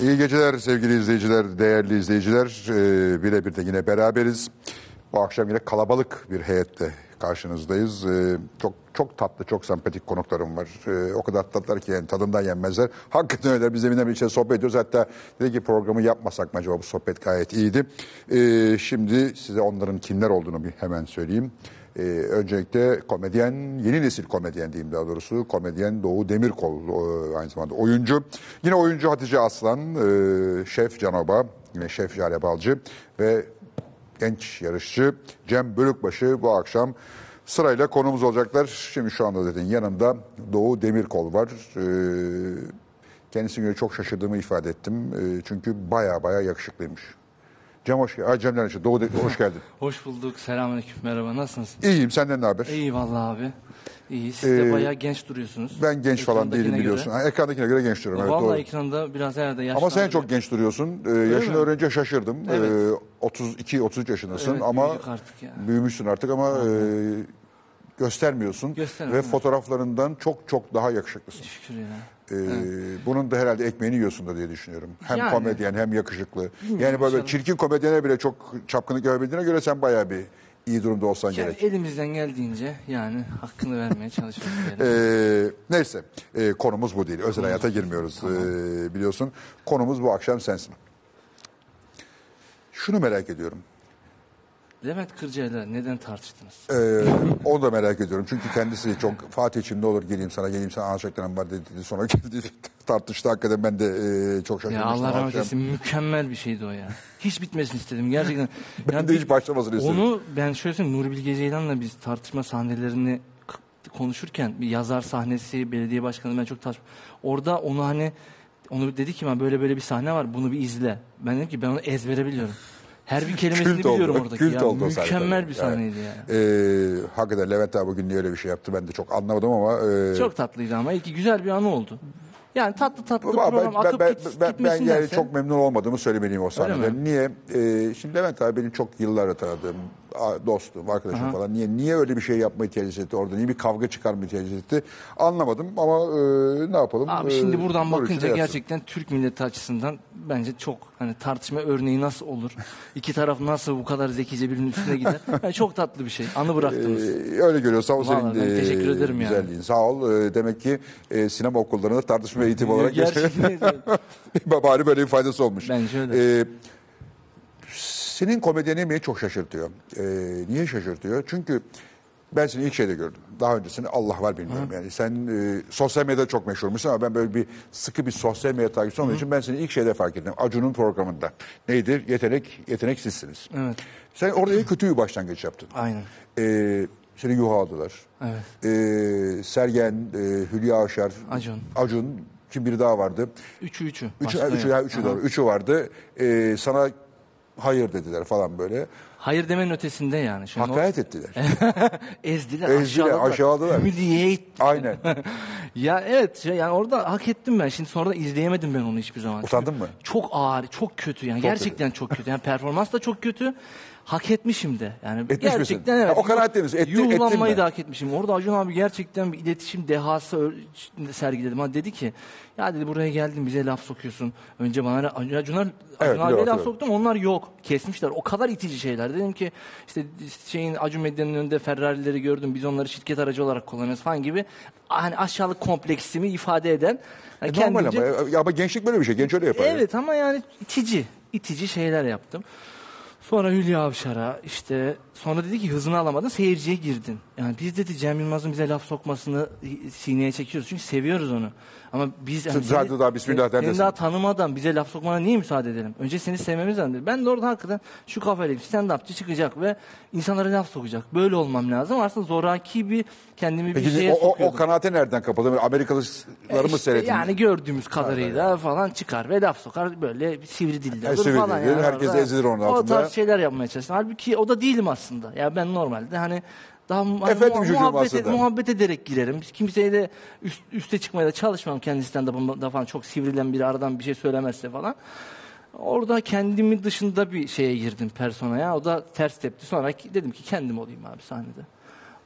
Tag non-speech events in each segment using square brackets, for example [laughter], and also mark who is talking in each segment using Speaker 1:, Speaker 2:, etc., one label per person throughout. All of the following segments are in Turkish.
Speaker 1: İyi geceler sevgili izleyiciler, değerli izleyiciler. Ee, birebir de yine beraberiz. Bu akşam yine kalabalık bir heyette karşınızdayız. Ee, çok çok tatlı, çok sempatik konuklarım var. Ee, o kadar tatlılar ki yani tadından yenmezler. Hakikaten öyle. Biz deminden bir içeri sohbet ediyoruz. Hatta dedi ki programı yapmasak mı acaba bu sohbet gayet iyiydi. Ee, şimdi size onların kimler olduğunu bir hemen söyleyeyim. Ee, öncelikle komedyen, yeni nesil komedyen diyeyim daha doğrusu. Komedyen Doğu Demirkol e, aynı zamanda oyuncu. Yine oyuncu Hatice Aslan, e, Şef Canoba, yine Şef Jale Balcı ve genç yarışçı Cem Bölükbaşı bu akşam sırayla konumuz olacaklar. Şimdi şu anda zaten yanımda Doğu Demirkol var. Ee, kendisine göre çok şaşırdığımı ifade ettim. Ee, çünkü baya baya yakışıklıymış. Cem hoş geldin. Cem Yarışçı, Doğu Demir- hoş geldin.
Speaker 2: Hoş bulduk. Selamünaleyküm. Merhaba. Nasılsınız?
Speaker 1: İyiyim senden ne haber?
Speaker 2: İyi vallahi abi. İyi. Siz de
Speaker 1: Ee,
Speaker 2: bayağı genç duruyorsunuz.
Speaker 1: Ben genç falan değilim
Speaker 2: Ekrandakine
Speaker 1: biliyorsun.
Speaker 2: göre.
Speaker 1: Ha, ekrandakine göre genç duruyorum. Evet,
Speaker 2: vallahi
Speaker 1: doğru.
Speaker 2: ekranda biraz herhalde yaşlandı.
Speaker 1: Ama sen çok genç duruyorsun. Ee, yaşını öğrenince şaşırdım. Ee,
Speaker 2: Evet.
Speaker 1: 32-33 yaşındasın
Speaker 2: Evet,
Speaker 1: ama Hmm.
Speaker 2: büyüdük artık ya.
Speaker 1: büyümüşsün artık ama e, göstermiyorsun.
Speaker 2: Göstermiyorum,
Speaker 1: Ve
Speaker 2: evet.
Speaker 1: fotoğraflarından çok çok daha yakışıklısın.
Speaker 2: Şükür ya.
Speaker 1: Ee, Bunun da herhalde ekmeğini yiyorsun da diye düşünüyorum. Hem
Speaker 2: Yani.
Speaker 1: komedyen hem yakışıklı. Yani böyle çirkin komedyene bile çok çapkınlık yapabildiğine göre sen bayağı bir iyi durumda olsan
Speaker 2: Yani
Speaker 1: gerek.
Speaker 2: elimizden geldiğince yani hakkını
Speaker 1: [laughs]
Speaker 2: vermeye çalışıyoruz. diyelim.
Speaker 1: Ee, neyse ee, konumuz bu değil. Özel hayata girmiyoruz ee, biliyorsun. Konumuz bu akşam sensin. Şunu merak ediyorum.
Speaker 2: Demet Kırca'yla neden tartıştınız?
Speaker 1: Ee, onu da merak ediyorum. Çünkü kendisi çok Fatih'im ne olur geleyim sana geleyim sana anlaşacaklarım var dedi. dedi. Sonra geldi [laughs] tartıştı. Hakikaten ben de ee, çok
Speaker 2: Ya
Speaker 1: şaşırmıştım.
Speaker 2: Allah rahmet
Speaker 1: akşam.
Speaker 2: eylesin mükemmel bir şeydi o ya. Hiç bitmesini istedim gerçekten.
Speaker 1: [laughs] Ben
Speaker 2: Yani
Speaker 1: de
Speaker 2: bir-
Speaker 1: hiç başlamasını istedim.
Speaker 2: Onu ben şöyle söyleyeyim Nuri Bilge Ceylan'la biz tartışma sahnelerini k- konuşurken bir yazar sahnesi, belediye başkanı ben çok tartışma. Orada onu hani onu dedi ki ben böyle böyle bir sahne var bunu bir izle. Ben dedim ki ben onu ezbere biliyorum. Her
Speaker 1: [laughs]
Speaker 2: bir kelimesini
Speaker 1: Kült oldu,
Speaker 2: biliyorum oradaki.
Speaker 1: kült
Speaker 2: ya.
Speaker 1: oldu o sahne
Speaker 2: Mükemmel
Speaker 1: tabii.
Speaker 2: bir sahneydi ya.
Speaker 1: Ee, hakikaten Levent abi bugün niye öyle bir şey yaptı ben de çok anlamadım ama e,
Speaker 2: Çok tatlıydı ama iki güzel bir anı oldu. Yani tatlı tatlı
Speaker 1: Ama
Speaker 2: program
Speaker 1: ben,
Speaker 2: akıp
Speaker 1: ben,
Speaker 2: git-
Speaker 1: ben, ben
Speaker 2: gitmesindense-
Speaker 1: yani çok memnun olmadığımı söylemeliyim o sahneden.
Speaker 2: mi?
Speaker 1: Niye? Ee, şimdi Levent abi benim çok yıllar tanıdığım a- dostum, arkadaşım falan. Niye niye öyle bir şey yapma ihtiyacı etti orada? Niye bir kavga çıkarma ihtiyacı etti? Anlamadım ama e, ne yapalım?
Speaker 2: Abi
Speaker 1: Ee,
Speaker 2: şimdi buradan
Speaker 1: Nuri için de
Speaker 2: bakınca
Speaker 1: yapsın.
Speaker 2: gerçekten Türk milleti açısından bence çok hani tartışma örneği nasıl olur? İki taraf nasıl bu kadar zekice birinin
Speaker 1: [laughs]
Speaker 2: üstüne gider? Yani çok tatlı bir şey. Anı bıraktınız.
Speaker 1: Ee, öyle görüyorsan o senin
Speaker 2: Vallahi ben
Speaker 1: e,
Speaker 2: teşekkür ederim yani.
Speaker 1: güzelliğin. Sağ ol. Ee, demek ki e, sinema okullarında tartışma eğitimi olarak geçiyor.
Speaker 2: [laughs] Gerçekten
Speaker 1: [laughs] Bari böyle bir faydası olmuş.
Speaker 2: Bence öyle.
Speaker 1: Ee, senin komedyenin beni çok şaşırtıyor. Ee, niye şaşırtıyor? Çünkü ben seni ilk şeyde gördüm. Daha öncesini Allah var bilmiyorum yani. Sen e, sosyal medyada çok meşhurmuşsun ama ben böyle bir sıkı bir sosyal medya takipçisi olmadığım için ben seni ilk şeyde fark ettim. Acun'un programında. Neydi? Yetenek, yetenek sizsiniz.
Speaker 2: Evet.
Speaker 1: Sen orada en kötü bir başlangıç yaptın.
Speaker 2: Aynen.
Speaker 1: Ee, seni yuha aldılar.
Speaker 2: Evet.
Speaker 1: Ee, Sergen, e, Hülya Aşar,
Speaker 2: Acun.
Speaker 1: Acun, kim biri daha vardı.
Speaker 2: Üçü üçü.
Speaker 1: Üçü,
Speaker 2: Başka
Speaker 1: üçü,
Speaker 2: yok.
Speaker 1: ya, üçü, doğru, üçü vardı. Ee, sana hayır dediler falan böyle.
Speaker 2: Hayır demenin ötesinde yani. Şimdi
Speaker 1: Hakaret ettiler.
Speaker 2: o- ezdiler,
Speaker 1: Ezdiler,
Speaker 2: aşağıladılar.
Speaker 1: aşağıladılar.
Speaker 2: Humiliate.
Speaker 1: Aynen.
Speaker 2: ya evet şey, yani orada hak ettim ben. Şimdi sonra da izleyemedim ben onu hiçbir zaman.
Speaker 1: Utandın mı?
Speaker 2: Çok ağır, çok kötü yani. gerçekten çok kötü. Yani performans da çok kötü. Hak etmişim de. Yani
Speaker 1: Etmiş misin?
Speaker 2: gerçekten
Speaker 1: Ya
Speaker 2: evet.
Speaker 1: o kanaatte misin? Etti- ettim
Speaker 2: Yuhlanmayı
Speaker 1: ben.
Speaker 2: da hak etmişim. Orada Acun abi gerçekten bir iletişim dehası ö- sergiledim. Ha dedi ki ya dedi buraya geldin bize laf sokuyorsun. Önce bana la- Acun, Acun abiye
Speaker 1: biliyorum,
Speaker 2: laf
Speaker 1: hatırlıyorum.
Speaker 2: soktum onlar yok. Kesmişler. O kadar itici şeyler. Dedim ki işte şeyin Acun Medya'nın önünde Ferrari'leri gördüm. Biz onları şirket aracı olarak kullanıyoruz falan gibi. Hani aşağılık kompleksimi ifade eden. yani
Speaker 1: E, Normal
Speaker 2: [laughs] kendince-
Speaker 1: ama. ya. Ya Ama gençlik böyle bir şey. Genç öyle yapar. ya.
Speaker 2: Evet ama yani itici, itici şeyler yaptım. Sonra Hülya Avşar'a işte sonra dedi ki hızını alamadın seyirciye girdin. Yani biz dedi Cem Yılmaz'ın bize laf sokmasını sineye çekiyoruz çünkü seviyoruz onu. Ama biz yani
Speaker 1: zaten daha bismillah
Speaker 2: seni
Speaker 1: neredesin?
Speaker 2: daha tanımadan bize laf sokmana niye müsaade edelim? Önce seni sevmemiz lazım dedi. Ben de orada hakikaten şu kafayla bir stand-upçı çıkacak ve insanlara laf sokacak. Böyle olmam lazım. Aslında zoraki bir kendimi bir
Speaker 1: Peki
Speaker 2: şeye
Speaker 1: o, o, o
Speaker 2: sokuyordum.
Speaker 1: kanaate nereden kapadın? Amerikalıları mı
Speaker 2: İşte
Speaker 1: seyrettin?
Speaker 2: Yani gördüğümüz kadarıyla falan çıkar ve laf sokar böyle sivri dilli
Speaker 1: Ha,
Speaker 2: olur
Speaker 1: sivri
Speaker 2: falan.
Speaker 1: dilli,
Speaker 2: yani
Speaker 1: herkes
Speaker 2: orada.
Speaker 1: ezilir onun altında.
Speaker 2: O tarz şeyler yapmaya çalıştım. Halbuki o da değilim aslında. Ya ben normalde hani daha mu- hani
Speaker 1: Efendim
Speaker 2: mu-
Speaker 1: çocuğum
Speaker 2: muhabbet,
Speaker 1: aslında.
Speaker 2: muhabbet ederek girerim. Biz Kimseye de üst- üste çıkmaya da çalışmam kendisinden de da falan çok sivrilen biri aradan bir şey söylemezse falan. Orada kendimi dışında bir şeye girdim personaya. O da ters tepti. Sonra ki- dedim ki kendim olayım abi sahnede.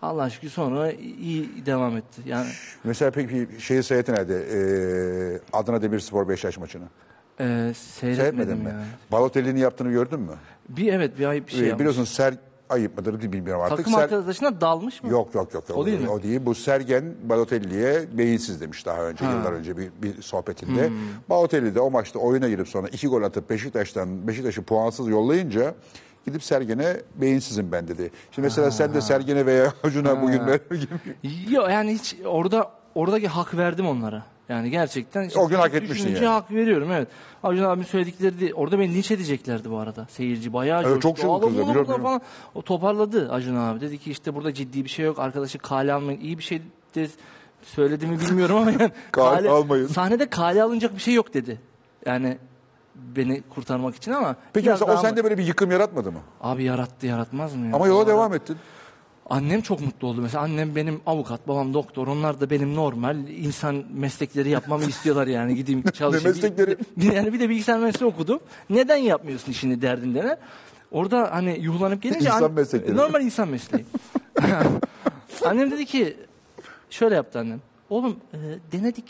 Speaker 2: Allah aşkına sonra iyi devam etti. Yani
Speaker 1: Mesela peki bir şeyi seyrettin herhalde. Ee, Adana Demirspor Beşiktaş maçını.
Speaker 2: Ee, seyretmedim,
Speaker 1: Seyretmedin mi?
Speaker 2: ya.
Speaker 1: Balotelli'nin yaptığını gördün mü?
Speaker 2: Bir evet bir ay bir şey
Speaker 1: Ee,
Speaker 2: yapmış.
Speaker 1: Biliyorsun Ser ayıp mıdır bilmiyorum artık.
Speaker 2: Takım
Speaker 1: Ser-
Speaker 2: arkadaşına dalmış mı?
Speaker 1: Yok yok yok.
Speaker 2: O değil mi?
Speaker 1: O değil. Bu Sergen Balotelli'ye beyinsiz demiş daha önce yıllar önce bir, bir sohbetinde.
Speaker 2: Hmm.
Speaker 1: Balotelli de o maçta oyuna girip sonra iki gol atıp Beşiktaş'tan Beşiktaş'ı puansız yollayınca gidip Sergen'e beyinsizim ben dedi. Şimdi mesela sen de Sergen'e veya Acun'a bugün böyle gibi.
Speaker 2: Yok yani hiç orada oradaki hak verdim onlara. Yani gerçekten.
Speaker 1: O gün hak
Speaker 2: Düşününce
Speaker 1: etmişsin yani.
Speaker 2: hak veriyorum evet. Acun abinin söyledikleri de- orada beni linç edeceklerdi bu arada. Seyirci bayağı
Speaker 1: Evet, çok
Speaker 2: coştu.
Speaker 1: çabuk
Speaker 2: "Alın
Speaker 1: kızdı,
Speaker 2: bunu,
Speaker 1: biliyorum,
Speaker 2: bunu"
Speaker 1: biliyorum.
Speaker 2: falan. O toparladı Acun abi. Dedi ki işte burada ciddi bir şey yok. Arkadaşı kale almayın. İyi bir şey de söyledi mi bilmiyorum ama yani.
Speaker 1: [laughs] Kale almayın.
Speaker 2: Sahnede kale alınacak bir şey yok dedi. Yani beni kurtarmak için ama.
Speaker 1: Peki
Speaker 2: biraz
Speaker 1: mesela o
Speaker 2: daha
Speaker 1: sende böyle bir yıkım yaratmadı mı?
Speaker 2: Abi yarattı yaratmaz mı ya?
Speaker 1: Ama yola
Speaker 2: Sonra-
Speaker 1: devam ettin.
Speaker 2: Annem çok mutlu oldu mesela. Annem benim avukat, babam doktor. Onlar da benim normal insan
Speaker 1: [laughs]
Speaker 2: meslekleri yapmamı istiyorlar yani. Gideyim çalışayım.
Speaker 1: meslekleri?
Speaker 2: Bir- yani bir de bilgisayar mühendisliği okudum. Neden yapmıyorsun işini derdinde ne? Orada hani yuhlanıp gelince...
Speaker 1: İnsan meslekleri.
Speaker 2: Normal
Speaker 1: [laughs]
Speaker 2: insan mesleği. [laughs] annem dedi ki... Şöyle yaptı annem. Oğlum e, denedik.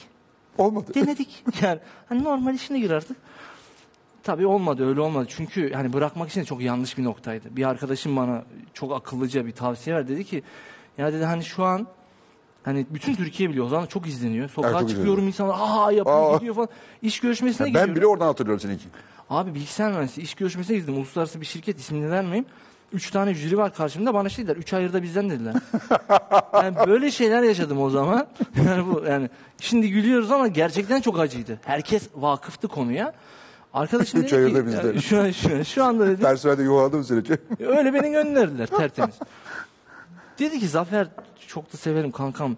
Speaker 1: Olmadı.
Speaker 2: Denedik. Yani hani normal işine gir artık. Tabii olmadı öyle olmadı. Çünkü hani bırakmak için de çok yanlış bir noktaydı. Bir arkadaşım bana çok akıllıca bir tavsiye verdi. Dedi ki ya dedi hani şu an hani bütün Türkiye biliyor o zaman çok izleniyor. Sokağa
Speaker 1: Evet, çok
Speaker 2: çıkıyorum insanlar aa yapıyor
Speaker 1: Aa.
Speaker 2: gidiyor falan. İş görüşmesine
Speaker 1: Ya ben
Speaker 2: gidiyorum.
Speaker 1: bile oradan hatırlıyorum seninki.
Speaker 2: Abi bilgisayar mühendisliği iş görüşmesine girdim. Uluslararası bir şirket ismini vermeyeyim. Üç tane jüri var karşımda bana şey dediler. Üç ayırda
Speaker 1: [laughs]
Speaker 2: bizden dediler. yani böyle şeyler yaşadım o zaman. [laughs] Yani bu yani şimdi gülüyoruz ama gerçekten çok acıydı. Herkes vakıftı konuya. Arkadaşım
Speaker 1: Üç
Speaker 2: dedi
Speaker 1: ayırda
Speaker 2: ki,
Speaker 1: bizden.
Speaker 2: "Ya Şu, an, şu, an- şu anda dedi.
Speaker 1: Personelde yuvarladım sürece.
Speaker 2: Öyle beni gönderdiler tertemiz. Dedi ki Zafer çok da severim kankam.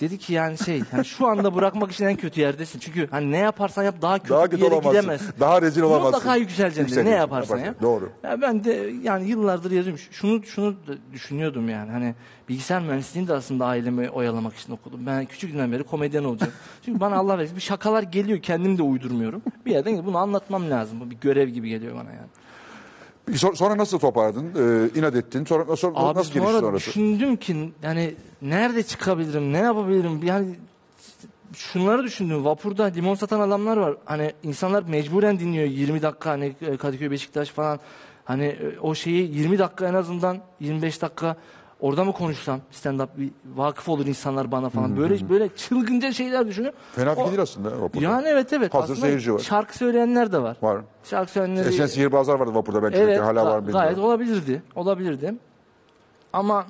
Speaker 2: Dedi ki yani şey yani şu anda bırakmak için en kötü yerdesin. Çünkü hani ne yaparsan yap daha kötü,
Speaker 1: Daha kötü
Speaker 2: bir yere
Speaker 1: olamazsın.
Speaker 2: gidemezsin.
Speaker 1: Daha rezil olamazsın.
Speaker 2: Mutlaka yükseleceksin. dedi. Ne
Speaker 1: Yükseleceksin,
Speaker 2: yaparsan yap.
Speaker 1: Doğru.
Speaker 2: Ya ben de yani yıllardır yazıyorum. Şunu şunu da düşünüyordum yani. Hani bilgisayar mühendisliğini de aslında ailemi oyalamak için okudum. Ben küçüklüğümden beri komedyen olacağım. Çünkü bana Allah versin bir şakalar geliyor. Kendim de uydurmuyorum. Bir yerden bunu anlatmam lazım. Bu bir görev gibi geliyor bana yani.
Speaker 1: Peki so- Sonra nasıl toparladın? Ee, inat ettin. Sonra, sonra
Speaker 2: Abi
Speaker 1: nasıl gelişti
Speaker 2: sonra
Speaker 1: sonrası?
Speaker 2: düşündüm ki yani nerede çıkabilirim, ne yapabilirim? Yani şunları düşündüm. Vapurda limon satan adamlar var. Hani insanlar mecburen dinliyor 20 dakika hani e, Kadıköy Beşiktaş falan. Hani e, o şeyi 20 dakika en azından 25 dakika orada mı konuşsam stand up bir vakıf olur insanlar bana falan. Böyle böyle çılgınca şeyler düşünüyorum.
Speaker 1: Fena
Speaker 2: O-
Speaker 1: fikir değil aslında. Vapur'da.
Speaker 2: Yani evet evet.
Speaker 1: Hazır
Speaker 2: Aslında
Speaker 1: seyirci var.
Speaker 2: Şarkı söyleyenler de var.
Speaker 1: Var.
Speaker 2: Şarkı söyleyenleri.
Speaker 1: Eskiden sihirbazlar vardı vapurda belki
Speaker 2: Ee, Evet,
Speaker 1: E hala var mı
Speaker 2: ga-
Speaker 1: bilmiyorum.
Speaker 2: gayet olabilirdi. Olabilirdi. Ama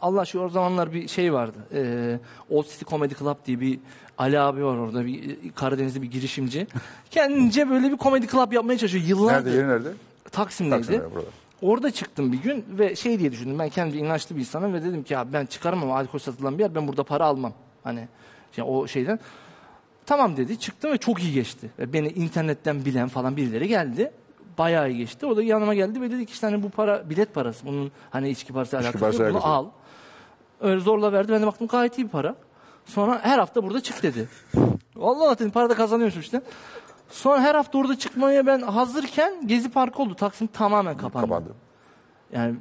Speaker 2: Allah şu o zamanlar bir şey vardı. Ee, Old City Comedy Club diye bir Ali abi var orada bir e, Karadenizli
Speaker 1: [laughs]
Speaker 2: bir girişimci. Kendince böyle bir comedy club yapmaya çalışıyor
Speaker 1: Nerede
Speaker 2: yıllardır.
Speaker 1: yeri nerede?
Speaker 2: Taksim'deydi.
Speaker 1: Taksim'de burada.
Speaker 2: Orada çıktım bir gün ve şey diye düşündüm. Ben kendimce inançlı bir insanım ve dedim ki abi ben çıkarım ama alkol satılan bir yer ben burada para almam. Hani ya o şeyden. Tamam dedi çıktım ve çok iyi geçti. Ve Beni internetten bilen falan birileri geldi. Bayağı iyi geçti. O da yanıma geldi ve dedi ki işte hani bu para bilet parası. Bunun hani içki
Speaker 1: İçki
Speaker 2: parası alakası
Speaker 1: parası
Speaker 2: yok. Bunu
Speaker 1: alakası
Speaker 2: al. Öyle zorla verdi. Ben de baktım gayet iyi bir para. Sonra her hafta burada çık dedi. Vallahi dedim para da kazanıyorsun işte. Sonra her hafta orada çıkmaya ben hazırken Gezi Parkı oldu. Taksim tamamen kapandı.
Speaker 1: Kapandı.
Speaker 2: Yani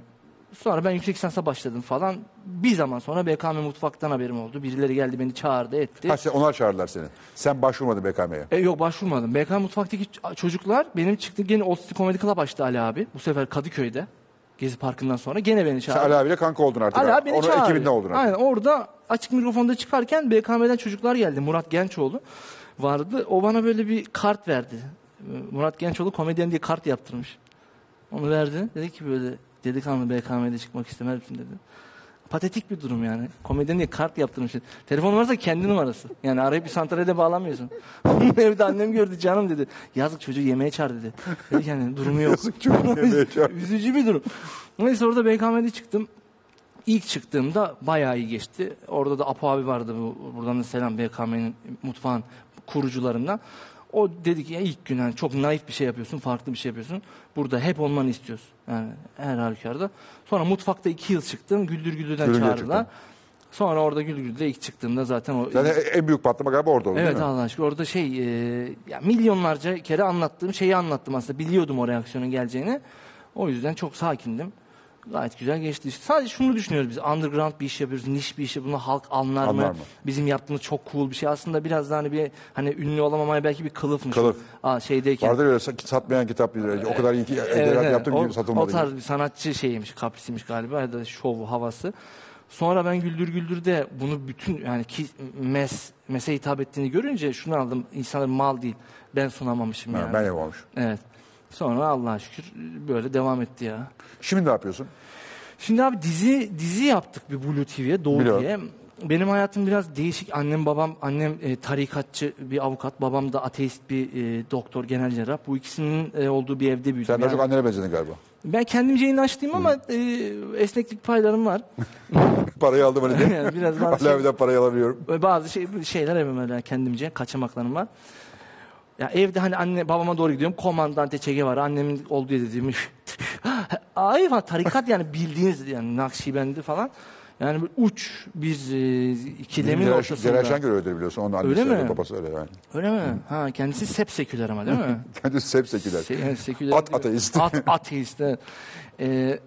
Speaker 2: sonra ben yüksek lisansa başladım falan. Bir zaman sonra BKM Mutfak'tan haberim oldu. Birileri geldi beni çağırdı etti.
Speaker 1: Ha, sen, onlar çağırdılar seni. Sen başvurmadın BKM'ye.
Speaker 2: E, yok başvurmadım. BKM Mutfak'taki ç- çocuklar benim çıktı gene Old City Comedy Club açtı Ali abi. Bu sefer Kadıköy'de. Gezi Parkı'ndan sonra gene beni
Speaker 1: Sen
Speaker 2: çağırdı.
Speaker 1: Ali abiyle kanka oldun artık.
Speaker 2: Hala beni
Speaker 1: Onun
Speaker 2: çağırıyor.
Speaker 1: ekibinde oldun artık.
Speaker 2: Aynen orada açık mikrofonda çıkarken BKM'den çocuklar geldi. Murat Gençoğlu vardı. O bana böyle bir kart verdi. Murat Gençoğlu komedyen diye kart yaptırmış. Onu verdi. Dedi ki böyle delikanlı BKM'de çıkmak istemez misin dedi. Patetik bir durum yani. Komedyen diye kart yaptırmış. Telefon varsa kendi numarası. Yani arayıp bir santrale de bağlanmıyorsun. [laughs] Evde annem gördü canım dedi. Yazık çocuğu yemeğe çağır dedi. Dedi ki yani durumu yok.
Speaker 1: Yazık [laughs] çocuğu yemeğe çağır.
Speaker 2: Üzücü bir durum. Neyse orada BKM'de çıktım. İlk çıktığımda bayağı iyi geçti. Orada da Apo abi vardı. bu- Buradan da selam BKM'nin mutfağın kurucularından. O dedi ki ya ilk gün hani çok naif bir şey yapıyorsun, farklı bir şey yapıyorsun. Burada hep olmanı istiyoruz. Yani her halükarda. Sonra mutfakta iki yıl çıktım. Güldür Güldür'den
Speaker 1: Güldür Güldür
Speaker 2: çağırdılar. Sonra orada Güldür Güldür'de ilk çıktığımda zaten o...
Speaker 1: Zaten e- en büyük patlama galiba orada oldu
Speaker 2: Evet
Speaker 1: değil mi?
Speaker 2: Allah aşkına orada şey e, ya milyonlarca kere anlattığım şeyi anlattım aslında. Biliyordum o reaksiyonun geleceğini. O yüzden çok sakindim. Gayet güzel geçti. işte. Sadece şunu düşünüyoruz biz. Underground bir iş yapıyoruz. Niş bir iş yapıyoruz. Bunu halk anlar,
Speaker 1: Anlar
Speaker 2: mı?
Speaker 1: mı?
Speaker 2: Bizim yaptığımız çok cool bir şey. Aslında biraz daha hani bir hani ünlü olamamaya belki bir kılıfmış.
Speaker 1: Kılıf.
Speaker 2: Aa, şeydeyken.
Speaker 1: Vardır öyle sa- satmayan kitap. e, O kadar iyi ki
Speaker 2: Evet,
Speaker 1: edebiyat
Speaker 2: evet.
Speaker 1: yaptım
Speaker 2: o,
Speaker 1: gibi satılmadı.
Speaker 2: O tarz bir sanatçı şeymiş, kaprisiymiş galiba ya da şovu havası. Sonra ben Güldür Güldür'de bunu bütün yani ki mes mese hitap ettiğini görünce şunu aldım. İnsanlar mal değil. Ben sunamamışım
Speaker 1: Ha,
Speaker 2: yani.
Speaker 1: Ben yapamamışım.
Speaker 2: Evet. Sonra Allah'a şükür böyle devam etti ya.
Speaker 1: Şimdi ne yapıyorsun?
Speaker 2: Şimdi abi dizi dizi yaptık bir Blue TV'ye Doğu
Speaker 1: Biliyorum.
Speaker 2: diye. Benim hayatım biraz değişik. Annem babam annem e, tarikatçı bir avukat, babam da ateist bir e, doktor genel cerrah. Bu ikisinin e, olduğu bir evde büyüdüm.
Speaker 1: Sen daha
Speaker 2: Yani-
Speaker 1: çok annene benzedin galiba. [laughs]
Speaker 2: ben kendimce inançlıyım ama e, esneklik paylarım var. [laughs]
Speaker 1: Parayı aldım hani diye.
Speaker 2: Yani biraz bazı,
Speaker 1: Ali
Speaker 2: şey,
Speaker 1: abiden parayı alamıyorum.
Speaker 2: bazı şey, şeyler yapıyorum öyle kendimce kaçamaklarım var. Ya evde hani anne babama doğru gidiyorum. Komandante çeke var. Annemin olduğu yerde dediğim. Ay falan tarikat yani bildiğiniz yani Nakşibendi falan. Yani böyle uç bir e, ikilemin
Speaker 1: Celal-
Speaker 2: ortasında.
Speaker 1: Celal Şengör öyledir biliyorsun. Onun annesi
Speaker 2: Öyle
Speaker 1: öyle,
Speaker 2: mi?
Speaker 1: babası öyle yani. [laughs]
Speaker 2: Öyle mi? Ha kendisi hep seküler ama değil mi?
Speaker 1: Kendisi hep seküler.
Speaker 2: Se- yani seküler
Speaker 1: At
Speaker 2: değil.
Speaker 1: ateist.
Speaker 2: At ateist. evet. Ee,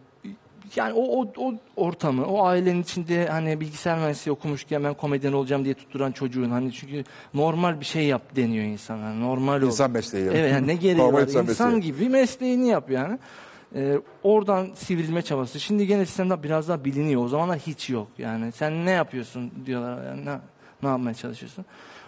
Speaker 2: yani o, o, o ortamı, o ailenin içinde hani bilgisayar mühendisliği okumuşken ben komedyen olacağım diye tutturan çocuğun hani çünkü normal bir şey yap deniyor insana. normal ol.
Speaker 1: İnsan mesleği.
Speaker 2: Evet yani ne gereği
Speaker 1: Normal
Speaker 2: var?
Speaker 1: insan
Speaker 2: İnsan
Speaker 1: mesleği.
Speaker 2: gibi mesleğini yap yani. Ee, oradan sivrilme çabası. Şimdi gene sistemde biraz daha biliniyor. O zamanlar hiç yok. Yani sen ne yapıyorsun diyorlar. Yani ne, ne yapmaya çalışıyorsun?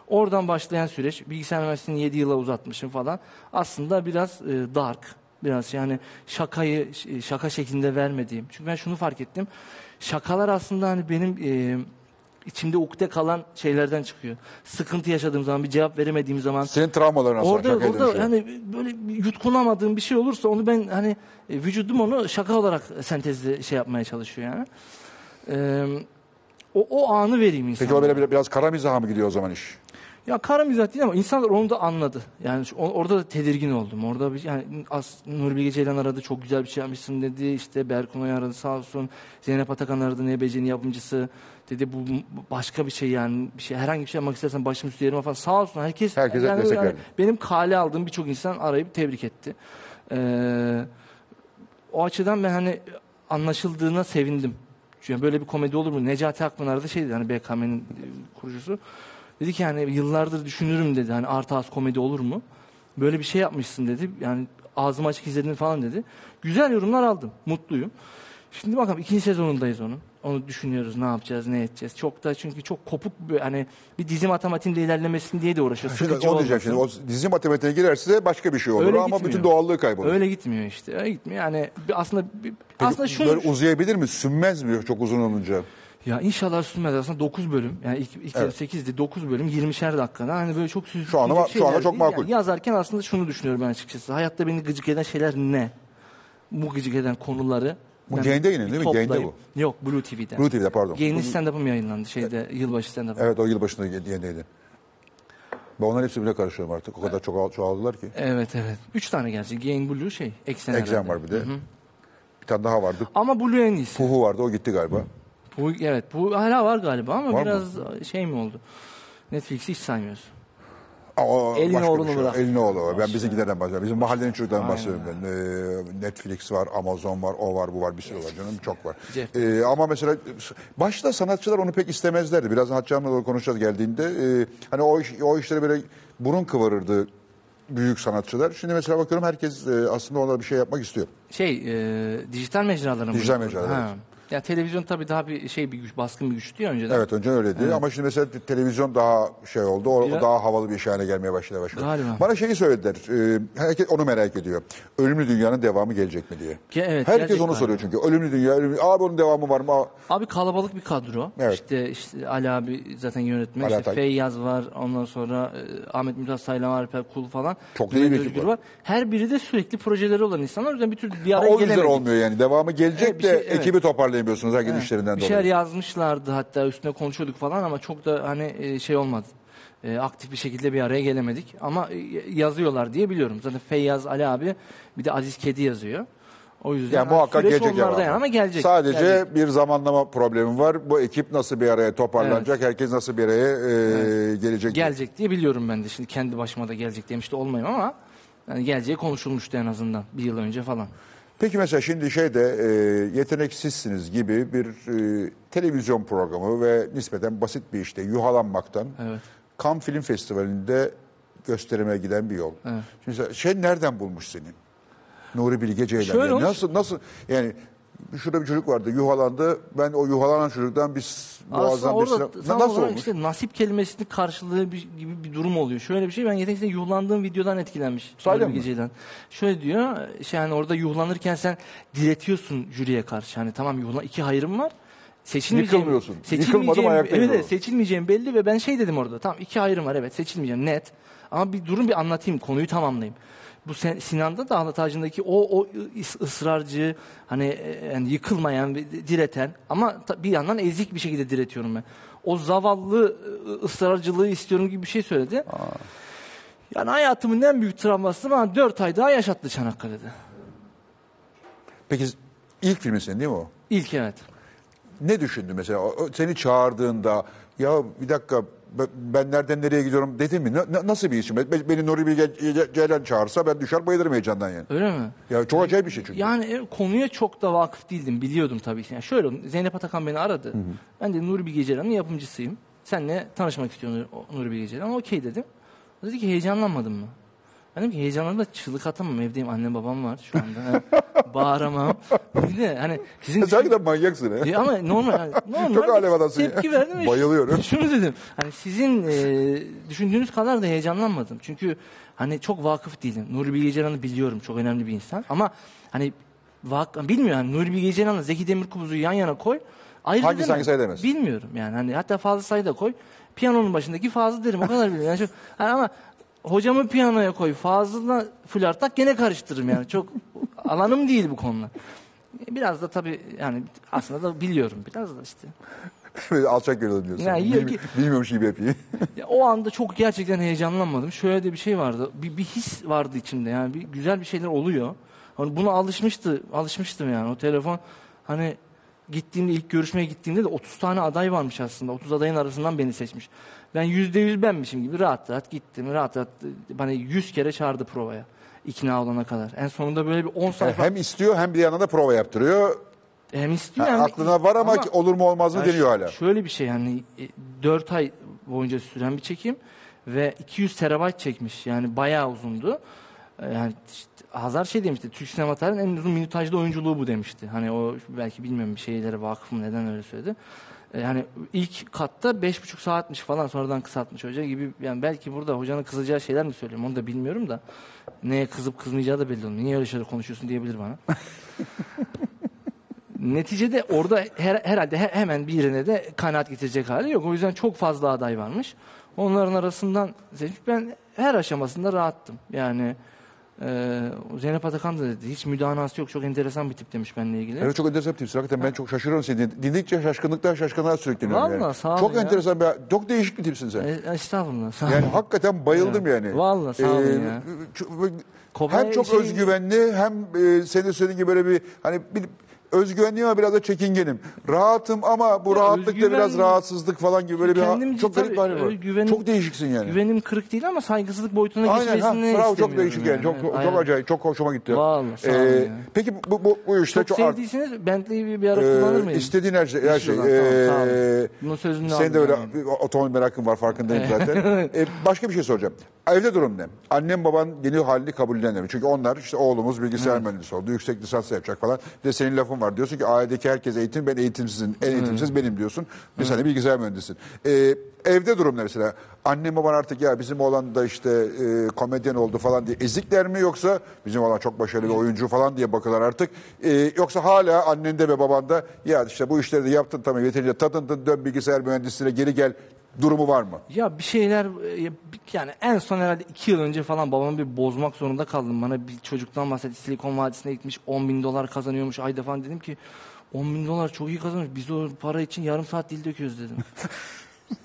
Speaker 2: Oradan başlayan süreç bilgisayar mühendisliğini 7 yıla uzatmışım falan. Aslında biraz e, dark. Biraz yani şakayı ş- şaka şeklinde vermediğim. Çünkü ben şunu fark ettim. Şakalar aslında hani benim e, içimde ukde kalan şeylerden çıkıyor. Sıkıntı yaşadığım zaman bir cevap veremediğim zaman
Speaker 1: Senin travmaların aslında
Speaker 2: Orada,
Speaker 1: şakaya
Speaker 2: orada
Speaker 1: dönüşüyor.
Speaker 2: hani böyle bir yutkunamadığım bir şey olursa onu ben hani e, vücudum onu şaka olarak sentezle şey yapmaya çalışıyor yani. Ee, o, o anı vereyim insana.
Speaker 1: Peki o böyle bir- biraz kara mizaha mı gidiyor o zaman iş?
Speaker 2: Ya kara mizah değil ama insanlar onu da anladı. Yani şu- o- orada da tedirgin oldum. Orada bir, yani as, Nuri Bilge Ceylan aradı çok güzel bir şey yapmışsın dedi. İşte Berkunay aradı sağ olsun. Zeynep Atakan aradı NBC'nin yapımcısı. Dedi bu bu başka bir şey yani bir şey herhangi bir şey yapmak istersen başım üstü yerime falan sağ olsun herkes
Speaker 1: Herkese
Speaker 2: yani,
Speaker 1: destek
Speaker 2: yani
Speaker 1: verdi.
Speaker 2: benim kale aldığım birçok insan arayıp tebrik etti. Ee, o açıdan ben hani anlaşıldığına sevindim. Çünkü böyle bir komedi olur mu? Necati Akpınar da şey dedi hani BKM'nin e, kurucusu. Dedi ki hani yıllardır düşünürüm dedi hani artı az komedi olur mu? Böyle bir şey yapmışsın dedi. Yani ağzımı açık izledin falan dedi. Güzel yorumlar aldım. Mutluyum. Şimdi bakalım ikinci sezonundayız onun. Onu düşünüyoruz ne yapacağız ne edeceğiz. Çok da çünkü çok kopuk bir, hani bir dizi matematiğinde ilerlemesin diye de uğraşıyor.
Speaker 1: Şimdi
Speaker 2: Sıkıcı
Speaker 1: onu diyeceğim
Speaker 2: olmasın.
Speaker 1: şimdi. O dizi matematiğine girerse başka bir şey olur
Speaker 2: Öyle
Speaker 1: ama
Speaker 2: gitmiyor.
Speaker 1: bütün doğallığı kaybolur.
Speaker 2: Öyle gitmiyor işte. Öyle gitmiyor. Yani bir- aslında bir-
Speaker 1: Peki
Speaker 2: aslında şey- şunu
Speaker 1: Böyle uzayabilir mi? Sünmez mi çok uzun olunca?
Speaker 2: ya inşallah sürmez aslında 9 bölüm. Yani ilk, ilk
Speaker 1: Evet.
Speaker 2: 8'di 9 bölüm 20'şer dakikada. Hani böyle çok süzülecek
Speaker 1: Şu anda- şu anda
Speaker 2: şeyler
Speaker 1: çok
Speaker 2: değil. Yani
Speaker 1: makul.
Speaker 2: yazarken aslında şunu düşünüyorum ben açıkçası. Hayatta beni gıcık eden şeyler ne? Bu gıcık eden konuları
Speaker 1: Bu
Speaker 2: ben
Speaker 1: Gain'de yine değil mi?
Speaker 2: toplayıp-
Speaker 1: Gain'de
Speaker 2: Yok Blue TV'den.
Speaker 1: Blue TV'de pardon.
Speaker 2: Gain'in stand-up'ım yayınlandı şeyde yılbaşı stand-up'ı.
Speaker 1: Evet o yılbaşında yeniydi. Ben onların hepsi bile karışıyorum artık. O kadar çok çoğaldılar ki.
Speaker 2: Evet evet. 3 tane gerçi. Gain Blue şey. Eksen,
Speaker 1: Eksen
Speaker 2: herhalde.
Speaker 1: var bir de. Bir tane daha vardı.
Speaker 2: Ama Blue en iyisi.
Speaker 1: Puhu vardı o gitti galiba.
Speaker 2: Bu, evet bu hala var galiba ama
Speaker 1: Var mı?
Speaker 2: biraz şey mi oldu? Netflix'i hiç saymıyorsun.
Speaker 1: Aa, o
Speaker 2: Elini
Speaker 1: başka bir
Speaker 2: oğlunu
Speaker 1: şey.
Speaker 2: bırak.
Speaker 1: Elini oğlu. Ben bizimkilerden bahsediyorum. Bizim mahallenin çocuklarından bahsediyorum ben. Ee, Netflix var, Amazon var, o var, bu var. Bir sürü var canım. Çok var.
Speaker 2: Cep.
Speaker 1: Ee, ama mesela başta sanatçılar onu pek istemezlerdi. Biraz Hatçan'la doğru konuşacağız geldiğinde. Ee, hani o, iş, o işlere böyle burun kıvırırdı büyük sanatçılar. Şimdi mesela bakıyorum herkes e, aslında ona bir şey yapmak istiyor.
Speaker 2: Şey, e, dijital mecraların mı?
Speaker 1: Dijital mecralar,
Speaker 2: Ha. Ya televizyon tabii daha bir şey bir güç, baskın bir güçtü ya önceden.
Speaker 1: Evet önce öyleydi ama şimdi mesela te- televizyon daha şey oldu. O, o
Speaker 2: Biraz-
Speaker 1: daha havalı bir iş haline gelmeye başladı başladı.
Speaker 2: Galiba.
Speaker 1: Bana şeyi söylediler. e, herkes onu merak ediyor. Ölümlü dünyanın devamı gelecek mi diye.
Speaker 2: Ge- evet,
Speaker 1: herkes
Speaker 2: gelecek
Speaker 1: onu soruyor çünkü. Ölümlü dünya, ölümlü. Abi onun devamı var mı? Aa,
Speaker 2: Abi kalabalık bir kadro.
Speaker 1: Evet.
Speaker 2: İşte, işte Ali abi zaten yönetmen.
Speaker 1: Ali
Speaker 2: İşte
Speaker 1: Atay.
Speaker 2: Feyyaz var. Ondan sonra e, Ahmet Mümtaz Taylan var. Alper Kul falan.
Speaker 1: Çok da iyi bir
Speaker 2: Mehmet
Speaker 1: ekip
Speaker 2: Özgür
Speaker 1: var.
Speaker 2: Her biri de sürekli projeleri olan insanlar. O yüzden bir türlü bir araya
Speaker 1: O yüzden
Speaker 2: gelemedik.
Speaker 1: olmuyor yani. Devamı gelecek
Speaker 2: Evet, bir
Speaker 1: de
Speaker 2: şey- evet.
Speaker 1: ekibi toparlayamıyorsunuz herkesin işlerinden
Speaker 2: Bir şey
Speaker 1: dolayı.
Speaker 2: şeyler yazmışlardı hatta üstüne konuşuyorduk falan ama çok da hani e, şey olmadı. E, aktif bir şekilde bir araya gelemedik ama e, yazıyorlar diye biliyorum. Zaten Feyyaz Ali abi bir de Aziz Kedi yazıyor. O yüzden
Speaker 1: Yani muhakkak
Speaker 2: süreç
Speaker 1: gelecek
Speaker 2: onlarda
Speaker 1: devamı.
Speaker 2: yani ama gelecek.
Speaker 1: Sadece
Speaker 2: gelecek.
Speaker 1: bir zamanlama problemi var. Bu ekip nasıl bir araya toparlanacak? Herkes nasıl bir araya e, gelecek?
Speaker 2: gelecek diye biliyorum ben de. Şimdi kendi başıma da gelecek demişti olmayayım ama yani geleceği konuşulmuştu en azından bir yıl önce falan.
Speaker 1: Peki mesela şimdi şeyde e, yeteneksizsiniz gibi bir e, televizyon programı ve nispeten basit bir işte yuhalanmaktan
Speaker 2: Evet.
Speaker 1: Cannes Film Festivali'nde gösterime giden bir yol. Şimdi sen- şey nereden bulmuş seni? Nuri Bilge Ceylan.
Speaker 2: Şöyle
Speaker 1: Yani
Speaker 2: olmuş-
Speaker 1: nasıl nasıl yani şurada bir çocuk vardı yuhalandı. Ben o yuhalanan çocuktan bir s-
Speaker 2: Aslında
Speaker 1: boğazdan bir
Speaker 2: orada
Speaker 1: sinema-
Speaker 2: tam
Speaker 1: nasıl
Speaker 2: olarak
Speaker 1: olmuş?
Speaker 2: işte nasip kelimesinin karşılığı bir, gibi bir durum oluyor. Şöyle bir şey ben yeteneksizde yuhlandığım videodan etkilenmiş.
Speaker 1: Sahi
Speaker 2: Nuri
Speaker 1: mi?
Speaker 2: Bilgecey'den. Şöyle diyor şey hani orada yuhlanırken sen diretiyorsun jüriye karşı. Hani tamam yuhlan iki hayırım var. Seçilmeyeceğim.
Speaker 1: Yıkılmıyorsun.
Speaker 2: Seçilmeyeceğim.
Speaker 1: Yıkılmadım, ayaktayım
Speaker 2: Evet, evet
Speaker 1: orada.
Speaker 2: seçilmeyeceğim belli ve ben şey dedim orada. Tamam iki hayırım var evet seçilmeyeceğim net. Ama bir durun bir anlatayım konuyu tamamlayayım. Bu Sen- Sinan'da da Ahlat Ağacı'ndaki o, o is- ısrarcı hani e, yani yıkılmayan bir- direten ama ta- bir yandan ezik bir şekilde diretiyorum ben. O zavallı e, ısrarcılığı istiyorum gibi bir şey söyledi. Yani hayatımın en büyük travması bana 4 ay daha yaşattı Çanakkale'de.
Speaker 1: Peki ilk filmin senin değil mi o?
Speaker 2: İlk evet.
Speaker 1: Ne düşündü mesela? O- o Seni çağırdığında ya bir dakika be- ben nereden nereye gidiyorum dedi mi? Na- na- Nasıl bir isim? Be- Beni Nuri Bilge Ce- Ceylan çağırsa ben düşer bayılırım heyecandan yani.
Speaker 2: Öyle mi?
Speaker 1: Ya çok acayip bir şey çünkü.
Speaker 2: Yani e, konuya çok da vakıf değildim. Biliyordum tabii ki. Yani şöyle Zeynep Atakan beni aradı. Ben de Nuri Bilge Ceylan'ın yapımcısıyım. Seninle tanışmak istiyorum Nur- o- Nuri Bilge Ceylan. Okey dedim. O Dedi ki heyecanlanmadın mı? Ben dedim ki heyecanlandım da çığlık atamam. Evdeyim annem babam var
Speaker 1: [laughs]
Speaker 2: şu anda. Yani Bağıramam. Bir de hani sizin...
Speaker 1: Sen hakikaten manyaksın [laughs] ha.
Speaker 2: E ama normal. yani normal
Speaker 1: Çok
Speaker 2: bir
Speaker 1: alev adamsın ya. [laughs]
Speaker 2: Tepki verdim. ve
Speaker 1: Bayılıyorum.
Speaker 2: Şunu dedim. Hani sizin e, düşündüğünüz kadar da heyecanlanmadım. Çünkü hani çok vakıf değilim. Nuri Bilge Ceylan'ı biliyorum. Çok önemli bir insan. Ama hani vak bilmiyorum. Yani Nuri Bilge Ceylan'la Zeki Demirkubuz'u yan yana koy. Ayrı
Speaker 1: Hangisi
Speaker 2: edemem.
Speaker 1: hangisi edemez?
Speaker 2: Bilmiyorum yani. Hani hatta fazla sayıda koy. Piyanonun başındaki fazla derim. O kadar biliyorum. Yani çok, hani ama hocamı piyanoya koy. Fazla flörtak gene karıştırırım yani. Çok alanım değil bu konular. Biraz da tabii yani aslında da biliyorum biraz da işte.
Speaker 1: Böyle Alçak görüyorum diyorsun.
Speaker 2: Ya, iyi
Speaker 1: Bilmi-
Speaker 2: ki-
Speaker 1: Bilmiyormuş gibi
Speaker 2: [laughs]
Speaker 1: yapayım.
Speaker 2: Ya o anda çok gerçekten heyecanlanmadım. Şöyle de bir şey vardı. Bir, bir his vardı içimde yani bir güzel bir şeyler oluyor. Hani buna alışmıştı, alışmıştım yani o telefon. Hani gittiğimde ilk görüşmeye gittiğimde de 30 tane aday varmış aslında. 30 adayın arasından beni seçmiş. Ben %100 benmişim gibi rahat rahat gittim. Rahat rahat bana 100 kere çağırdı provaya. ikna olana kadar. En sonunda böyle bir 10
Speaker 1: Yani
Speaker 2: sayfa
Speaker 1: hem istiyor hem bir yandan da prova yaptırıyor.
Speaker 2: hem istiyor
Speaker 1: Ha,
Speaker 2: hem
Speaker 1: aklına var ama, ki olur mu olmaz mı
Speaker 2: Yani
Speaker 1: deniyor
Speaker 2: ş-
Speaker 1: hala.
Speaker 2: Şöyle bir şey yani 4 ay boyunca süren bir çekim ve 200 terabayt çekmiş. Yani bayağı uzundu. E, Yani işte Hazar şey demişti. Türk sinema tarihinin en uzun minutajlı oyunculuğu bu demişti. Hani o belki bilmiyorum bir şeylere vakıf mı neden öyle söyledi. E, Yani ilk katta beş buçuk saatmiş falan sonradan kısaltmış hoca gibi. Yani belki burada hocanın kızacağı şeyler mi söylüyorum onu da bilmiyorum da. Neye kızıp kızmayacağı da belli olmuyor. Niye öyle şeyler konuşuyorsun
Speaker 1: [laughs]
Speaker 2: diyebilir bana. Neticede orada her- herhalde he- hemen birine de kanaat getirecek hali yok. O yüzden çok fazla aday varmış. Onların arasından seçmiş. Ben her aşamasında rahattım. Yani e, Zeynep Atakan da dedi. Hiç müdanası yok. Çok enteresan bir tip demiş benimle ilgili.
Speaker 1: Evet çok enteresan bir tipsin. Hakikaten ben çok şaşırıyorum seni. Din- Dinledikçe şaşkınlıktan şaşkınlığa sürükleniyorum
Speaker 2: Vallahi
Speaker 1: yani.
Speaker 2: sağ ol
Speaker 1: Çok
Speaker 2: ya.
Speaker 1: enteresan bir, çok değişik bir tipsin sen.
Speaker 2: E, estağfurullah. Sağ
Speaker 1: Yani
Speaker 2: olun.
Speaker 1: hakikaten bayıldım yani.
Speaker 2: Vallahi sağ olun ya.
Speaker 1: çok-
Speaker 2: Kobay
Speaker 1: hem çok
Speaker 2: şey-
Speaker 1: özgüvenli hem e, senin söylediğin gibi böyle bir hani bir özgüvenliyim ama biraz da çekingenim. Rahatım ama bu
Speaker 2: Ya
Speaker 1: rahatlıkta
Speaker 2: özgüven-
Speaker 1: biraz rahatsızlık falan gibi böyle bir ha-
Speaker 2: Kendimizi
Speaker 1: çok garip bir
Speaker 2: tabii,
Speaker 1: hali var.
Speaker 2: özgüvenim-
Speaker 1: Çok değişiksin yani.
Speaker 2: Güvenim kırık değil ama saygısızlık boyutuna
Speaker 1: Aynen ha,
Speaker 2: geçmesini
Speaker 1: bravo çok
Speaker 2: istemiyorum
Speaker 1: değişik yani. Çok, çok,
Speaker 2: Aynen.
Speaker 1: acayip, çok hoşuma gitti. Ee,
Speaker 2: Vallahi sağ olun ya.
Speaker 1: Peki bu, bu, bu işte
Speaker 2: Çok,
Speaker 1: çok, art-
Speaker 2: sevdiyseniz Bentley'i bir, bir ara
Speaker 1: e,
Speaker 2: kullanır mıyım?
Speaker 1: istediğin her şey. Her şey.
Speaker 2: Tamam, sağ olun.
Speaker 1: e,
Speaker 2: Bunun sözünü
Speaker 1: Senin de
Speaker 2: aldım
Speaker 1: öyle
Speaker 2: yani.
Speaker 1: bir otomobil merakın var farkındayım zaten. E, başka bir şey soracağım. Evde durum ne? Annem baban yeni halini kabullenemiyor. Çünkü onlar işte oğlumuz bilgisayar mühendisi oldu. Yüksek lisans yapacak falan. Bir de senin lafın var. Diyorsun ki ailedeki herkes eğitim ben eğitimsizim. En eğitimsiz benim diyorsun. Bir sen de bilgisayar mühendisin. E, evde durum ne mesela? Annem baban artık ya bizim oğlan da işte e, komedyen oldu falan diye ezikler mi yoksa bizim oğlan çok başarılı bir oyuncu falan diye bakıyorlar artık. E, yoksa hala annende ve babanda ya işte bu işleri de yaptın tamam yeterince tadındın dön bilgisayar mühendisliğine geri gel durumu var mı?
Speaker 2: Ya bir şeyler e, ya bir- yani en son herhalde iki yıl önce falan babamı bir bozmak zorunda kaldım. Bana bir çocuktan bahsetti. Silikon Vadisi'ne gitmiş 10 bin dolar kazanıyormuş ayda falan. Dedim ki 10 bin dolar çok iyi kazanmış. Biz o para için yarım saat dil döküyoruz dedim.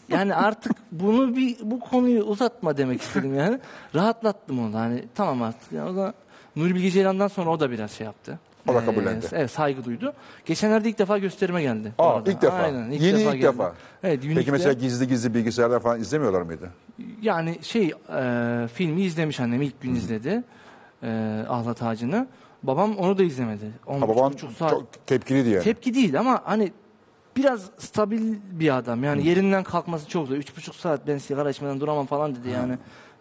Speaker 2: yani artık bunu bir bu konuyu uzatma demek istedim yani. Rahatlattım onu hani tamam artık. Yani o da Nuri Bilge Ceylan'dan sonra o da biraz şey yaptı. Ee,
Speaker 1: O da kabullendi.
Speaker 2: evet saygı duydu. Geçenlerde ilk defa gösterime geldi. bu
Speaker 1: Aa,
Speaker 2: arada.
Speaker 1: ilk defa.
Speaker 2: Aynen, ilk
Speaker 1: Yeni
Speaker 2: defa
Speaker 1: ilk
Speaker 2: geldi.
Speaker 1: defa.
Speaker 2: Evet,
Speaker 1: Peki
Speaker 2: Unique'de-
Speaker 1: mesela gizli gizli bilgisayardan falan izlemiyorlar mıydı?
Speaker 2: yani şey e, filmi izlemiş annem ilk gün izledi e, Ahlat Ağacı'nı. Babam onu da izlemedi. 10
Speaker 1: Ha, baban
Speaker 2: buçuk saat.
Speaker 1: çok tepkiliydi yani.
Speaker 2: Tepki değil ama hani biraz stabil bir adam. Yani yerinden kalkması çok zor. Üç buçuk saat ben sigara içmeden duramam falan dedi yani.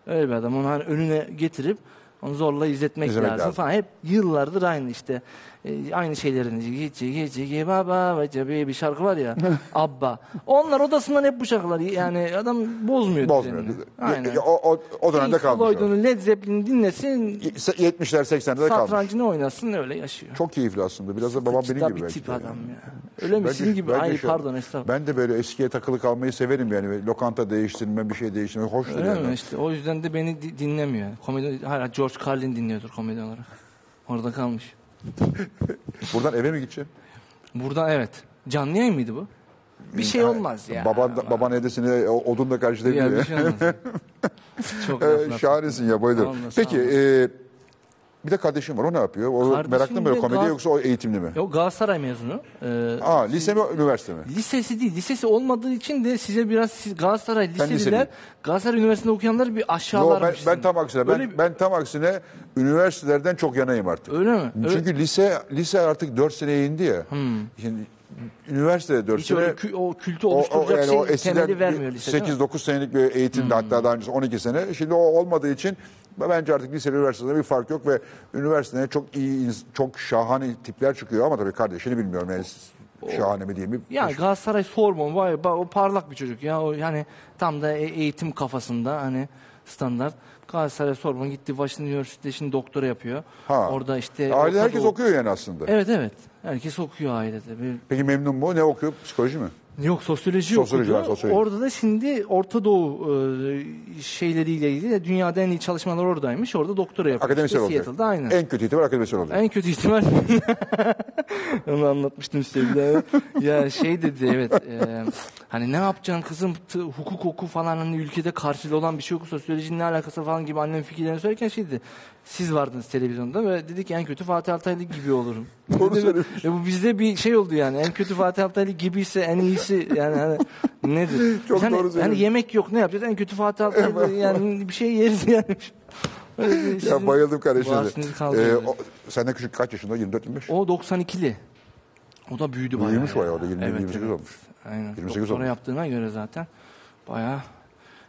Speaker 2: Öyle bir adam. Onu hani önüne getirip onu zorla izletmek,
Speaker 1: İzlemek
Speaker 2: lazım,
Speaker 1: lazım.
Speaker 2: falan. Hep yıllardır aynı işte. E, aynı şeylerin. Gece gece ge baba ve cebi bir şarkı
Speaker 1: [laughs]
Speaker 2: var ya. Abba. Onlar odasından hep bu şarkılar. Yani adam bozmuyor.
Speaker 1: Bozmuyor.
Speaker 2: düzenini.
Speaker 1: Aynen.
Speaker 2: Aynen.
Speaker 1: O, o, o dönemde
Speaker 2: Pink
Speaker 1: kalmış. o.
Speaker 2: Floyd'un Led Zeppelin'i dinlesin.
Speaker 1: 70'ler 80'lerde kalmış.
Speaker 2: Satrancını oynasın öyle yaşıyor.
Speaker 1: Çok keyifli aslında. Biraz da babam benim
Speaker 2: Kitap
Speaker 1: gibi
Speaker 2: bir
Speaker 1: belki.
Speaker 2: tip
Speaker 1: de yani. şey-
Speaker 2: adam ya. Öyle mi?
Speaker 1: Ben
Speaker 2: Sizin
Speaker 1: de-
Speaker 2: gibi.
Speaker 1: ben de
Speaker 2: Ay
Speaker 1: şu-
Speaker 2: pardon estağfurullah.
Speaker 1: Ben de böyle eskiye takılı kalmayı severim yani. Böyle Lokanta değiştirme, bir şey değiştirme. Hoştur
Speaker 2: Öyle
Speaker 1: yani.
Speaker 2: mi? İşte o yüzden de beni di- dinlemiyor. Komedi, hala George Carlin dinliyordur komedi olarak. Orada kalmış.
Speaker 1: Buradan eve mi gideceksin?
Speaker 2: Buradan evet. Canlı yayın mıydı bu? Bir şey olmaz ya.
Speaker 1: baban, da, baban edesini o- odunla
Speaker 2: ya, bir
Speaker 1: karşılayabiliyor.
Speaker 2: şey olmaz.
Speaker 1: [laughs]
Speaker 2: Çok
Speaker 1: Ee,
Speaker 2: laflar.
Speaker 1: Şahanesin ya bayılırım.
Speaker 2: Vallahi, sağ
Speaker 1: Peki
Speaker 2: olasın.
Speaker 1: e, bir de kardeşim var. O ne yapıyor? O
Speaker 2: Kardeşim
Speaker 1: meraklı mı böyle
Speaker 2: de
Speaker 1: komedi
Speaker 2: Gal-
Speaker 1: yoksa o eğitimli mi?
Speaker 2: Yok Galatasaray mezunu. Ee,
Speaker 1: Aa lise mi üniversite mi?
Speaker 2: lisesi değil. Lisesi olmadığı için de size biraz siz Galatasaray liseliler,
Speaker 1: liseliyim.
Speaker 2: Galatasaray Üniversitesi'nde okuyanları bir
Speaker 1: Yo, ben,
Speaker 2: aşağılarmış.
Speaker 1: ben tam aksine ben,
Speaker 2: Öyle bir-
Speaker 1: ben tam aksine üniversitelerden çok yanayım artık.
Speaker 2: Öyle mi? Öyle-
Speaker 1: Çünkü lise lise artık 4 seneye indi ya. Şimdi üniversitede 4
Speaker 2: Hmm. Hiç
Speaker 1: sene
Speaker 2: öyle kü- o kültü oluşturacak
Speaker 1: yani
Speaker 2: şey
Speaker 1: o eskiden
Speaker 2: temeli vermiyor lise. değil mi? Hmm.
Speaker 1: 8-9 senelik bir eğitimde hatta daha önce 12 sene. Şimdi o olmadığı için bence artık lise üniversitede bir fark yok ve üniversitede çok iyi, ins- çok şahane tipler çıkıyor ama tabii kardeşini bilmiyorum yani şahane mi diyeyim mi?
Speaker 2: Ya Galatasaray sorma vay ba- o parlak bir çocuk ya o yani tam da e- eğitim kafasında hani standart. Galatasaray sorma gitti Washington Üniversitesi'nde şimdi doktora yapıyor.
Speaker 1: Ha.
Speaker 2: Orada işte
Speaker 1: Aile
Speaker 2: Orta
Speaker 1: herkes
Speaker 2: Doğu-
Speaker 1: okuyor yani aslında.
Speaker 2: Evet evet. Herkes okuyor ailede. Bir-
Speaker 1: Peki memnun mu? Ne okuyor? Psikoloji mi?
Speaker 2: Yok sosyoloji,
Speaker 1: Sosyoloji,
Speaker 2: okudu.
Speaker 1: ha, sosyoloji.
Speaker 2: Orada da şimdi Orta Doğu e, şeyleriyle ilgili de dünyada en iyi çalışmalar oradaymış. Orada doktora yapıyor.
Speaker 1: Akademisyen
Speaker 2: İşte
Speaker 1: olacak.
Speaker 2: Seattle'da aynen.
Speaker 1: En kötü ihtimal akademisyen olacak.
Speaker 2: En kötü ihtimal [laughs] onu anlatmıştım sevgili ya şey dedi evet e, hani ne yapacaksın kızım T- hukuk oku falan hani ülkede karşılığı olan bir şey yok sosyolojinin ne alakası falan gibi annem fikirlerini söylerken şey dedi siz vardınız televizyonda ve dedi ki en kötü Fatih Altaylı gibi olurum.
Speaker 1: Doğru
Speaker 2: Dedi,
Speaker 1: söylemiş.
Speaker 2: e, bu bizde bir şey oldu yani en kötü Fatih Altaylı gibiyse en iyisi yani hani nedir?
Speaker 1: [laughs] Çok
Speaker 2: yani,
Speaker 1: doğru
Speaker 2: hani
Speaker 1: söylemiş.
Speaker 2: yemek yok ne yapacağız en kötü Fatih Altaylı yani bir şey yeriz yani. Öyle bir-
Speaker 1: Ya bayıldım
Speaker 2: Varsınız
Speaker 1: kardeşinize.
Speaker 2: kaldırdı.
Speaker 1: Ee, o- senden küçük kaç yaşında? 24-25?
Speaker 2: O 92'li. O da büyüdü bayağı.
Speaker 1: Büyümüş
Speaker 2: ya.
Speaker 1: bayağı o da 20,
Speaker 2: Evet,
Speaker 1: 28
Speaker 2: evet.
Speaker 1: olmuş.
Speaker 2: Aynen.
Speaker 1: 28
Speaker 2: Doktora
Speaker 1: olmuş.
Speaker 2: yaptığına göre zaten bayağı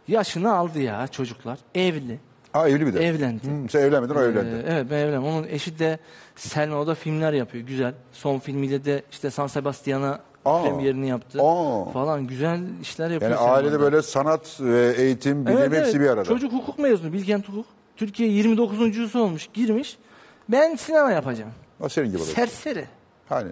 Speaker 2: yaşını aldı ya çocuklar. Evli.
Speaker 1: Ha evli bir de.
Speaker 2: Evlendi.
Speaker 1: Hı, sen evlenmedin o evlendi.
Speaker 2: Ee, evet ben evlendim. Onun eşi de Selma o da filmler yapıyor. Güzel. Son filmiyle de işte San Sebastian'a
Speaker 1: Aa.
Speaker 2: premierini yaptı.
Speaker 1: Aa.
Speaker 2: Falan güzel işler yapıyor.
Speaker 1: Yani
Speaker 2: Selma
Speaker 1: ailede
Speaker 2: da.
Speaker 1: böyle sanat ve eğitim, bilim hepsi bir arada.
Speaker 2: Çocuk hukuk mezunu. Bilkent Hukuk. Türkiye 29.sü olmuş. Girmiş. Ben sinema yapacağım.
Speaker 1: Ha, senin gibi olur.
Speaker 2: Serseri.
Speaker 1: Hani.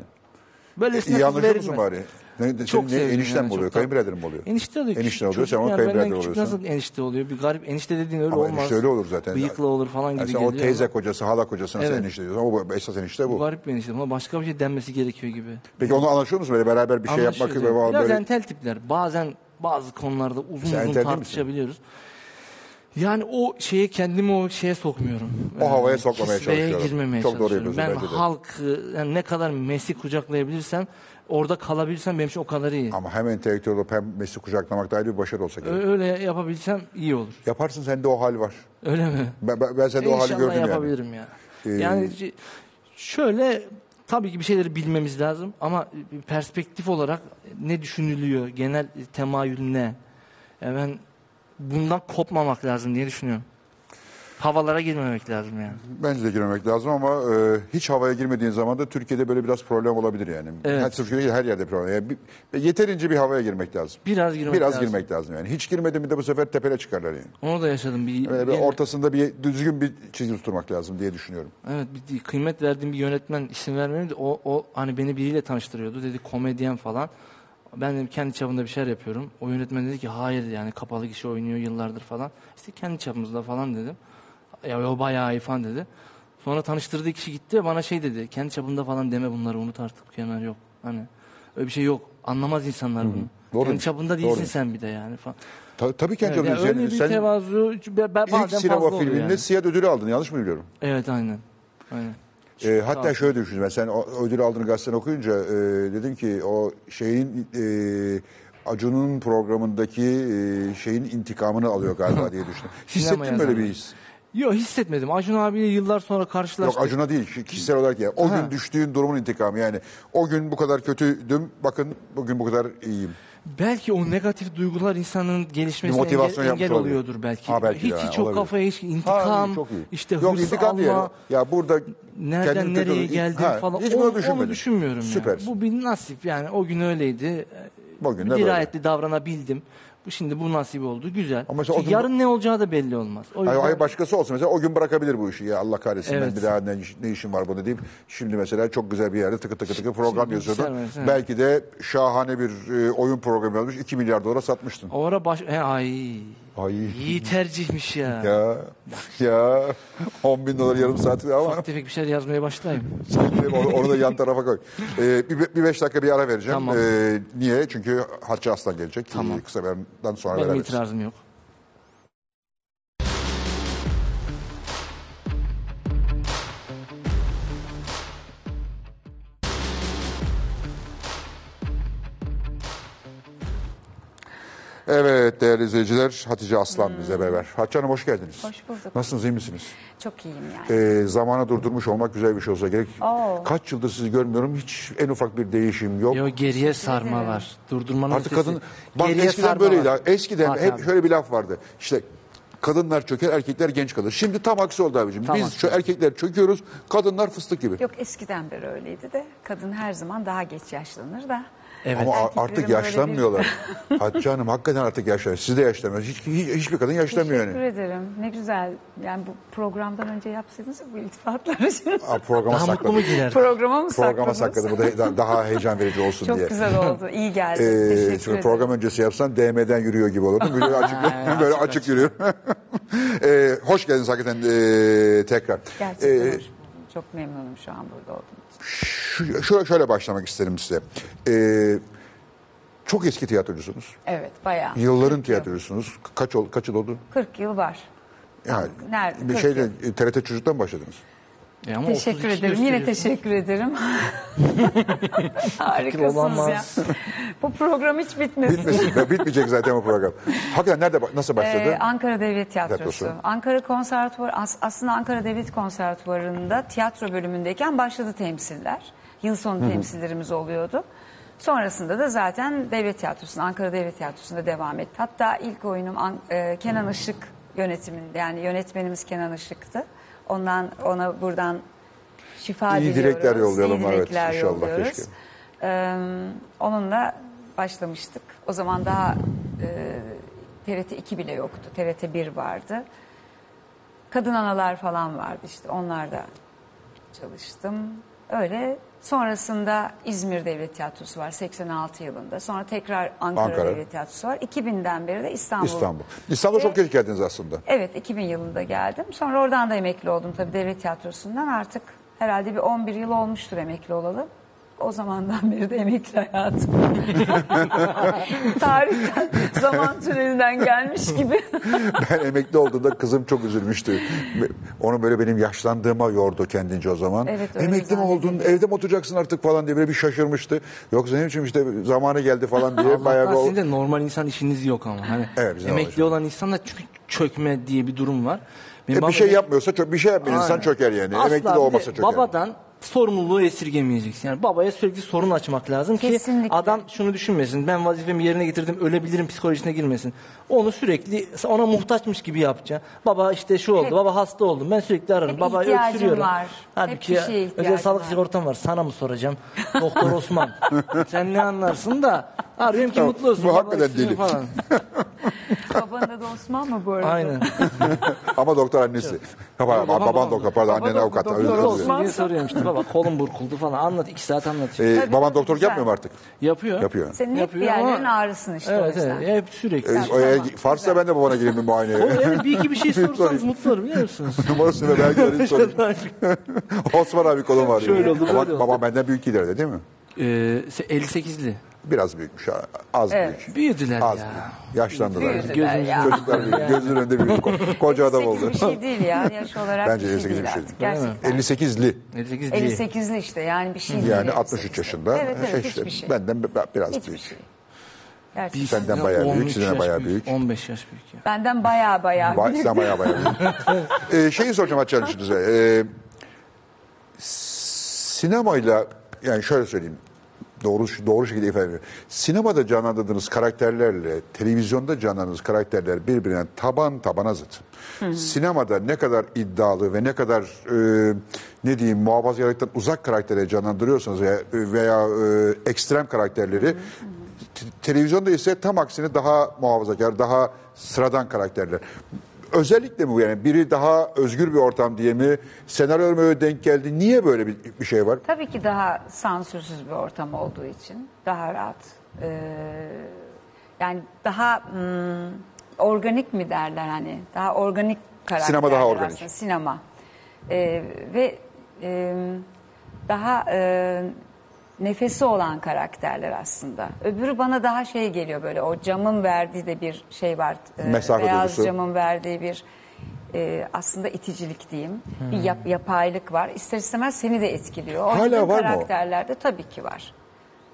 Speaker 2: Böylesine
Speaker 1: İyi
Speaker 2: kız
Speaker 1: anlaşıyor musun E,
Speaker 2: verilmez.
Speaker 1: bari? Ne,
Speaker 2: Çok
Speaker 1: senin ne,
Speaker 2: sevdim
Speaker 1: enişten
Speaker 2: yani,
Speaker 1: mi
Speaker 2: çok
Speaker 1: oluyor?
Speaker 2: tatlı.
Speaker 1: Kayınbirader mi oluyor?
Speaker 2: Enişte oluyor.
Speaker 1: Enişten oluyor,
Speaker 2: Çocuk
Speaker 1: sen onun
Speaker 2: yani benden
Speaker 1: kayınbirader
Speaker 2: küçük
Speaker 1: oluyorsun.
Speaker 2: Nasıl enişte oluyor? Bir garip enişte dediğin öyle
Speaker 1: Ama
Speaker 2: olmaz.
Speaker 1: enişte öyle olur zaten.
Speaker 2: Bıyıklı olur falan gibi
Speaker 1: Yani sen
Speaker 2: geliyor.
Speaker 1: o teyze
Speaker 2: ama
Speaker 1: kocası, hala kocasına sen
Speaker 2: Evet.
Speaker 1: enişte diyorsun. Ama bu- esas enişte bu.
Speaker 2: Garip bir enişte. Ama başka bir şey denmesi gerekiyor gibi.
Speaker 1: Peki onu anlaşıyor musun böyle beraber bir şey yapmak gibi?
Speaker 2: Anlaşıyoruz yani.
Speaker 1: Böyle,
Speaker 2: Biraz entel tipler. Bazen bazı konularda uzun
Speaker 1: Sen entel
Speaker 2: uzun
Speaker 1: değil
Speaker 2: tartışabiliyoruz. Yani o şeye kendimi o şeye sokmuyorum.
Speaker 1: O
Speaker 2: Ee,
Speaker 1: havaya sokmamaya
Speaker 2: kisveye
Speaker 1: çalışıyorum.
Speaker 2: girmemeye
Speaker 1: Çok doğru
Speaker 2: çalışıyorum. Ben
Speaker 1: yapıyorsun bence de.
Speaker 2: halkı yani ne kadar mesi kucaklayabilirsem orada kalabilirsem benim için o kadar iyi.
Speaker 1: Ama hem entelektüel olup hem mesleği kucaklamak da ayrı bir başarı olsa gerek.
Speaker 2: Ö- Öyle yapabilsem iyi olur.
Speaker 1: Yaparsın sende o hal var.
Speaker 2: Öyle mi?
Speaker 1: Ben, ben, ben sende o hali
Speaker 2: İnşallah
Speaker 1: gördüm yani. Ee,
Speaker 2: yapabilirim ya. Yani c- şöyle tabii ki bir şeyleri bilmemiz lazım ama perspektif olarak ne düşünülüyor, genel temayül ne? E ben bundan kopmamak lazım diye düşünüyorum. Havalara girmemek lazım yani.
Speaker 1: Bence de girmemek lazım ama e, hiç havaya girmediğin zaman da Türkiye'de böyle biraz problem olabilir yani.
Speaker 2: Evet.
Speaker 1: Her Türkiye'de değil, her yerde problem. Yani bir- yeterince bir havaya girmek lazım.
Speaker 2: Biraz girmek
Speaker 1: Biraz
Speaker 2: lazım.
Speaker 1: girmek lazım yani. Hiç girmedi mi de bu sefer tepele çıkarlar yani.
Speaker 2: Onu da yaşadım. Bir,
Speaker 1: Böyle Ee, bir
Speaker 2: bir-
Speaker 1: ortasında bir düzgün bir çizgi tutturmak lazım diye düşünüyorum.
Speaker 2: Evet bir kıymet verdiğim bir yönetmen isim vermeyeyim de o, o hani beni biriyle tanıştırıyordu dedi komedyen falan. Ben dedim kendi çapımda bir şeyler yapıyorum. O yönetmen dedi ki hayır yani kapalı kişi oynuyor yıllardır falan. İşte kendi çapımızda falan dedim. Ya o bayağı iyi falan dedi. Sonra tanıştırdığı kişi gitti bana şey dedi. Kendi çapında falan deme bunları unut artık kenar yok. Hani öyle bir şey yok. Anlamaz insanlar bunu.
Speaker 1: Doğru
Speaker 2: kendi
Speaker 1: demiş.
Speaker 2: çapında değilsin
Speaker 1: Doğru.
Speaker 2: sen bir de yani falan.
Speaker 1: Ta- tabii kendi
Speaker 2: Evet, yani
Speaker 1: ödülünü
Speaker 2: öyle bir
Speaker 1: Sen
Speaker 2: tevazu ben- ben
Speaker 1: ilk
Speaker 2: bazen fazla
Speaker 1: sinema
Speaker 2: oluyor
Speaker 1: filminde
Speaker 2: yani.
Speaker 1: siyah ödülü aldın yanlış mı biliyorum?
Speaker 2: Evet aynen. Aynen.
Speaker 1: Ee, hatta şöyle düşündüm ben sen o ödülü aldığını gazeteden okuyunca e, dedim ki o şeyin e, Acun'un
Speaker 2: [laughs]
Speaker 1: programındaki e, şeyin intikamını alıyor galiba diye düşündüm.
Speaker 2: Sinema
Speaker 1: Hissettim böyle bir
Speaker 2: yazarı.
Speaker 1: his.
Speaker 2: Yok hissetmedim. Acun abiyle yıllar sonra
Speaker 1: Yok
Speaker 2: karşılaştık.
Speaker 1: Acun'a değil ki- kişisel olarak ya. O
Speaker 2: Ha.
Speaker 1: gün düştüğün durumun intikamı yani. O gün bu kadar kötüydüm bakın bugün bu kadar iyiyim.
Speaker 2: Belki o negatif duygular insanın gelişmesine
Speaker 1: Bir motivasyon
Speaker 2: engel, engel
Speaker 1: yapmış olabilir.
Speaker 2: oluyordur belki.
Speaker 1: Ha, belki
Speaker 2: hiç
Speaker 1: de,
Speaker 2: hiç
Speaker 1: ha,
Speaker 2: o
Speaker 1: olabilir.
Speaker 2: kafaya hiç
Speaker 1: Ha,
Speaker 2: intikam,
Speaker 1: iyi, çok iyi.
Speaker 2: işte
Speaker 1: Yok
Speaker 2: hırs
Speaker 1: intikam
Speaker 2: alma,
Speaker 1: değil. Ya burada
Speaker 2: nereden
Speaker 1: kendimi kötü-
Speaker 2: nereye geldim
Speaker 1: Ha,
Speaker 2: falan.
Speaker 1: Hiç
Speaker 2: O-
Speaker 1: bunu
Speaker 2: onu
Speaker 1: düşünmedim.
Speaker 2: düşünmüyorum
Speaker 1: Süpersin.
Speaker 2: ya. Bu bir nasip yani o gün öyleydi.
Speaker 1: Bugün de
Speaker 2: Dirayetli davranabildim. Bu şimdi bu nasip oldu. Güzel.
Speaker 1: Ama mesela o
Speaker 2: Çünkü
Speaker 1: gün-
Speaker 2: yarın ne olacağı da belli olmaz. O
Speaker 1: Hayır,
Speaker 2: yüzden-
Speaker 1: hayır başkası olsun mesela o gün bırakabilir bu işi ya Allah kahretsin ben
Speaker 2: Evet.
Speaker 1: bir daha ne, ne işim var bunu deyip şimdi mesela çok güzel bir yerde tıkı tıkı tıkı program
Speaker 2: Şimdi
Speaker 1: yazıyordun.
Speaker 2: güzel mesela.
Speaker 1: Belki de şahane bir e, oyun programı yazmış 2 milyar dolara satmıştın.
Speaker 2: O ara baş... He, ay.
Speaker 1: Ay
Speaker 2: İyi tercihmiş ya.
Speaker 1: ya ya 10 bin dolar yarım saat ama
Speaker 2: Ufak tefek bir şeyler yazmaya başlayayım.
Speaker 1: onu, onu da yan tarafa koy. Ee, bir, bir beş dakika bir ara vereceğim.
Speaker 2: Tamam.
Speaker 1: Ee, niye? Çünkü Hacı Aslan gelecek. Ee, Kısa bir aradan sonra
Speaker 2: Benim
Speaker 1: beraberiz.
Speaker 2: itirazım yok.
Speaker 1: Evet değerli izleyiciler Hatice Aslan bize beraber. Hatice Hanım hoş geldiniz.
Speaker 3: Hoş bulduk.
Speaker 1: Nasılsınız iyi misiniz?
Speaker 3: Çok iyiyim yani.
Speaker 1: Ee, zamanı durdurmuş olmak güzel bir şey olsa gerek.
Speaker 3: Oo.
Speaker 1: Kaç yıldır sizi görmüyorum hiç en ufak bir değişim yok.
Speaker 2: Yo geriye sarma var. Durdurmanın
Speaker 1: Artık
Speaker 2: ötesi.
Speaker 1: kadın bak
Speaker 2: Geriye
Speaker 1: eskiden
Speaker 2: sarma
Speaker 1: böyleydi.
Speaker 2: var.
Speaker 1: Eskiden
Speaker 2: Bak
Speaker 1: hep
Speaker 2: abi.
Speaker 1: şöyle bir laf vardı. İşte kadınlar çöker erkekler genç kalır. Şimdi tam aksi oldu abicim.
Speaker 2: Tam
Speaker 1: Biz
Speaker 2: aksi.
Speaker 1: şu erkekler çöküyoruz kadınlar fıstık gibi.
Speaker 3: Yok eskiden beri öyleydi de kadın her zaman daha geç yaşlanır da.
Speaker 2: Evet.
Speaker 1: Ama a-
Speaker 3: Erkeklerin
Speaker 1: artık
Speaker 3: böyle
Speaker 1: yaşlanmıyorlar. [laughs] Hatice Hanım hakikaten artık yaşlanıyor. Siz de yaşlanmıyorsunuz. Hiç, hiç- hiçbir kadın yaşlanmıyor yani.
Speaker 3: Teşekkür ederim. Ne güzel. Yani bu programdan önce yapsaydınız ya
Speaker 2: [laughs]
Speaker 3: bu iltifatları şimdi.
Speaker 1: Aa, programa
Speaker 2: Daha mutlu
Speaker 1: sakladım.
Speaker 2: mu girer?
Speaker 3: Programa mı
Speaker 1: Programa
Speaker 3: sakladınız?
Speaker 1: sakladım. Bu da he- daha heyecan verici olsun
Speaker 3: Çok
Speaker 1: diye.
Speaker 3: güzel oldu. İyi geldi.
Speaker 1: Ee,
Speaker 3: Teşekkür
Speaker 1: çünkü
Speaker 3: ederim.
Speaker 1: program öncesi yapsan DM'den yürüyor gibi olurdum.
Speaker 3: [laughs]
Speaker 1: Böyle açık,
Speaker 2: Ha,
Speaker 1: böyle
Speaker 2: açık,
Speaker 1: açık yürüyorum. [laughs] Ee, hoş geldiniz hakikaten ee, tekrar.
Speaker 3: Gerçekten
Speaker 1: Ee,
Speaker 3: hoş. Çok memnunum şu an burada olduğum için.
Speaker 1: şu, şöyle, şöyle başlamak isterim size. Ee, çok eski tiyatrocusunuz.
Speaker 3: Evet bayağı.
Speaker 1: Yılların tiyatrocusunuz. Kaç, ol, kaç yıl oldu?
Speaker 3: 40 yıl var.
Speaker 1: Yani,
Speaker 3: Nerede?
Speaker 1: Bir
Speaker 3: 40
Speaker 1: şeyle TRT Çocuk'tan başladınız.
Speaker 2: E ama
Speaker 3: Teşekkür
Speaker 2: 32
Speaker 3: ederim. Yine
Speaker 2: gösteriyorsun. [laughs]
Speaker 3: teşekkür ederim. [laughs] Harikasınız ya.
Speaker 2: olamaz.
Speaker 3: Bu program hiç bitmesin.
Speaker 1: Bitmesin. Ve bitmeyecek zaten bu program. Hakikaten nerede ba- nasıl başladı?
Speaker 3: Ee, Ankara Devlet Tiyatrosu.
Speaker 1: Tiyatrosu.
Speaker 3: Ankara Konservatuvarı as- aslında Ankara Devlet Konservatuvarı'nda tiyatro bölümündeyken başladı temsiller. Yıl sonu temsillerimiz oluyordu. Sonrasında da zaten Devlet Tiyatrosu'nda, Ankara Devlet Tiyatrosu'nda devam etti. Hatta ilk oyunum An- e, Kenan Işık yönetiminde yani yönetmenimiz Kenan Işık'tı. Ondan ona buradan şifa
Speaker 1: İyi
Speaker 3: diliyoruz.
Speaker 1: dilekler yollayalım,
Speaker 3: İyi
Speaker 1: evet,
Speaker 3: dilekler
Speaker 1: inşallah,
Speaker 3: yolluyoruz.
Speaker 1: keşke.
Speaker 3: Ee, onunla başlamıştık. O zaman daha e, TRT 2 bile yoktu. TRT 1 vardı. Kadın analar falan vardı işte. Onlarda çalıştım. Öyle sonrasında İzmir Devlet Tiyatrosu var 86 yılında. Sonra tekrar Ankara,
Speaker 1: Ankara.
Speaker 3: Devlet Tiyatrosu var. 2000'den beri de İstanbul. Ee,
Speaker 1: İstanbul. İstanbul'a çok geç geldiniz aslında.
Speaker 3: Evet 2000 yılında geldim. Sonra oradan da emekli oldum tabii devlet tiyatrosundan. Artık herhalde bir 11 yıl olmuştur emekli olalı. O zamandan [laughs] beri de emekli hayatım. [laughs] Tarihten, zaman tünelinden gelmiş gibi.
Speaker 1: Ben emekli olduğumda kızım çok üzülmüştü. Onu böyle benim yaşlandığıma yordu kendince o zaman.
Speaker 3: Evet, öyle
Speaker 1: emekli mi
Speaker 3: zannediyorum.
Speaker 1: oldun, evde mi oturacaksın artık falan diye böyle bir şaşırmıştı. Yoksa ne biçim işte zamanı geldi falan diye bayağı bir...
Speaker 2: Allah'tan sizin de normal insan işiniz yok ama. Hani
Speaker 1: Evet, bizim
Speaker 2: emekli
Speaker 1: olacak.
Speaker 2: olan insanlar çünkü çökme diye bir durum var. Benim
Speaker 1: E,
Speaker 2: babam-
Speaker 1: bir şey yapmıyorsa, çö- bir şey yapmayan
Speaker 2: Aynen.
Speaker 1: insan çöker yani.
Speaker 2: Asla
Speaker 1: emekli
Speaker 2: bir
Speaker 1: de
Speaker 2: de
Speaker 1: olmasa çöker.
Speaker 2: Babadan sorumluluğu esirgemeyeceksin. Yani babaya sürekli sorun açmak lazım ki
Speaker 3: Kesinlikle.
Speaker 2: adam şunu düşünmesin. Ben vazifemi yerine getirdim, ölebilirim psikolojisine girmesin. Onu sürekli ona muhtaçmış gibi yapacaksın. Baba işte şu oldu,
Speaker 3: Hep-
Speaker 2: baba hasta oldum. Ben sürekli ararım.
Speaker 3: Hep
Speaker 2: Baba
Speaker 3: ihtiyacım
Speaker 2: öksürüyorum.
Speaker 3: var. Hep
Speaker 2: Halbuki
Speaker 3: bir şeye ihtiyacım
Speaker 2: özel sağlık
Speaker 3: var.
Speaker 2: sigortam var. Sana mı soracağım?
Speaker 1: [laughs]
Speaker 2: Doktor Osman. Sen ne anlarsın da arıyorum ki
Speaker 1: Tamam,
Speaker 2: mutlu olsun.
Speaker 1: bu
Speaker 2: Baba
Speaker 1: hakikaten
Speaker 2: öksürüyor
Speaker 1: deli.
Speaker 2: Falan.
Speaker 3: [laughs] Babanın adı Osman mı bu arada?
Speaker 2: Aynen.
Speaker 1: Ama doktor annesi. Baba,
Speaker 2: Babam-
Speaker 1: baban doktor, pardon
Speaker 3: Baba
Speaker 1: annen
Speaker 3: doktor,
Speaker 1: avukat.
Speaker 3: doktor
Speaker 1: Özür
Speaker 2: Doktor
Speaker 1: dilerim.
Speaker 2: olsun diye soruyorum işte baba kolum burkuldu falan anlat iki saat anlatıyor.
Speaker 1: Ee,
Speaker 3: Tabii,
Speaker 1: baban
Speaker 3: tabii,
Speaker 1: doktorluk
Speaker 3: güzel.
Speaker 1: yapmıyor mu artık?
Speaker 2: Yapıyor.
Speaker 1: Yapıyor.
Speaker 3: Senin hep bir
Speaker 2: Yapıyor ama-
Speaker 3: yerlerin ağrısın işte
Speaker 2: Evet
Speaker 3: o yüzden.
Speaker 2: evet hep sürekli.
Speaker 1: Ee,
Speaker 3: Tamam,
Speaker 1: o eğer
Speaker 3: tamam.
Speaker 1: Farsa ben de babana gireyim bir muayeneye.
Speaker 2: Oğlum, öyle bir iki bir
Speaker 1: [laughs]
Speaker 2: şey sorsanız mutlu olurum biliyor musunuz?
Speaker 1: Numarasını ve
Speaker 2: [laughs]
Speaker 1: belgeleri sorayım. Osman abi kolum var. diyor.
Speaker 2: Şöyle oldu,
Speaker 1: Baba-
Speaker 2: böyle oldu.
Speaker 1: Babam benden büyük ileride değil mi?
Speaker 2: Ee, se- 58'li.
Speaker 1: Biraz büyükmüş. ha, Az
Speaker 3: Evet.
Speaker 1: büyük.
Speaker 2: Büyüdüler
Speaker 1: Az
Speaker 2: ya.
Speaker 1: büyük. Yaşlandılar.
Speaker 3: Büyüdüler
Speaker 2: Gözümüzün
Speaker 3: ya.
Speaker 1: Çocuklar büyük. Gözünün önünde büyük. Ko- Koca adam
Speaker 3: 58
Speaker 1: oldu.
Speaker 3: bir şey
Speaker 2: [laughs]
Speaker 3: değil ya yaş olarak
Speaker 1: Bence
Speaker 3: bir
Speaker 1: 58
Speaker 3: şey
Speaker 1: bir
Speaker 3: değil
Speaker 1: şey
Speaker 3: artık.
Speaker 1: değil.
Speaker 3: Gerçekten.
Speaker 1: 58'li.
Speaker 2: 58 değil.
Speaker 3: 58'li işte yani bir şey değil.
Speaker 1: Yani
Speaker 3: 58'li.
Speaker 1: 63 yaşında.
Speaker 3: Evet evet
Speaker 1: İşte
Speaker 3: hiçbir şey.
Speaker 1: Benden bi- biraz
Speaker 3: Hiçbir
Speaker 1: büyük.
Speaker 3: şey. Gerçekten.
Speaker 1: Senden bayağı büyük,
Speaker 2: 13
Speaker 1: sizden
Speaker 2: yaş
Speaker 1: bayağı büyük.
Speaker 2: 15 yaş büyük ya.
Speaker 3: Benden baya baya.
Speaker 1: Ba- sen bayağı bayağı. [laughs] ee, şeyi soracağım Hatice Hanım size. Ee, sinemayla yani şöyle söyleyeyim. Doğru doğru şekilde ifade ediyorum. Sinemada canlandırdığınız karakterlerle televizyonda canlandırdığınız karakterler birbirine taban tabana zıt. Sinemada ne kadar iddialı ve ne kadar e, ne diyeyim muhafazakarlıktan uzak karaktere canlandırıyorsanız veya, veya e, ekstrem karakterleri te- televizyonda ise tam aksine daha muhafazakar, daha sıradan karakterler. Özellikle mi bu yani biri daha özgür bir ortam diye mi senaryo mu öyle denk geldi? Niye böyle bir, bir şey var?
Speaker 3: Tabii ki daha sansürsüz bir ortam olduğu için daha rahat. Ee, yani daha hmm, organik mi derler hani? Daha organik karakterler.
Speaker 1: Sinema daha organik.
Speaker 3: aslında, Sinema. Ee, ve e, daha e, nefesi olan karakterler aslında. Öbürü bana daha şey geliyor böyle o camın verdiği de bir şey var. Ee,
Speaker 1: Mesafe
Speaker 3: beyaz
Speaker 1: duygusu.
Speaker 3: camın verdiği bir e, aslında iticilik diyeyim. Bir yap- yapaylık var. İster istemez seni de etkiliyor. O
Speaker 1: Hmm. Hala
Speaker 3: yüzden
Speaker 1: var mı o?
Speaker 3: karakterlerde tabii ki var.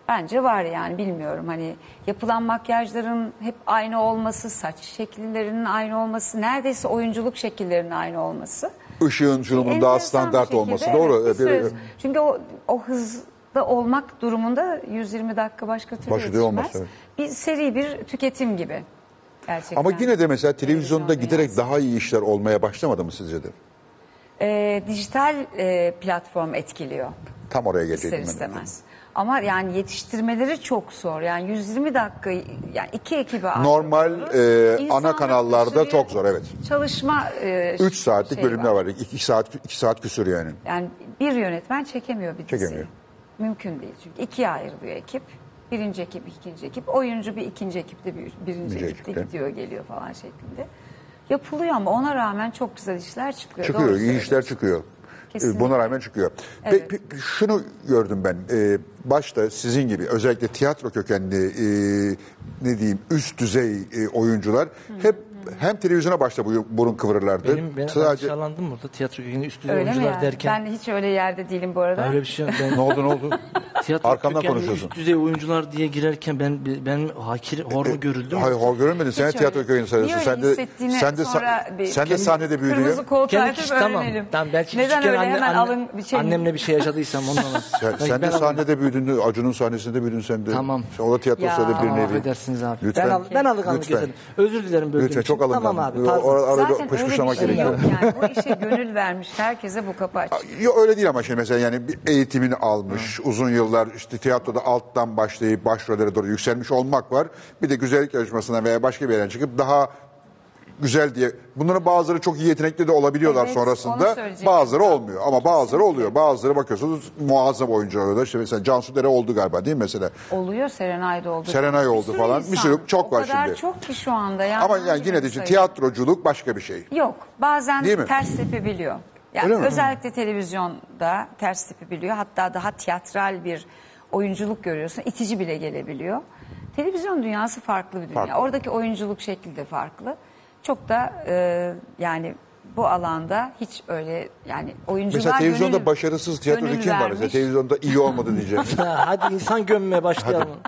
Speaker 3: Bence var yani bilmiyorum hani yapılan makyajların hep aynı olması, saç şekillerinin aynı olması, neredeyse oyunculuk şekillerinin aynı olması.
Speaker 1: Işığın şunun daha
Speaker 3: Enteresan bir
Speaker 1: standart
Speaker 3: şekilde,
Speaker 1: olması
Speaker 3: evet,
Speaker 1: doğru.
Speaker 3: bir
Speaker 1: Bir-
Speaker 3: söz. Çünkü o, o hızda olmak durumunda 120 dakika başka türlü
Speaker 1: Başka türlü olmaz,
Speaker 3: yetişmez.
Speaker 1: evet.
Speaker 3: Bir seri bir tüketim gibi gerçekten.
Speaker 1: Ama yine de mesela televizyonda
Speaker 3: Televizyonda
Speaker 1: giderek daha iyi işler olmaya başlamadı mı sizce de?
Speaker 3: Ee, dijital e, platform etkiliyor
Speaker 1: Tam oraya
Speaker 3: ister
Speaker 1: gelecektim ben.
Speaker 3: istemez. Ama yani yetiştirmeleri çok zor. Yani 120 dakika yani iki ekibe ayrılıyoruz.
Speaker 1: Normal e, ana
Speaker 3: İnsanlık
Speaker 1: kanallarda
Speaker 3: dışı
Speaker 1: çok
Speaker 3: bir
Speaker 1: zor evet.
Speaker 3: Çalışma e, 3
Speaker 1: 3
Speaker 3: Şey
Speaker 1: saatlik bölümler var. 2 saat 2 saat küsür yani.
Speaker 3: Yani bir yönetmen çekemiyor bir diziyi.
Speaker 1: Çekemiyor.
Speaker 3: Mümkün değil çünkü ikiye ayrılıyor ekip. Birinci ekip, ikinci ekip. Oyuncu bir ikinci ekipte, bir, birinci
Speaker 1: Birinci
Speaker 3: ekipte
Speaker 1: ekipte.
Speaker 3: gidiyor geliyor falan şeklinde. Yapılıyor ama ona rağmen çok güzel işler çıkıyor.
Speaker 1: Çıkıyor,
Speaker 3: Doğru
Speaker 1: iyi işler çıkıyor. E,
Speaker 3: Kesinlikle.
Speaker 1: Buna rağmen çıkıyor. Pe-
Speaker 3: Evet.
Speaker 1: pe- şunu gördüm ben. e, başta sizin gibi özellikle tiyatro kökenli e, ne diyeyim üst düzey e, oyuncular hep hem televizyona başta bu- burun kıvırırlardı.
Speaker 2: Benim ben Sadece...
Speaker 1: Sadece
Speaker 2: aşağılandım burada tiyatro yönü üst düzey
Speaker 3: Öyle mi
Speaker 2: oyuncular
Speaker 3: yani?
Speaker 2: derken.
Speaker 3: Ben hiç öyle yerde değilim bu arada.
Speaker 2: Öyle bir şey yok. ben
Speaker 1: ne oldu ne oldu?
Speaker 2: tiyatro
Speaker 1: Arkamdan
Speaker 2: kökenli
Speaker 1: konuşuyorsun.
Speaker 2: Üst düzey oyuncular diye girerken ben ben hakir hor mu görüldüm?
Speaker 1: Hayır hor görünmedin. Sen
Speaker 3: Hiç
Speaker 1: tiyatro
Speaker 3: öyle-
Speaker 1: kökenli sayıyorsun.
Speaker 3: Niye
Speaker 1: Sen
Speaker 3: öyle
Speaker 1: de
Speaker 3: hissettiğini
Speaker 1: sen de sa-
Speaker 3: sonra bir-
Speaker 1: sen de sahnede büyüdün.
Speaker 3: Kırmızı koltuğu
Speaker 2: Kendi
Speaker 3: açıp
Speaker 2: kişi- tamam.
Speaker 3: öğrenelim.
Speaker 2: Tamam belki
Speaker 3: Neden
Speaker 2: küçükken
Speaker 3: öyle
Speaker 2: anne-
Speaker 3: hemen
Speaker 2: anne-
Speaker 3: alın bir şey.
Speaker 2: annemle bir şey yaşadıysam ondan alır.
Speaker 1: Sen,
Speaker 2: Belki
Speaker 1: sen
Speaker 2: ben
Speaker 1: de
Speaker 2: alırım.
Speaker 1: sahnede büyüdün. Acun'un sahnesinde büyüdün sen de.
Speaker 2: Tamam.
Speaker 1: Sen- O da tiyatrosu da
Speaker 3: Ya.
Speaker 1: bir
Speaker 2: Tamam,
Speaker 1: nevi.
Speaker 2: affedersiniz abi.
Speaker 1: Lütfen.
Speaker 2: Ben, al, ben alınganlık
Speaker 1: Lütfen.
Speaker 2: getirdim. Özür dilerim böldüğüm
Speaker 1: Lütfen
Speaker 2: için.
Speaker 1: çok alıngan.
Speaker 2: Tamam abi.
Speaker 1: Ö-
Speaker 2: pardon.
Speaker 1: or-
Speaker 2: [laughs]
Speaker 1: arada
Speaker 3: Zaten öyle bir
Speaker 1: pışpışlamak
Speaker 3: şey
Speaker 1: gerekiyor.
Speaker 3: yok yani. Bu işe gönül vermiş herkese bu kapı açık.
Speaker 1: Yok öyle değil ama şimdi mesela yani bir eğitimini almış, uzun yıllar işte tiyatroda alttan başlayıp başrollere doğru yükselmiş olmak var. Bir de güzellik yarışmasına veya başka bir yerden çıkıp daha güzel diye. Bunların bazıları çok iyi yetenekli de olabiliyorlar
Speaker 3: Evet, onu
Speaker 1: sonrasında.
Speaker 3: söyleyecektim.
Speaker 1: Bazıları olmuyor ama bazıları oluyor. Bazıları bakıyorsunuz muazzam oyuncular oluyor. İşte mesela Cansu Dere oldu galiba değil mi mesela?
Speaker 3: Oluyor Serenay'da oldu.
Speaker 1: Serenay
Speaker 3: Bir
Speaker 1: oldu
Speaker 3: sürü
Speaker 1: falan. Bir
Speaker 3: insan.
Speaker 1: sürü- çok
Speaker 3: o
Speaker 1: var
Speaker 3: kadar
Speaker 1: şimdi.
Speaker 3: çok ki şu anda. Yani
Speaker 1: Ama yani
Speaker 3: hangi
Speaker 1: yine de
Speaker 3: birini
Speaker 1: işte
Speaker 3: sayayım?
Speaker 1: tiyatroculuk başka bir şey.
Speaker 3: Yok bazen
Speaker 1: Değil mi?
Speaker 3: ters tepebiliyor. Yani
Speaker 1: Öyle mi?
Speaker 3: özellikle televizyonda ters tepebiliyor. Hatta daha tiyatral bir oyunculuk görüyorsun. İtici bile gelebiliyor. Televizyon dünyası farklı bir dünya.
Speaker 1: Farklı.
Speaker 3: Oradaki oyunculuk şekli de farklı. Çok da e, yani bu alanda hiç öyle yani oyuncular
Speaker 1: Mesela televizyonda
Speaker 3: gönül-
Speaker 1: başarısız tiyatrocu
Speaker 3: gönül
Speaker 1: kim var mesela?
Speaker 3: vermiş.
Speaker 1: Televizyonda iyi olmadı diyeceğim.
Speaker 3: [laughs]
Speaker 2: Ha, hadi insan gömmeye başlayalım. [laughs]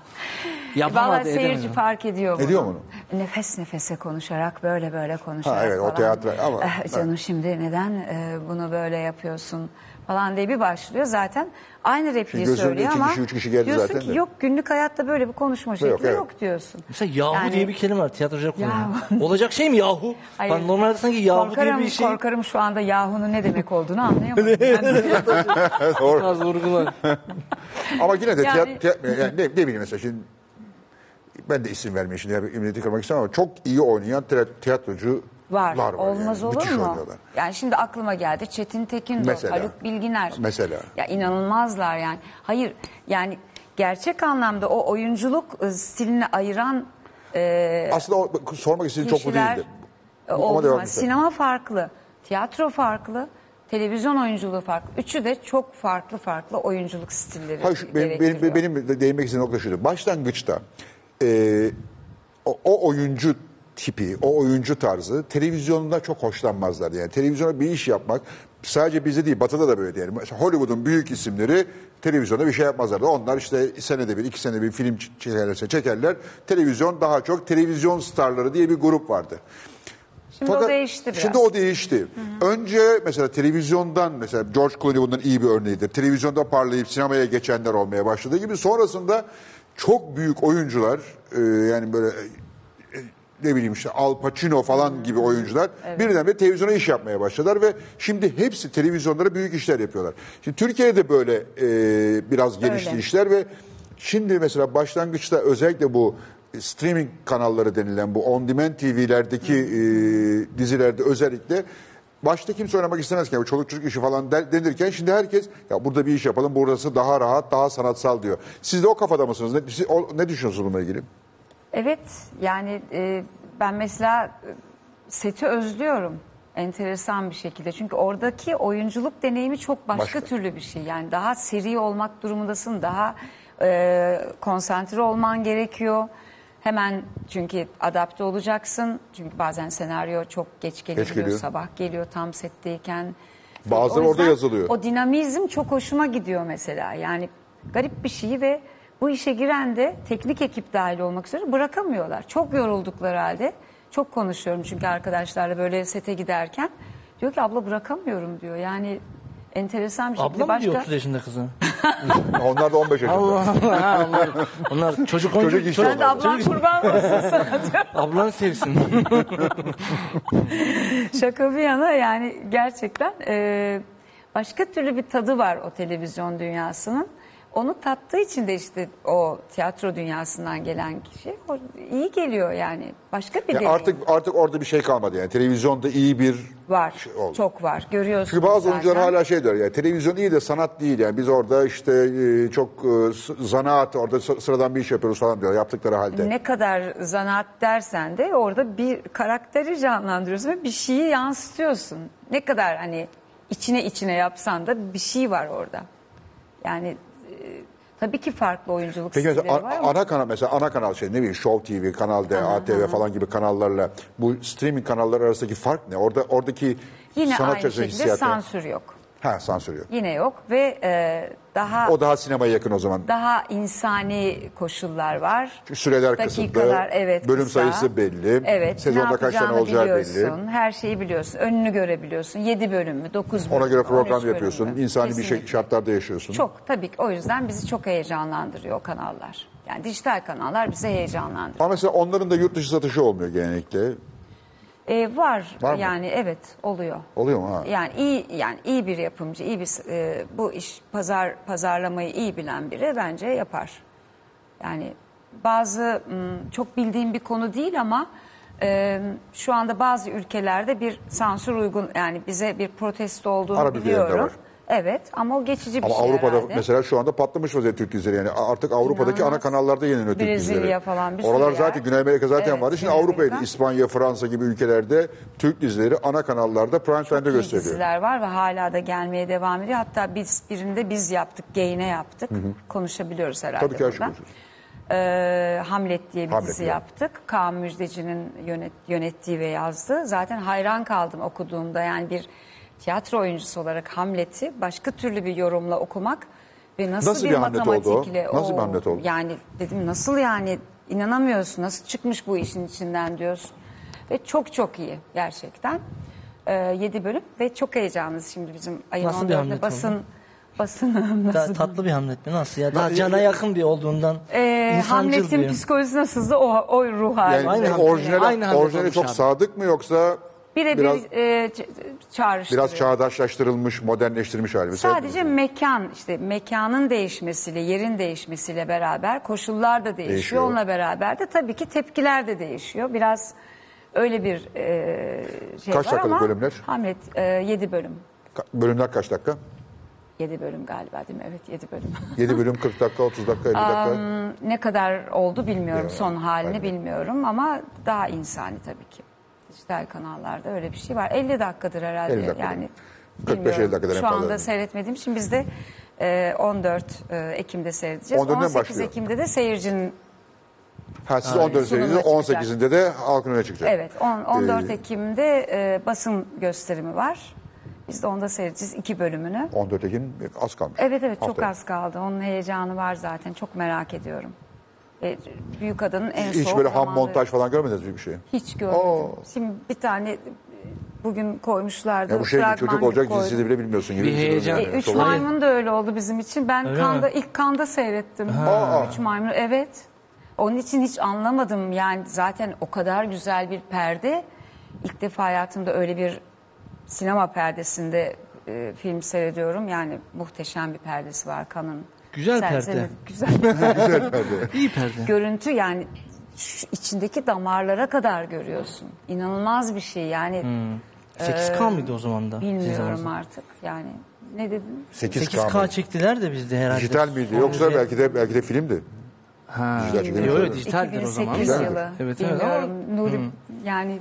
Speaker 3: Vallahi
Speaker 2: Yapamadı
Speaker 3: seyirci
Speaker 2: edemedi.
Speaker 3: fark ediyor bunu.
Speaker 1: Ediyor mu
Speaker 3: Nefes nefese konuşarak böyle böyle konuşarak
Speaker 1: Ha, evet, o
Speaker 3: falan.
Speaker 1: tiyatro ama-
Speaker 3: Eh, canım şimdi neden eh, bunu böyle yapıyorsun falan diye bir başlıyor zaten. Aynı repliği
Speaker 1: gözümde
Speaker 3: söylüyor
Speaker 1: iki
Speaker 3: ama
Speaker 1: kişi, üç kişi geldi
Speaker 3: diyorsun
Speaker 1: zaten
Speaker 3: ki
Speaker 1: de.
Speaker 3: yok günlük hayatta böyle bir konuşma şekli yok,
Speaker 1: evet.
Speaker 3: diyorsun.
Speaker 2: Mesela yahu
Speaker 3: Yani-
Speaker 2: diye bir kelime var tiyatrocular kullanıyor.
Speaker 3: Yahu.
Speaker 2: Olacak şey mi yahu?
Speaker 3: Hayır.
Speaker 2: Ben normalde sanki yahu
Speaker 3: korkarım,
Speaker 2: diye bir şey
Speaker 3: korkarım şu anda yahunun ne demek olduğunu anlayamadım.
Speaker 2: [laughs]
Speaker 3: Yani-
Speaker 1: Doğru.
Speaker 2: biraz
Speaker 3: [laughs]
Speaker 2: vurgular.
Speaker 1: Ama yine de
Speaker 3: Yani-
Speaker 1: tiyat- tiyat- yani ne, ne bileyim mesela şimdi ben de isim vermeyeyim şimdi yani ümidiyeti kırmak istemem ama çok iyi oynayan tiyat- tiyatrocular
Speaker 3: Var.
Speaker 1: var
Speaker 3: Olmaz
Speaker 1: yani.
Speaker 3: olur
Speaker 1: Müthiş
Speaker 3: mu?
Speaker 1: oynuyorlar.
Speaker 3: Yani şimdi aklıma geldi Çetin Tekindor,
Speaker 1: Mesela.
Speaker 3: Haluk Bilginer.
Speaker 1: Mesela.
Speaker 3: Ya inanılmazlar yani. Hayır yani gerçek anlamda o oyunculuk e, stilini ayıran ıı,
Speaker 1: Aslında o, sormak istediğim çok bu
Speaker 3: Ee, kişiler
Speaker 1: değildi.
Speaker 3: e,
Speaker 1: Ama
Speaker 3: oldu.
Speaker 1: devam
Speaker 3: mu?
Speaker 1: edelim.
Speaker 3: Sinema farklı, tiyatro farklı, televizyon oyunculuğu farklı. Üçü de çok farklı farklı oyunculuk stilleri
Speaker 1: Hayır, şu- benim,
Speaker 3: gerektiriyor.
Speaker 1: benim, benim de değinmek istediğim nokta şuydu. Başlangıçta e, o, o oyuncu tipi, o oyuncu tarzı televizyonda çok hoşlanmazlar. Yani televizyona bir iş yapmak sadece bizde değil batıda da böyle diyelim. Mesela Hollywood'un büyük isimleri televizyonda bir şey yapmazlar. Onlar işte senede bir, iki senede bir film ç- çekerlerse çekerler. Televizyon daha çok televizyon starları diye bir grup vardı.
Speaker 3: Şimdi o değişti biraz.
Speaker 1: Şimdi o değişti. Önce mesela televizyondan mesela George Clooney bundan iyi bir örneğidir. Televizyonda parlayıp sinemaya geçenler olmaya başladığı gibi sonrasında çok büyük oyuncular e, yani böyle e, ne bileyim işte Al Pacino falan gibi oyuncular birdenbire televizyona iş yapmaya başladılar ve şimdi hepsi televizyonlara büyük işler yapıyorlar. Şimdi Türkiye'de böyle e, biraz gelişti
Speaker 3: Öyle.
Speaker 1: işler ve şimdi mesela başlangıçta özellikle bu streaming kanalları denilen bu on demand TV'lerdeki e, dizilerde özellikle başta kimse oynamak istemezken bu çoluk çocuk işi falan der- denirken şimdi herkes ya burada bir iş yapalım burası daha rahat daha sanatsal diyor. Siz de o kafada mısınız? Ne, siz- o- ne düşünüyorsunuz bununla ilgili?
Speaker 3: Evet yani e, ben mesela e, seti özlüyorum enteresan bir şekilde. Çünkü oradaki oyunculuk deneyimi çok başka,
Speaker 1: Başka.
Speaker 3: türlü bir şey. Yani daha seri olmak durumundasın, daha e, konsantre olman gerekiyor. Hemen çünkü adapte olacaksın. Çünkü bazen senaryo çok geç gelebiliyor,
Speaker 1: geliyor.
Speaker 3: sabah geliyor tam setteyken.
Speaker 1: Bazıları
Speaker 3: O
Speaker 1: orada
Speaker 3: yüzden
Speaker 1: yazılıyor.
Speaker 3: O dinamizm çok hoşuma gidiyor mesela. Yani garip bir şey ve bu işe giren de teknik ekip dahil olmak üzere bırakamıyorlar. Çok yoruldukları halde. Çok konuşuyorum çünkü arkadaşlarla böyle sete giderken. Diyor ki abla bırakamıyorum diyor. Yani enteresan bir şekilde
Speaker 2: Ablam mı
Speaker 3: başka...
Speaker 2: diyor 30
Speaker 1: [laughs]
Speaker 2: yaşında kızı?
Speaker 1: Onlar da 15 yaşında.
Speaker 2: Allah Allah. Onlar, onlar çocuk oyuncu.
Speaker 1: işi
Speaker 2: çocuk-
Speaker 1: onlar.
Speaker 3: Ben de ablam
Speaker 2: çocuk-
Speaker 3: kurban olsun sana diyor.
Speaker 2: Ablan sevsin.
Speaker 3: [laughs] Şaka bir yana yani gerçekten e, başka türlü bir tadı var o televizyon dünyasının. Onu tattığı için de işte o tiyatro dünyasından gelen kişi o iyi geliyor yani. Başka bir
Speaker 1: Yani
Speaker 3: deneyim
Speaker 1: artık artık orada bir şey kalmadı yani televizyonda iyi bir
Speaker 3: var.
Speaker 1: şey oldu.
Speaker 3: çok var. Görüyorsunuz
Speaker 1: Çünkü bazı
Speaker 3: zaten.
Speaker 1: oyuncular hala şey diyor ya televizyon iyi de sanat değil yani biz orada işte e, çok e, s- zanaat orada s- sıradan bir iş yapıyoruz falan diyor yaptıkları halde.
Speaker 3: Ne kadar zanaat dersen de orada bir karakteri canlandırıyorsun ve bir şeyi yansıtıyorsun. Ne kadar hani içine içine yapsan da bir şey var orada. Yani e, tabii ki farklı oyunculuk
Speaker 1: Peki mesela
Speaker 3: stilleri
Speaker 1: a-
Speaker 3: var ama-
Speaker 1: ana kanal mesela ana kanal şey ne bileyim Show TV, Kanal D, ATV falan gibi kanallarla bu streaming kanalları arasındaki fark ne? Orada oradaki
Speaker 3: Yine
Speaker 1: sanat
Speaker 3: aynı
Speaker 1: çalışması
Speaker 3: şekilde
Speaker 1: hissiyatı-
Speaker 3: sansür yok.
Speaker 1: Ha sansür yok.
Speaker 3: Yine yok ve e, daha
Speaker 1: O daha sinemaya yakın o zaman.
Speaker 3: daha insani koşullar var.
Speaker 1: Çünkü süreler
Speaker 3: Dakikalar
Speaker 1: kısıtlı.
Speaker 3: evet.
Speaker 1: Bölüm
Speaker 3: kısa.
Speaker 1: sayısı belli.
Speaker 3: Evet.
Speaker 1: Sezonda
Speaker 3: ne
Speaker 1: kaç tane
Speaker 3: yapacağını
Speaker 1: olacağı belli.
Speaker 3: biliyorsun, Her şeyi biliyorsun. Önünü görebiliyorsun. 7 bölüm mü, 9 bölüm
Speaker 1: Ona
Speaker 3: mü,
Speaker 1: göre
Speaker 3: 13
Speaker 1: program
Speaker 3: bölüm
Speaker 1: yapıyorsun.
Speaker 3: mü?
Speaker 1: İnsani bir şey
Speaker 3: Kesinlikle.
Speaker 1: şartlarda yaşıyorsun.
Speaker 3: Çok tabii ki. O yüzden bizi çok heyecanlandırıyor o kanallar. Yani dijital kanallar bizi heyecanlandırıyor.
Speaker 1: Ama mesela onların da yurt dışı satışı olmuyor genellikle.
Speaker 3: E, var,
Speaker 1: Var mı?
Speaker 3: yani evet oluyor.
Speaker 1: Oluyor mu ha?
Speaker 3: Yani iyi yani iyi bir yapımcı, iyi bir e, bu iş pazar pazarlamayı iyi bilen biri bence yapar. Yani bazı m, çok bildiğim bir konu değil ama e, şu anda bazı ülkelerde bir sansür uygun yani bize bir protesto olduğunu
Speaker 1: Arap ülkelerinde
Speaker 3: biliyorum.
Speaker 1: var.
Speaker 3: Evet ama o geçici bir
Speaker 1: Ama
Speaker 3: şey
Speaker 1: Avrupa'da
Speaker 3: herhalde.
Speaker 1: mesela şu anda patlamış vaziyette Türk dizileri yani artık Avrupa'daki
Speaker 3: İnanılmaz.
Speaker 1: ana kanallarda yeniliyor Türk
Speaker 3: Brezilya
Speaker 1: dizileri.
Speaker 3: falan bir sürü
Speaker 1: Oralar
Speaker 3: yer.
Speaker 1: zaten Güney Amerika zaten
Speaker 3: Evet,
Speaker 1: vardı. Şimdi
Speaker 3: Güney
Speaker 1: Avrupa'ydı.
Speaker 3: Amerika.
Speaker 1: İspanya, Fransa gibi ülkelerde Türk dizileri ana kanallarda prime time'da
Speaker 3: İyi
Speaker 1: gösteriliyor.
Speaker 3: diziler var ve hala da gelmeye devam ediyor. Hatta biz birinde biz yaptık, Gain'e yaptık. Konuşabiliyoruz herhalde.
Speaker 1: Tabii ki her şey
Speaker 3: burada.
Speaker 1: konuşuruz.
Speaker 3: Ee, Hamlet diye bir
Speaker 1: Hamlet,
Speaker 3: dizi
Speaker 1: evet.
Speaker 3: yaptık. Kaan Müjdeci'nin yönet, yönettiği ve yazdığı. Zaten hayran kaldım okuduğumda. Yani bir tiyatro oyuncusu olarak Hamlet'i başka türlü bir yorumla okumak ve nasıl,
Speaker 1: Nasıl
Speaker 3: bir,
Speaker 1: bir Hamlet oldu o?
Speaker 3: matematikle
Speaker 1: Nasıl bir Hamlet oldu?
Speaker 3: Yani dedim nasıl yani inanamıyorsun nasıl çıkmış bu işin içinden diyorsun. Ve çok çok iyi gerçekten. Ee, 7 bölüm ve çok heyecanlıyız şimdi bizim ayın
Speaker 2: Nasıl bir
Speaker 3: 14'ünde
Speaker 2: Hamlet oldu?
Speaker 3: basın basın
Speaker 2: Ta-
Speaker 3: nasıl
Speaker 2: tatlı bir Hamlet mi? Nasıl ya? Daha cana yakın bir olduğundan.
Speaker 3: ee,
Speaker 2: insancıl
Speaker 3: Hamlet'in
Speaker 2: diyor.
Speaker 3: psikolojisi nasıldı o, o ruh hali.
Speaker 1: Yani
Speaker 2: Aynı Hamlet-
Speaker 1: orijinali,
Speaker 2: aynı Hamlet
Speaker 1: orijinali
Speaker 2: olmuş
Speaker 1: çok
Speaker 2: abi.
Speaker 1: sadık mı yoksa
Speaker 3: Birebir
Speaker 1: biraz,
Speaker 3: e, ç- çağrıştırıyor.
Speaker 1: biraz çağdaşlaştırılmış, modernleştirilmiş hali mi?
Speaker 3: Sadece mekan işte mekanın değişmesiyle yerin değişmesiyle beraber koşullar da değişiyor.
Speaker 1: Değişiyor.
Speaker 3: Onunla beraber de tabii ki tepkiler de değişiyor. Biraz öyle bir e, şey
Speaker 1: Kaç
Speaker 3: var
Speaker 1: dakikalık
Speaker 3: ama
Speaker 1: bölümler?
Speaker 3: Hamlet 7 bölüm.
Speaker 1: Ka- Bölümler kaç dakika?
Speaker 3: 7 bölüm galiba değil mi? Evet 7 bölüm.
Speaker 1: 7 bölüm 40 dakika, 30 dakika, 50 dakika.
Speaker 3: ne kadar oldu bilmiyorum
Speaker 1: Yok,
Speaker 3: son halini
Speaker 1: aynen.
Speaker 3: bilmiyorum ama daha insani tabii ki. Dijital kanallarda öyle bir şey var. 50 dakikadır herhalde
Speaker 1: 50 dakikadır.
Speaker 3: yani.
Speaker 1: 45-50
Speaker 3: bilmiyorum.
Speaker 1: dakikadır en
Speaker 3: Şu
Speaker 1: fazla.
Speaker 3: anda seyretmediğim için biz de e, 14 e, Ekim'de seyredeceğiz.
Speaker 1: 14'den
Speaker 3: 18
Speaker 1: başlıyor.
Speaker 3: Ekim'de de seyircinin
Speaker 1: Ha, siz 14
Speaker 3: Sunumuna
Speaker 1: Eylül'de
Speaker 3: çıkacak.
Speaker 1: 18'inde de halkın önüne çıkacak.
Speaker 3: Evet, on- 14
Speaker 1: Ee,
Speaker 3: Ekim'de e, basın gösterimi var. Biz de onda seyredeceğiz iki bölümünü.
Speaker 1: 14 Ekim az kalmış.
Speaker 3: Evet evet çok
Speaker 1: Haftaya.
Speaker 3: az kaldı. Onun heyecanı var zaten. Çok merak ediyorum. E, büyük adanın en
Speaker 1: Hiç
Speaker 3: soğuk
Speaker 1: böyle ham
Speaker 3: zamanları.
Speaker 1: montaj falan görmediniz mi bir şey?
Speaker 3: Hiç görmedim.
Speaker 1: Oo.
Speaker 3: Şimdi bir tane e, bugün koymuşlardı.
Speaker 1: Ya bu şey gibi,
Speaker 3: fragman
Speaker 1: çocuk
Speaker 3: gibi
Speaker 1: olacak
Speaker 3: koydum.
Speaker 1: cinsini bile bilmiyorsun gibi.
Speaker 2: Bir
Speaker 1: bir şey
Speaker 2: heyecan.
Speaker 1: yani.
Speaker 3: E, Üç
Speaker 1: Sonra-
Speaker 2: Hayır.
Speaker 3: maymun da öyle oldu bizim için. Ben
Speaker 2: Öyle
Speaker 3: Kanda
Speaker 2: mi?
Speaker 3: ilk Kanda seyrettim.
Speaker 1: Aa.
Speaker 3: Üç maymun evet. Onun için hiç anlamadım yani zaten o kadar güzel bir perde. İlk defa hayatımda öyle bir sinema perdesinde e, film seyrediyorum. Yani muhteşem bir perdesi var Kan'ın.
Speaker 2: Güzel
Speaker 3: Serseri-
Speaker 2: perde.
Speaker 3: Güzel
Speaker 2: İyi perde.
Speaker 3: görüntü yani şu içindeki damarlara kadar görüyorsun. İnanılmaz bir şey yani
Speaker 2: Hmm. 8K mıydı o zaman da? sizin
Speaker 3: Ee, bilmiyorum
Speaker 2: zamanınızda?
Speaker 3: artık. Yani ne dedin?
Speaker 1: 8K.
Speaker 2: 8K
Speaker 1: mı?
Speaker 2: çektiler de bizde herhalde.
Speaker 1: Dijital miydi? Yoksa belki de belki de filmdi.
Speaker 2: Ha.
Speaker 1: Dijital çekim
Speaker 2: Yok
Speaker 1: yapıyorlar.
Speaker 2: yok dijitaldir o zaman.
Speaker 3: 2008 yılı.
Speaker 2: Evet evet hmm. ama
Speaker 3: bilmiyorum. Nuri yani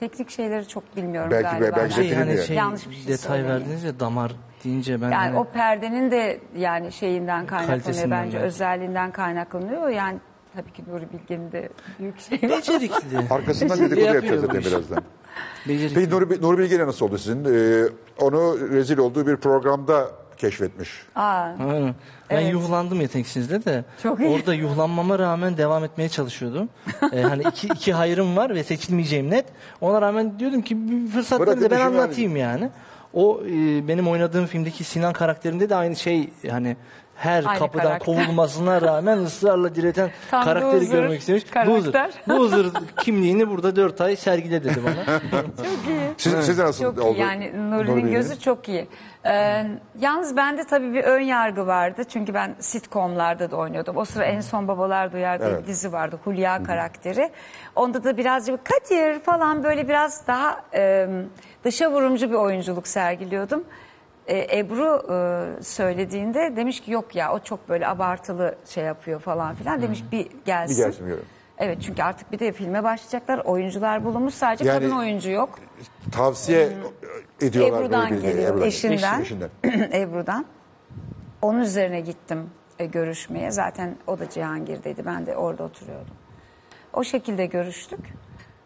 Speaker 3: teknik şeyleri çok bilmiyorum
Speaker 1: Belki-
Speaker 3: galiba.
Speaker 1: belki
Speaker 2: şey
Speaker 1: Çekim
Speaker 2: hani
Speaker 1: yani.
Speaker 2: şey
Speaker 3: Yanlış bir şey
Speaker 2: detay
Speaker 3: söyleyeyim.
Speaker 2: verdiniz ya damar deyince ben
Speaker 3: Yani
Speaker 2: hani-
Speaker 3: o perdenin de yani şeyinden kaynaklanıyor
Speaker 2: Kalitesinden
Speaker 3: bence
Speaker 2: belki.
Speaker 3: özelliğinden kaynaklanıyor. Yani tabii ki Nuri Bilge'nin de büyük
Speaker 2: [laughs]
Speaker 3: şeyi var.
Speaker 2: becerikli.
Speaker 1: Arkasından dedikodu yapacağız
Speaker 2: Yapıyor bu
Speaker 1: zaten
Speaker 2: işi.
Speaker 1: birazdan. [laughs]
Speaker 2: becerikli.
Speaker 1: Peki Nuri, Nuri Bilge ile nasıl oldu sizin? Ee, onu rezil olduğu bir programda keşfetmiş.
Speaker 3: Aa,
Speaker 2: Aynen. Ben yuhlandım yeteneksizde de.
Speaker 3: Çok iyi.
Speaker 2: Orada yuhlanmama rağmen devam etmeye
Speaker 3: [laughs]
Speaker 2: çalışıyordum. Ee, hani iki, iki hayrım var ve seçilmeyeceğim net. Ona rağmen diyordum ki bir fırsat
Speaker 1: Bırakın
Speaker 2: verin de ben
Speaker 1: işimi
Speaker 2: anlatayım yani. O e, benim oynadığım filmdeki Sinan karakterinde de aynı şey hani her
Speaker 3: Aynı
Speaker 2: kapıdan
Speaker 3: karakter.
Speaker 2: kovulmasına rağmen ısrarla direten
Speaker 3: [laughs] Tam
Speaker 2: karakteri
Speaker 3: loser
Speaker 2: görmek istemiş.
Speaker 3: karakter. [laughs]
Speaker 2: Loser. Loser kimliğini burada 4 ay sergile dedi bana.
Speaker 1: Siz, siz de nasıl
Speaker 3: Çok
Speaker 1: oldu?
Speaker 3: iyi
Speaker 1: Nuri
Speaker 3: yani Nuri'nin
Speaker 1: Bilge'nin?
Speaker 3: gözü çok iyi. Ee, yalnız bende tabii bir ön yargı vardı. Çünkü ben sitcomlarda da oynuyordum. O sıra En Son Babalar Duyar diye
Speaker 1: Evet.
Speaker 3: bir dizi vardı. Hulya karakteri. Onda da birazcık Kadir falan böyle biraz daha e, dışa vurumcu bir oyunculuk sergiliyordum. E, Ebru e, söylediğinde demiş ki yok ya o çok böyle abartılı şey yapıyor falan filan. Demiş bir gelsin.
Speaker 1: Bir gelsin, evet.
Speaker 3: Evet çünkü artık bir de filme başlayacaklar. Oyuncular bulunmuş sadece
Speaker 1: Yani-
Speaker 3: kadın oyuncu yok.
Speaker 1: Tavsiye ediyorlar
Speaker 3: Ebru'dan
Speaker 1: Nuri Bilge'ye.
Speaker 3: geliyor,
Speaker 1: Ebru'dan.
Speaker 3: eşinden.
Speaker 1: Eşinden.
Speaker 3: [clears throat] Ebru'dan. Onun üzerine gittim e, görüşmeye. Zaten o da Cihangir'deydi. Ben de orada oturuyordum. O şekilde görüştük.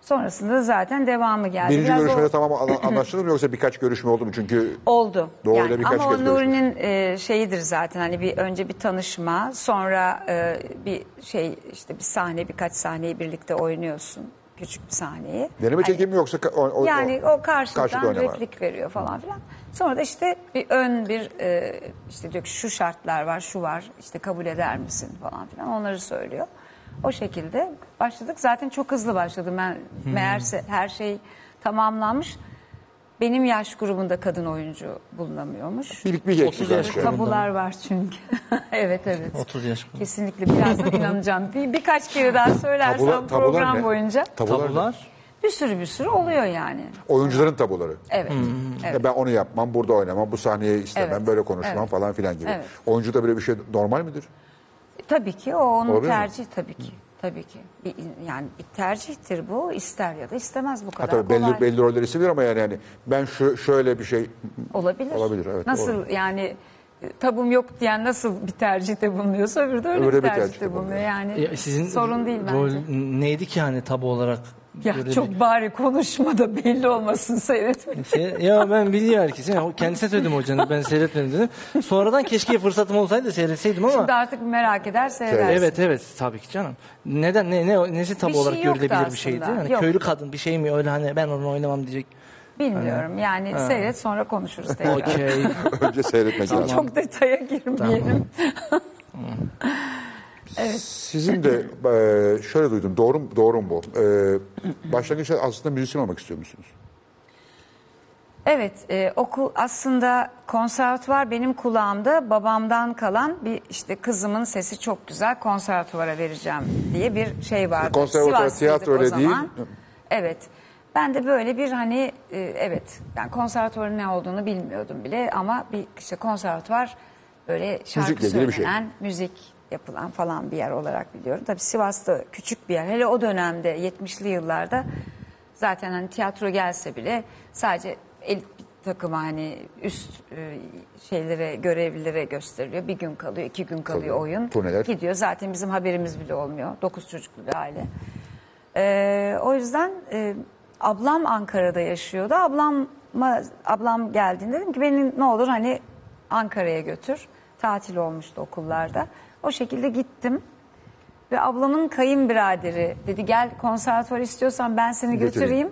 Speaker 3: Sonrasında zaten devamı geldi.
Speaker 1: Birinci
Speaker 3: Biraz o-
Speaker 1: görüşmede tamam ana- anlaştınız mı yoksa birkaç görüşme oldu mu? Çünkü
Speaker 3: Oldu.
Speaker 1: Doğru,
Speaker 3: Yani
Speaker 1: öyle birkaç
Speaker 3: ama o
Speaker 1: kez görüşmüş.
Speaker 3: Nuri'nin e, şeyidir zaten hani bir önce bir tanışma sonra e, bir şey işte bir sahne birkaç sahneyi birlikte oynuyorsun. Küçük bir sahneyi.
Speaker 1: deneme
Speaker 3: Hani-
Speaker 1: çekimi mi yoksa ka- o, o,
Speaker 3: yani o karşıdan
Speaker 1: karşılıklı oynama.
Speaker 3: replik veriyor falan filan. Sonra da işte bir ön bir e, işte diyor ki şu şartlar var, şu var. işte kabul eder misin falan filan onları söylüyor. O şekilde başladık. Zaten çok hızlı başladım ben. Meğerse her şey tamamlanmış. Benim yaş grubunda kadın oyuncu bulunamıyormuş.
Speaker 1: Bir, bir geçti
Speaker 2: 30
Speaker 1: zaten.
Speaker 2: yaş
Speaker 3: Tabular var çünkü. [laughs] evet evet.
Speaker 2: 30 yaş. mı?
Speaker 3: Kesinlikle birazdan inanacağım. Bir, birkaç kere daha söylersem
Speaker 1: Tabula- tabular
Speaker 3: program
Speaker 1: ne?
Speaker 3: boyunca
Speaker 1: Tabular.
Speaker 2: Tabular.
Speaker 3: bir sürü bir sürü oluyor yani.
Speaker 1: Oyuncuların tabuları.
Speaker 3: Evet. evet.
Speaker 1: Ya Ben onu yapmam, burada oynamam, bu sahneyi istemem,
Speaker 3: Evet.
Speaker 1: böyle konuşmam
Speaker 3: Evet.
Speaker 1: falan filan gibi.
Speaker 3: Evet.
Speaker 1: Oyuncuda böyle bir şey normal midir?
Speaker 3: Tabii ki o onun
Speaker 1: Olabilir mi?
Speaker 3: tercihi tabii ki. Tabii ki. Bir, yani bir tercihtir bu. ister ya da istemez bu
Speaker 1: Ha,
Speaker 3: kadar
Speaker 1: tabii
Speaker 3: kolay.
Speaker 1: belli, belli rolleri seviyor ama yani, yani ben şu, şöyle bir şey...
Speaker 3: Olabilir.
Speaker 1: Olabilir, evet,
Speaker 3: Nasıl
Speaker 1: doğru.
Speaker 3: yani e, tabum yok diyen nasıl bir tercihte bulunuyorsa öbürü de öyle, bir tercihte, bulunuyor. Yani
Speaker 2: Ya sizin
Speaker 3: sorun değil bence.
Speaker 2: rol neydi ki hani tabu olarak?
Speaker 3: Ya
Speaker 2: görebil-
Speaker 3: çok bari konuşma da belli olmasın seyretmek.
Speaker 2: Se- ya ben biliyor herkes. Ya o kendisine söyledim hocanın ben seyretmedim dedim. Sonradan keşke fırsatım olsaydı da seyretseydim ama.
Speaker 3: Şimdi artık merak eder seyredersin.
Speaker 2: Evet evet tabii ki canım. Neden ne ne nesi tabu
Speaker 3: Bir şey
Speaker 2: olarak
Speaker 3: yoktu
Speaker 2: görülebilir bir şeydi?
Speaker 3: aslında,
Speaker 2: Hani
Speaker 3: yok.
Speaker 2: köylü kadın bir şey mi öyle hani ben onu oynamam diyecek.
Speaker 3: Bilmiyorum yani seyret sonra konuşuruz
Speaker 2: [laughs]
Speaker 3: tekrar. [laughs]
Speaker 2: Okey.
Speaker 1: [laughs] Önce seyretmek lazım.
Speaker 3: Çok detaya girmeyelim.
Speaker 1: Sizin de e, şöyle duydum, doğru, mu- doğru mu bu? E, başlangıçta aslında müzisyen olmak istiyor musunuz?
Speaker 3: Evet, e, okul aslında konservatuvar benim kulağımda babamdan kalan bir işte kızımın sesi çok güzel konservatuvara vereceğim diye bir şey vardı.
Speaker 1: Konservatuvar,
Speaker 3: Sivaslıydık
Speaker 1: tiyatro öyle
Speaker 3: o zaman.
Speaker 1: değil.
Speaker 3: Evet. Ben de böyle bir hani e, evet ben konservatuvarın ne olduğunu bilmiyordum bile ama bir işte konservatuvar böyle şarkı
Speaker 1: Müzikle ilgili
Speaker 3: söylenen,
Speaker 1: bir şey.
Speaker 3: müzik yapılan falan bir yer olarak biliyorum. Tabii Sivas'ta küçük bir yer. Hele o dönemde 70'li yıllarda zaten hani tiyatro gelse bile sadece el, takıma hani üst e, şeylere görevlilere gösteriliyor. Bir gün kalıyor, iki gün kalıyor
Speaker 1: Tabii.
Speaker 3: oyun.
Speaker 1: Turneler.
Speaker 3: Gidiyor. Zaten bizim haberimiz bile olmuyor. Dokuz çocuklu bir aile. Ee, o yüzden e, ablam Ankara'da yaşıyordu. Ablama, ablam geldiğinde dedim ki beni ne olur hani Ankara'ya götür. Tatil olmuştu okullarda. O şekilde gittim. Ve ablamın kayınbiraderi dedi gel konservatuvar istiyorsan ben seni
Speaker 1: Götüreyim.
Speaker 3: götüreyim.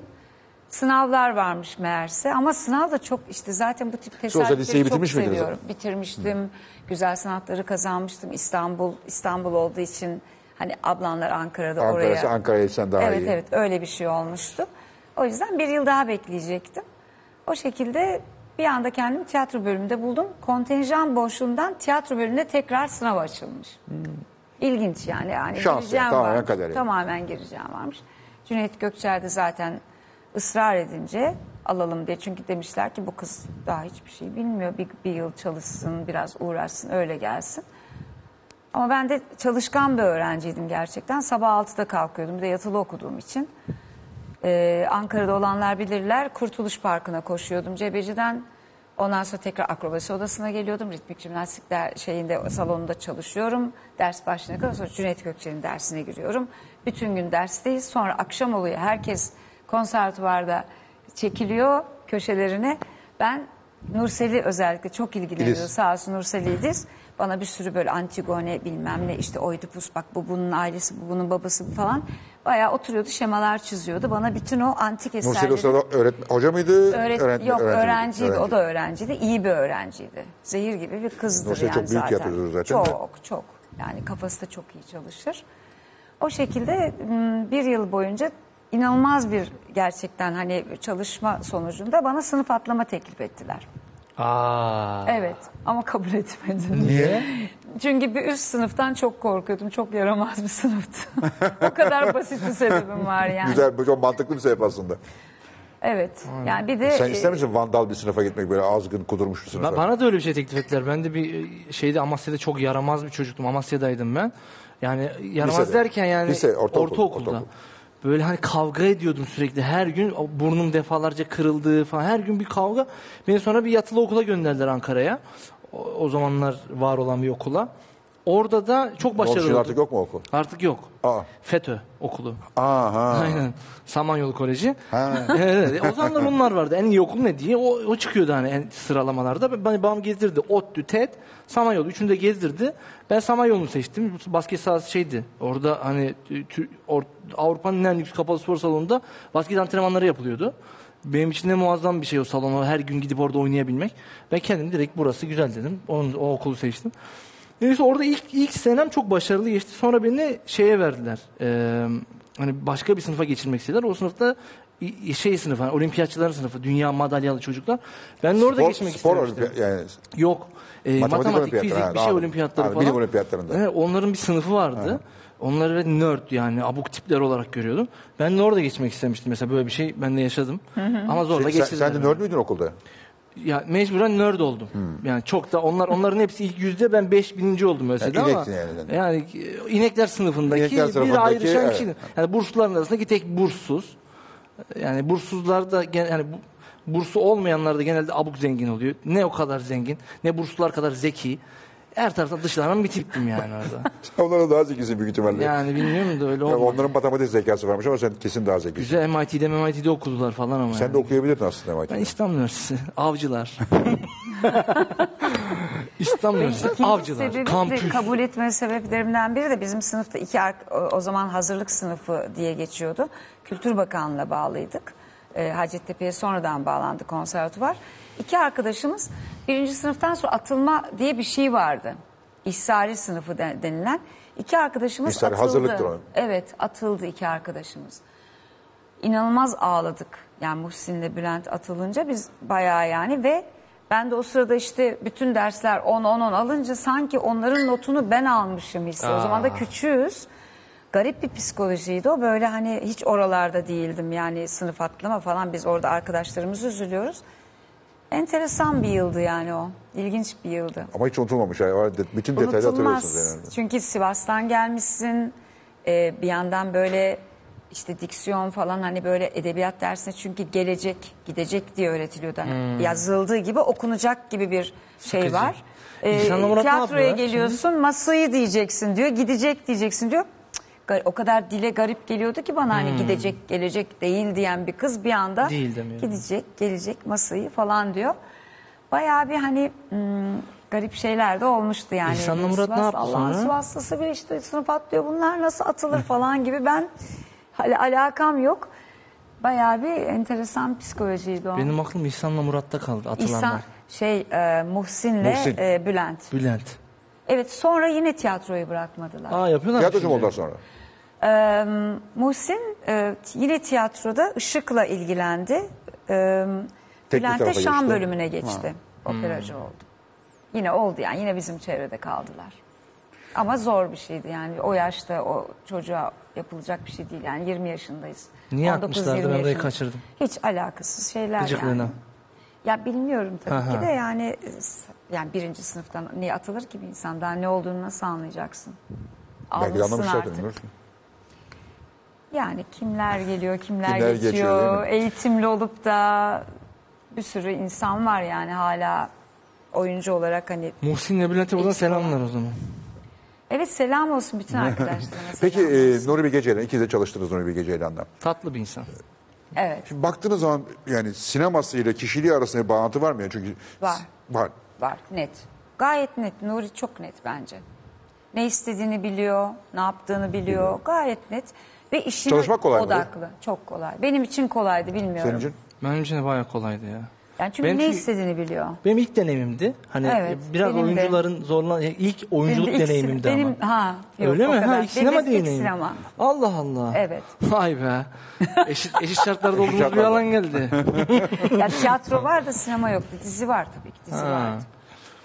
Speaker 3: Sınavlar varmış meğerse ama sınav da çok işte zaten bu tip tesadüfleri
Speaker 4: liseyi
Speaker 3: çok
Speaker 4: bitirmiş miydiniz
Speaker 3: seviyorum. Bitirmiştim. Güzel sanatları kazanmıştım. İstanbul İstanbul olduğu için hani ablanlar Ankara'da
Speaker 1: Ankara'sı
Speaker 3: oraya.
Speaker 1: Ankara'ya sen daha
Speaker 3: evet
Speaker 1: iyi.
Speaker 3: evet öyle bir şey olmuştu. O yüzden bir yıl daha bekleyecektim. O şekilde bir anda kendimi tiyatro bölümünde buldum. Kontenjan boşluğundan tiyatro bölümünde tekrar sınav açılmış. İlginç yani. yani
Speaker 1: Şans
Speaker 3: gireceğim
Speaker 1: yani, tamamen
Speaker 3: var-
Speaker 1: kader yani.
Speaker 3: Tamamen gireceğim varmış. Cüneyt Gökçer de zaten ısrar edince alalım diye. Çünkü demişler ki bu kız daha hiçbir şey bilmiyor. Bir, bir yıl çalışsın, biraz uğraşsın, öyle gelsin. Ama ben de çalışkan bir öğrenciydim gerçekten. Sabah 6'da kalkıyordum. Bir de yatılı okuduğum için. Ee, Ankara'da olanlar bilirler. Kurtuluş Parkı'na koşuyordum Cebeci'den. Ondan sonra tekrar akrobasi odasına geliyordum. Ritmik jimnastik der, şeyinde salonunda çalışıyorum. Ders başına kadar sonra Cüneyt Gökçe'nin dersine giriyorum. Bütün gün dersteyiz. Sonra akşam oluyor. Herkes konservatuvarda çekiliyor köşelerine. Ben Nurseli özellikle çok ilgileniyor.
Speaker 1: İdiz.
Speaker 3: Sağ olsun Nurseli İdiz. Bana bir sürü böyle Antigone bilmem ne işte Oedipus bak bu bunun ailesi bu bunun babası bu falan. Bayağı oturuyordu şemalar çiziyordu. Bana bütün o antik
Speaker 1: Nursel o
Speaker 3: eserleri...
Speaker 1: sırada öğretmen, hoca mıydı?
Speaker 3: Öğret-
Speaker 1: öğretmen- öğrenci
Speaker 3: yok
Speaker 1: miydi?
Speaker 3: öğrenciydi. O
Speaker 1: Öğrenci.
Speaker 3: da öğrenciydi. İyi bir öğrenciydi. Zehir gibi bir kızdı
Speaker 1: Nursel
Speaker 3: yani
Speaker 1: çok büyük
Speaker 3: zaten.
Speaker 1: tiyatrocu zaten de.
Speaker 3: Çok çok. Yani kafası da çok iyi çalışır. O şekilde m, bir yıl boyunca inanılmaz bir gerçekten hani çalışma sonucunda bana sınıf atlama teklif ettiler.
Speaker 4: Aa.
Speaker 3: Evet ama kabul etmedim. Niye? Çünkü bir üst sınıftan çok korkuyordum. Çok yaramaz bir sınıftı. [laughs] o kadar basit bir sebebim var yani.
Speaker 1: Güzel, bu çok mantıklı bir sebep aslında.
Speaker 3: Evet. Yani bir de
Speaker 1: Sen
Speaker 3: e,
Speaker 1: ister misin vandal bir sınıfa gitmek böyle azgın kudurmuş bir sınıfa?
Speaker 2: Ba- Bana da öyle bir şey teklif ettiler. Ben de bir e, şeyde Amasya'da çok yaramaz bir çocuktum. Amasya'daydım ben. Yani yaramaz
Speaker 1: Lisede.
Speaker 2: derken yani
Speaker 1: Lise, ortaokul,
Speaker 2: ortaokulda.
Speaker 1: ortaokul.
Speaker 2: Böyle hani kavga ediyordum sürekli. Her gün o burnum defalarca kırıldı falan. Her gün bir kavga. Beni sonra bir yatılı okula gönderdiler Ankara'ya. O, o zamanlar var olan bir okula. Orada da çok başarılı
Speaker 1: Normal
Speaker 2: oldum.
Speaker 1: artık yok mu okul?
Speaker 2: Artık yok.
Speaker 1: Aa.
Speaker 2: FETÖ okulu.
Speaker 1: Aha.
Speaker 2: Aynen. Samanyolu Koleji. [laughs] evet, E, o zamanlar onlar vardı. En iyi okul ne diye. O, o çıkıyordu hani en sıralamalarda. Beni babam gezdirdi. ODTÜ, TED, Samanyolu. Üçünü de gezdirdi. Ben Samanyolu'nu seçtim. Basket sahası şeydi. Orada hani tü- or- Avrupa'nın en lüks kapalı spor salonunda basket antrenmanları yapılıyordu. Benim için de muazzam bir şey o salon. O Her gün gidip orada oynayabilmek. Ben kendim direkt burası güzel dedim. Onun, o okulu seçtim. Neyse orada ilk ilk senem çok başarılı geçti. Sonra beni şeye verdiler. Ee, hani başka bir sınıfa geçirmek istediler. O sınıfta i- şey sınıfı, hani olimpiyatçıların sınıfı, dünya madalyalı çocuklar. Ben de orada geçmek
Speaker 1: spor
Speaker 2: istemiştim.
Speaker 1: olimpi- yani
Speaker 2: Yok. Ee,
Speaker 1: Matematik
Speaker 2: matematik,
Speaker 1: olimpiyatları,
Speaker 2: fizik
Speaker 1: ha,
Speaker 2: bir şey
Speaker 1: anladım.
Speaker 2: olimpiyatları
Speaker 1: Anladım,
Speaker 2: falan.
Speaker 1: bilim olimpiyatlarında.
Speaker 2: Evet, onların bir sınıfı vardı. Onları ve nerd yani abuk tipler olarak görüyordum. Ben de orada geçmek istemiştim mesela böyle bir şey ben de yaşadım. Ama zorla
Speaker 1: Şey, sen,
Speaker 2: geçirdiler.
Speaker 1: sen de
Speaker 2: beni.
Speaker 1: nerd müydün okulda?
Speaker 2: Ya mecburen nerd oldum.
Speaker 1: Hmm.
Speaker 2: Yani çok da onlar onların hepsi ilk yüzde ben 5000. oldum mesela
Speaker 1: Yani
Speaker 2: ama.
Speaker 1: ineksin yani sen de.
Speaker 2: Yani e, inekler sınıfındaki
Speaker 1: İnekler sınıfındaki,
Speaker 2: bir ayrışan
Speaker 1: evet.
Speaker 2: kişiydim. Yani bursluların arasındaki tek burssuz. Yani burssuzlar da gen- yani bu- bursu olmayanlar da genelde abuk zengin oluyor. Ne o kadar zengin, ne burslular kadar zeki. Her taraftan dışlanan bir tiptim yani
Speaker 1: [laughs]
Speaker 2: orada.
Speaker 1: Onlara daha zekisin büyük ihtimalle.
Speaker 2: yani bilmiyorum da öyle
Speaker 1: Ya
Speaker 2: olmadı.
Speaker 1: Onların matematik zekası varmış ama sen kesin daha zekisin.
Speaker 2: Güzel MIT'de MIT'de okudular falan ama.
Speaker 1: Sen
Speaker 2: yani.
Speaker 1: de okuyabilirdin aslında
Speaker 2: Ben
Speaker 1: MIT'de.
Speaker 2: İstanbul Üniversitesi, [laughs] avcılar. İstanbul Üniversitesi,
Speaker 3: İkinci
Speaker 2: avcılar,
Speaker 3: sebebi de
Speaker 2: kampüs.
Speaker 3: kabul etme sebeplerimden biri de bizim sınıfta iki ark- o- o zaman hazırlık sınıfı diye geçiyordu. Kültür Bakanlığı'na bağlıydık. E, Hacettepe'ye sonradan bağlandı konservatuvar. İki arkadaşımız birinci sınıftan sonra atılma diye bir şey vardı. İhsari sınıfı de- denilen. İki arkadaşımız
Speaker 1: İhsari,
Speaker 3: atıldı.
Speaker 1: hazırlıktır o.
Speaker 3: Evet atıldı iki arkadaşımız. İnanılmaz ağladık. Yani Muhsin'le Bülent atılınca biz bayağı yani ve ben de o sırada işte bütün dersler 10-10-10 alınca sanki onların notunu ben almışım hissi. O zaman da küçüğüz. Garip bir psikolojiydi o. Böyle hani hiç oralarda değildim yani sınıf atlama falan biz orada arkadaşlarımızı üzülüyoruz. Enteresan bir yıldı yani o. İlginç bir yıldı.
Speaker 1: Ama hiç unutulmamış. Yani. O de- Bütün detayları hatırlıyorsunuz
Speaker 3: Unutulmaz.
Speaker 1: yani.
Speaker 3: Çünkü Sivas'tan gelmişsin. Ee, bir e, yandan böyle işte diksiyon falan hani böyle edebiyat dersine çünkü gelecek gidecek diye öğretiliyordu. Hani Yazıldığı gibi okunacak gibi bir şey
Speaker 2: Hmm. Sıkıcı.
Speaker 3: var. Ee,
Speaker 2: İnsan olarak ne
Speaker 3: tiyatroya
Speaker 2: yapıyor şimdi?
Speaker 3: geliyorsun masayı diyeceksin diyor gidecek diyeceksin diyor. Cık, gar- O kadar dile garip geliyordu ki bana hani gidecek gelecek değil diyen bir kız bir anda
Speaker 2: Hmm. Değil demiyor.
Speaker 3: gidecek gelecek masayı falan diyor. Bayağı bir hani hmm, garip şeyler de olmuştu yani.
Speaker 2: İhsan'la Murat ne
Speaker 3: Su-
Speaker 2: yaptı
Speaker 3: Allah'ın
Speaker 2: sonra?
Speaker 3: su hastası bir işte sınıf atlıyor bunlar nasıl atılır falan gibi ben hala alakam yok. Bayağı bir enteresan psikolojiydi o.
Speaker 2: Benim aklım İhsan'la Murat'ta kaldı atılanlar.
Speaker 3: İhsan şey e, Muhsin'le
Speaker 1: Muhsin.
Speaker 3: e, Bülent.
Speaker 2: Bülent.
Speaker 3: Evet sonra yine tiyatroyu bırakmadılar.
Speaker 2: Aa yapıyorlar. mı
Speaker 1: Tiyatrocu mu
Speaker 2: şimdi?
Speaker 1: ondan sonra?
Speaker 3: Ee, Muhsin e, yine tiyatroda ışıkla ilgilendi. Ee,
Speaker 1: Teknik
Speaker 3: Bülent de
Speaker 1: tarafa
Speaker 3: şan
Speaker 1: geçti.
Speaker 3: bölümüne geçti. Operacı
Speaker 2: Hmm.
Speaker 3: oldu. Yine oldu yani yine bizim çevrede kaldılar. Ama zor bir şeydi yani o yaşta o çocuğa yapılacak bir şey değil yani 20 yaşındayız.
Speaker 2: Niye
Speaker 3: 19,
Speaker 2: atmışlardı?
Speaker 3: 20
Speaker 2: Ben orayı
Speaker 3: yaşındayız.
Speaker 2: kaçırdım.
Speaker 3: Hiç alakasız şeyler
Speaker 2: Gıcıklığına.
Speaker 3: yani. Ya bilmiyorum tabii
Speaker 2: Aha.
Speaker 3: ki de yani s- yani birinci sınıftan niye atılır ki bir insan daha ne olduğunu nasıl anlayacaksın?
Speaker 1: Belki de
Speaker 3: Almışsın
Speaker 1: anlamışlardır.
Speaker 3: artık.
Speaker 1: bilmiyorsun.
Speaker 3: Yani kimler geliyor, kimler,
Speaker 1: Kimler
Speaker 3: geçiyor.
Speaker 1: geçiyor, değil mi?
Speaker 3: Eğitimli olup da bir sürü insan var yani hala oyuncu olarak hani.
Speaker 2: Muhsin'le Bülent'e buradan selamlar o zaman.
Speaker 3: Evet selam
Speaker 1: [laughs]
Speaker 3: olsun bütün arkadaşlarına.
Speaker 1: Peki
Speaker 3: selam
Speaker 1: e,
Speaker 3: olsun.
Speaker 1: Nuri Bilge Ceylan, ikiniz de çalıştınız Nuri Bilge Ceylan'la.
Speaker 2: Tatlı bir insan.
Speaker 3: Evet
Speaker 1: Şimdi baktığınız zaman yani sinemasıyla kişiliği arasında bir bağlantı var mı? Yani çünkü
Speaker 3: Var.
Speaker 1: Var.
Speaker 3: var net. Gayet net. Nuri çok net bence. Ne istediğini biliyor, ne yaptığını biliyor. Gayet net. Ve işine
Speaker 1: Çalışmak kolay mıydı?
Speaker 3: odaklı. Çok kolay. Benim için kolaydı bilmiyorum.
Speaker 1: Senin için?
Speaker 2: Benim için de bayağı kolaydı ya.
Speaker 3: Yani çünkü
Speaker 2: Benim
Speaker 3: ne
Speaker 2: çünkü-
Speaker 3: istediğini biliyor.
Speaker 2: Benim ilk deneyimimdi. Hani
Speaker 3: Evet,
Speaker 2: biraz
Speaker 3: benim de.
Speaker 2: oyuncuların zorlan ilk oyunculuk
Speaker 3: Benim de ilk
Speaker 2: deneyimimdi
Speaker 3: sine-
Speaker 2: ama.
Speaker 3: benim- ha, yok,
Speaker 2: Öyle mi?
Speaker 3: o kadar.
Speaker 2: Ha,
Speaker 3: Benim
Speaker 2: ilk sinema
Speaker 3: ilk
Speaker 2: deneyimi.
Speaker 3: sinema.
Speaker 2: Allah Allah.
Speaker 3: Evet.
Speaker 2: Vay be. Eşit, eşit şartlarda olduğumuz bir
Speaker 1: şartlarda.
Speaker 2: alan geldi.
Speaker 3: [laughs] Ya tiyatro var da sinema yoktu. Dizi var tabii ki. Dizi
Speaker 2: Ha.
Speaker 3: vardı.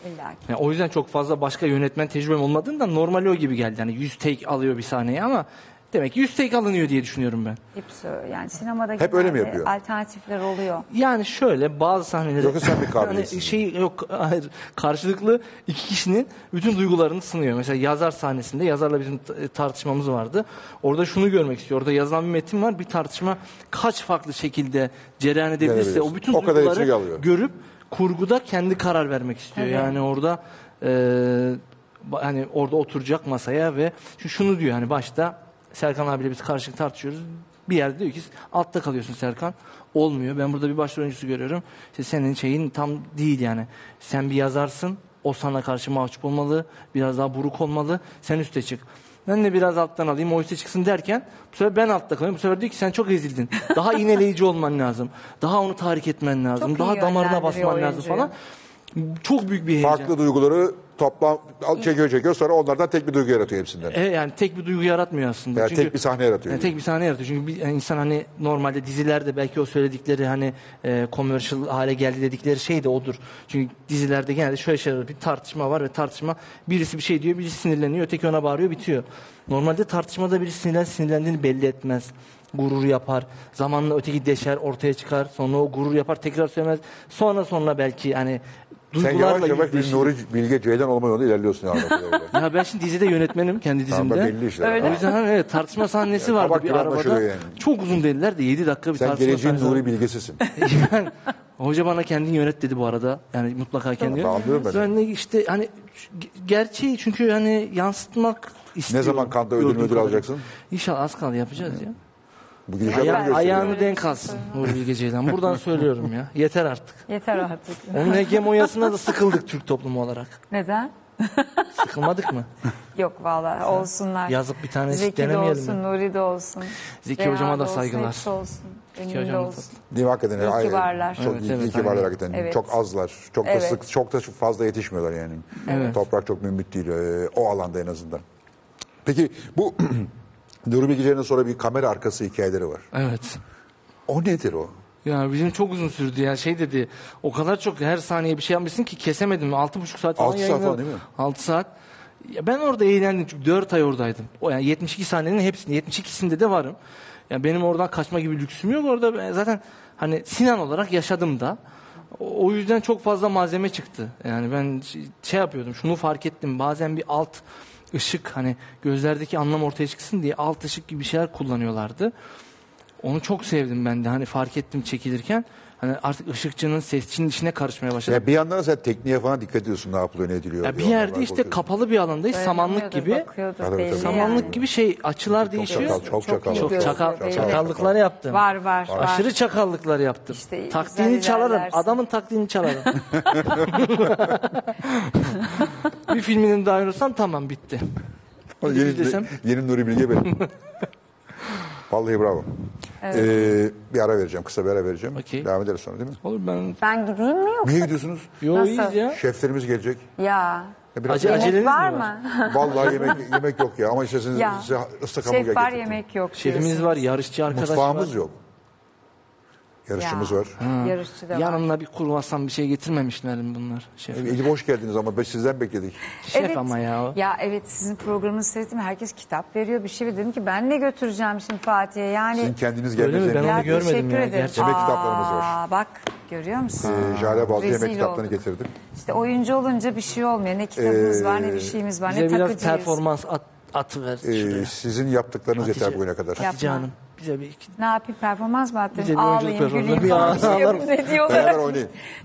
Speaker 3: İlla ki.
Speaker 2: Yani o yüzden çok fazla başka yönetmen tecrübem olmadığından normal o gibi geldi. Hani 100 take alıyor bir sahneye ama demek ki 100 take alınıyor diye düşünüyorum ben.
Speaker 3: Hepsi öyle. yani sinemada
Speaker 1: Hep öyle mi
Speaker 3: genelde
Speaker 1: yapıyor?
Speaker 3: Alternatifler oluyor.
Speaker 2: Yani şöyle bazı sahneleri...
Speaker 1: Yoksa
Speaker 2: [laughs]
Speaker 1: sen bir kabiliyetsin.
Speaker 2: Yani şey yok hayır. Karşılıklı iki kişinin bütün duygularını sınıyor. Mesela yazar sahnesinde yazarla bizim t- e, tartışmamız vardı. Orada şunu görmek istiyor. Orada yazılan bir metin var. Bir tartışma kaç farklı şekilde cereyan edebilirse
Speaker 1: Gelebilir.
Speaker 2: o bütün
Speaker 1: O kadar içeri
Speaker 2: duyguları
Speaker 1: alıyor.
Speaker 2: görüp kurguda kendi karar vermek istiyor.
Speaker 3: Evet.
Speaker 2: Yani orada e, ba- hani orada oturacak masaya ve şu- şunu diyor hani başta Serkan abiyle biz karşılıklı tartışıyoruz. Bir yerde diyor ki altta kalıyorsun Serkan. Olmuyor. Ben burada bir başrol oyuncusu görüyorum. İşte senin şeyin tam değil yani. Sen bir yazarsın. O sana karşı mahcup olmalı. Biraz daha buruk olmalı. Sen üste çık. Ben de biraz alttan alayım o üste çıksın derken bu sefer ben altta kalıyorum. Bu sefer diyor ki sen çok ezildin. Daha iğneleyici olman lazım. Daha onu tahrik etmen lazım.
Speaker 3: Çok iyi
Speaker 2: daha damarına
Speaker 3: yönlendiriyor
Speaker 2: basman lazım
Speaker 3: oyuncuyu.
Speaker 2: falan. Çok büyük bir heyecan.
Speaker 1: Farklı duyguları toplam al- çekiyor çekiyor sonra onlardan tek bir duygu yaratıyor hepsinden.
Speaker 2: E, yani tek bir duygu yaratmıyor aslında.
Speaker 1: Yani tek bir sahne yaratıyor.
Speaker 2: Yani tek bir sahne yaratıyor. Çünkü bir yani insan hani normalde dizilerde belki o söyledikleri hani e, commercial hale geldi dedikleri şey de odur. Çünkü dizilerde genelde şöyle şeyler olur. bir tartışma var ve tartışma birisi bir şey diyor, birisi sinirleniyor, öteki ona bağırıyor, bitiyor. Normalde tartışmada birisi sinirlen sinirlendiğini belli etmez. Gurur yapar. Zamanla öteki deşer, ortaya çıkar. Sonra o gurur yapar, tekrar söylemez. Sonra sonra belki hani
Speaker 1: Sen
Speaker 2: duygularla
Speaker 1: yavaş yavaş bir
Speaker 2: yüzleşir.
Speaker 1: Nuri Bilge Ceylan olma yolunda ilerliyorsun. Yani.
Speaker 2: [laughs] Ya ben şimdi dizide yönetmenim kendi
Speaker 1: Tamam,
Speaker 2: dizimde.
Speaker 1: belli işte.
Speaker 3: Öyle.
Speaker 2: O yüzden hani evet, tartışma sahnesi
Speaker 1: Ya,
Speaker 2: vardı
Speaker 1: kabak
Speaker 2: bir
Speaker 1: gibi
Speaker 2: arabada.
Speaker 1: anlaşılıyor yani.
Speaker 2: Çok uzun dediler de 7 dakika bir
Speaker 1: Sen
Speaker 2: tartışma
Speaker 1: geleceğin
Speaker 2: sahnesi.
Speaker 1: Nuri Bilgesisin.
Speaker 2: [laughs] Ben- Hoca bana kendin yönet dedi bu arada. Yani mutlaka kendin
Speaker 1: Tamam,
Speaker 2: yönet.
Speaker 1: anlıyorum ben.
Speaker 2: Ben de işte hani ge- gerçeği çünkü hani yansıtmak istiyorum.
Speaker 1: zaman Kanda ödül
Speaker 2: gördüğüm
Speaker 1: müdür
Speaker 2: kadarıyla.
Speaker 1: alacaksın?
Speaker 2: İnşallah az kaldı yapacağız ya.
Speaker 1: Bugün
Speaker 2: Aya-
Speaker 1: inşallah onu gösteriyor.
Speaker 2: ayağını denk alsın Nuri Bilge
Speaker 1: [laughs]
Speaker 2: Ceylan. Buradan söylüyorum ya. Yeter artık.
Speaker 3: Yeter artık. [laughs]
Speaker 2: Onun hegemonyasına da sıkıldık Türk toplumu olarak.
Speaker 3: Neden?
Speaker 1: [laughs]
Speaker 2: Sıkılmadık mı?
Speaker 3: Yok valla olsunlar.
Speaker 2: Yazıp bir tane
Speaker 3: Zeki de
Speaker 2: denemeyelim
Speaker 3: olsun, Nuri de olsun.
Speaker 2: Zeki
Speaker 3: Reha
Speaker 2: hocama da
Speaker 3: da olsun,
Speaker 2: saygılar.
Speaker 3: hepsi olsun. Benim de
Speaker 2: hocama da
Speaker 3: olsun.
Speaker 1: Değil mi hakikaten?
Speaker 3: İyi
Speaker 1: Ay-
Speaker 3: ki varlar.
Speaker 1: Çok
Speaker 2: Evet,
Speaker 1: iyi,
Speaker 2: evet,
Speaker 1: iyi ki
Speaker 2: aynen.
Speaker 1: varlar hakikaten.
Speaker 3: Evet.
Speaker 1: Çok azlar. Çok
Speaker 3: Evet.
Speaker 1: da sık, çok da fazla yetişmiyorlar yani. Toprak çok mümkün değil e, o alanda en azından. Peki bu [clears throat] Nuri Bilge Ceylan'ın sonra bir kamera arkası hikayeleri var.
Speaker 2: Evet.
Speaker 1: O nedir o?
Speaker 2: Ya bizim çok uzun sürdü ya şey dedi o kadar çok her saniye bir şey yapmışsın ki kesemedim. Altı buçuk saat falan
Speaker 1: Altı saat
Speaker 2: yayınladım.
Speaker 1: falan değil mi?
Speaker 2: Altı saat. Ya ben orada eğlendim çünkü 4 ay oradaydım. O yani 72 sahnenin hepsini 72'sinde de varım. Yani benim oradan kaçma gibi lüksüm yok. Orada ben zaten hani Sinan olarak yaşadım da. O o yüzden şey çok fazla malzeme çıktı. Yani ben ş- şey yapıyordum şunu fark ettim bazen bir alt ışık hani gözlerdeki anlam ortaya çıksın diye alt ışık gibi şeyler kullanıyorlardı. Onu çok sevdim ben de hani fark ettim çekilirken. Hani artık ışıkçının sesçinin içine karışmaya başladı.
Speaker 5: Ya bir yandan da sen tekniğe falan dikkat ediyorsun ne yapılıyor ne ediliyor.
Speaker 2: Ya bir
Speaker 5: diyorlar,
Speaker 2: yerde işte
Speaker 5: bakıyorsun.
Speaker 2: kapalı bir alandayız samanlık
Speaker 3: Dayanamıyordur,
Speaker 2: gibi.
Speaker 3: bakıyordur
Speaker 5: Tabii,
Speaker 3: belli
Speaker 5: tabii.
Speaker 2: Samanlık
Speaker 3: yani.
Speaker 2: gibi şey açılar değişiyor.
Speaker 5: çakal, çok çakal.
Speaker 3: iyi
Speaker 5: Çok
Speaker 3: gözlüyor
Speaker 2: çakal-
Speaker 3: belli.
Speaker 2: çakallıklar yaptım.
Speaker 3: Var var var.
Speaker 2: Aşırı çakallıklar yaptım.
Speaker 3: İşte güzel
Speaker 2: taktiğini çalarım.
Speaker 3: ilerlersin.
Speaker 2: Adamın taktiğini
Speaker 3: [laughs]
Speaker 2: çalarım. [laughs] bir filminin daha oynarsan tamam bitti.
Speaker 1: Yeni,
Speaker 2: Yeni desem.
Speaker 1: yeni Nuri Bilge
Speaker 2: [laughs]
Speaker 1: benim. Vallahi bravo. Ee, bir ara vereceğim, kısa bir ara vereceğim.
Speaker 2: Okey.
Speaker 1: Devam ederiz sonra değil mi?
Speaker 2: Olur ben.
Speaker 3: Ben gideyim mi yok?
Speaker 1: Niye gidiyorsunuz?
Speaker 2: Yo
Speaker 3: Nasıl?
Speaker 2: iyiyiz ya.
Speaker 1: Şeflerimiz gelecek.
Speaker 3: Ya.
Speaker 1: Ya
Speaker 2: Acele-
Speaker 3: Yemek
Speaker 2: Aceleniz mi var?
Speaker 3: var mı?
Speaker 1: Vallahi yemek yemek yok ya ama isterseniz
Speaker 3: Ya.
Speaker 1: size ıslak hamburger
Speaker 3: Şef var
Speaker 1: getirdim.
Speaker 3: yemek yok.
Speaker 2: Şefimiz
Speaker 3: diyorsun.
Speaker 2: var, yarışçı arkadaş
Speaker 1: Mutfağımız
Speaker 2: var.
Speaker 1: yok. Yarışımız
Speaker 3: Ya.
Speaker 1: var.
Speaker 3: Yarışçı da var.
Speaker 2: Yanımda bir kurvasan bir şey getirmemişler mi bunlar? Şey, Şef,
Speaker 1: Elif E, hoş geldiniz ama biz sizden bekledik.
Speaker 2: şef ama ya. o.
Speaker 3: Ya evet sizin programınızı seyrettim. Herkes kitap veriyor bir şey. Dedim ki ben ne götüreceğim şimdi Fatih'e yani.
Speaker 1: Sizin kendiniz
Speaker 2: Öyle mi?
Speaker 1: gelmenize
Speaker 2: Ben
Speaker 1: emin
Speaker 2: onu
Speaker 3: Ya
Speaker 1: oldum.
Speaker 2: görmedim
Speaker 3: teşekkür
Speaker 2: ya,
Speaker 3: ederim.
Speaker 2: gerçekten.
Speaker 1: Yemek kitaplarımız var.
Speaker 3: Aa, Bak görüyor musun?
Speaker 1: Ee, Jale Balcı yemek
Speaker 3: Rezil
Speaker 1: kitaplarını
Speaker 3: olduk.
Speaker 1: getirdim.
Speaker 3: İşte oyuncu olunca bir şey olmuyor. Ne kitabımız
Speaker 1: Ee,
Speaker 3: var ne bir şeyimiz var ne
Speaker 2: Bize biraz
Speaker 3: takıcıyız.
Speaker 2: performans at, atıver
Speaker 1: Ee,
Speaker 2: şuraya.
Speaker 1: sizin yaptıklarınız
Speaker 2: Hatice.
Speaker 1: yeter bugüne kadar.
Speaker 3: Yapma.
Speaker 2: Hatice Hanım. Bize bir iki
Speaker 3: Ne yapayım performans mı
Speaker 2: Bize
Speaker 3: attım?
Speaker 2: bir
Speaker 3: Ağlayayım,
Speaker 2: oyunculuk ver
Speaker 3: güleyim,
Speaker 2: orada.
Speaker 3: bir
Speaker 2: Bir
Speaker 3: şey yapayım
Speaker 2: ağlarım.
Speaker 3: ne
Speaker 1: Beraber
Speaker 3: diyorlar.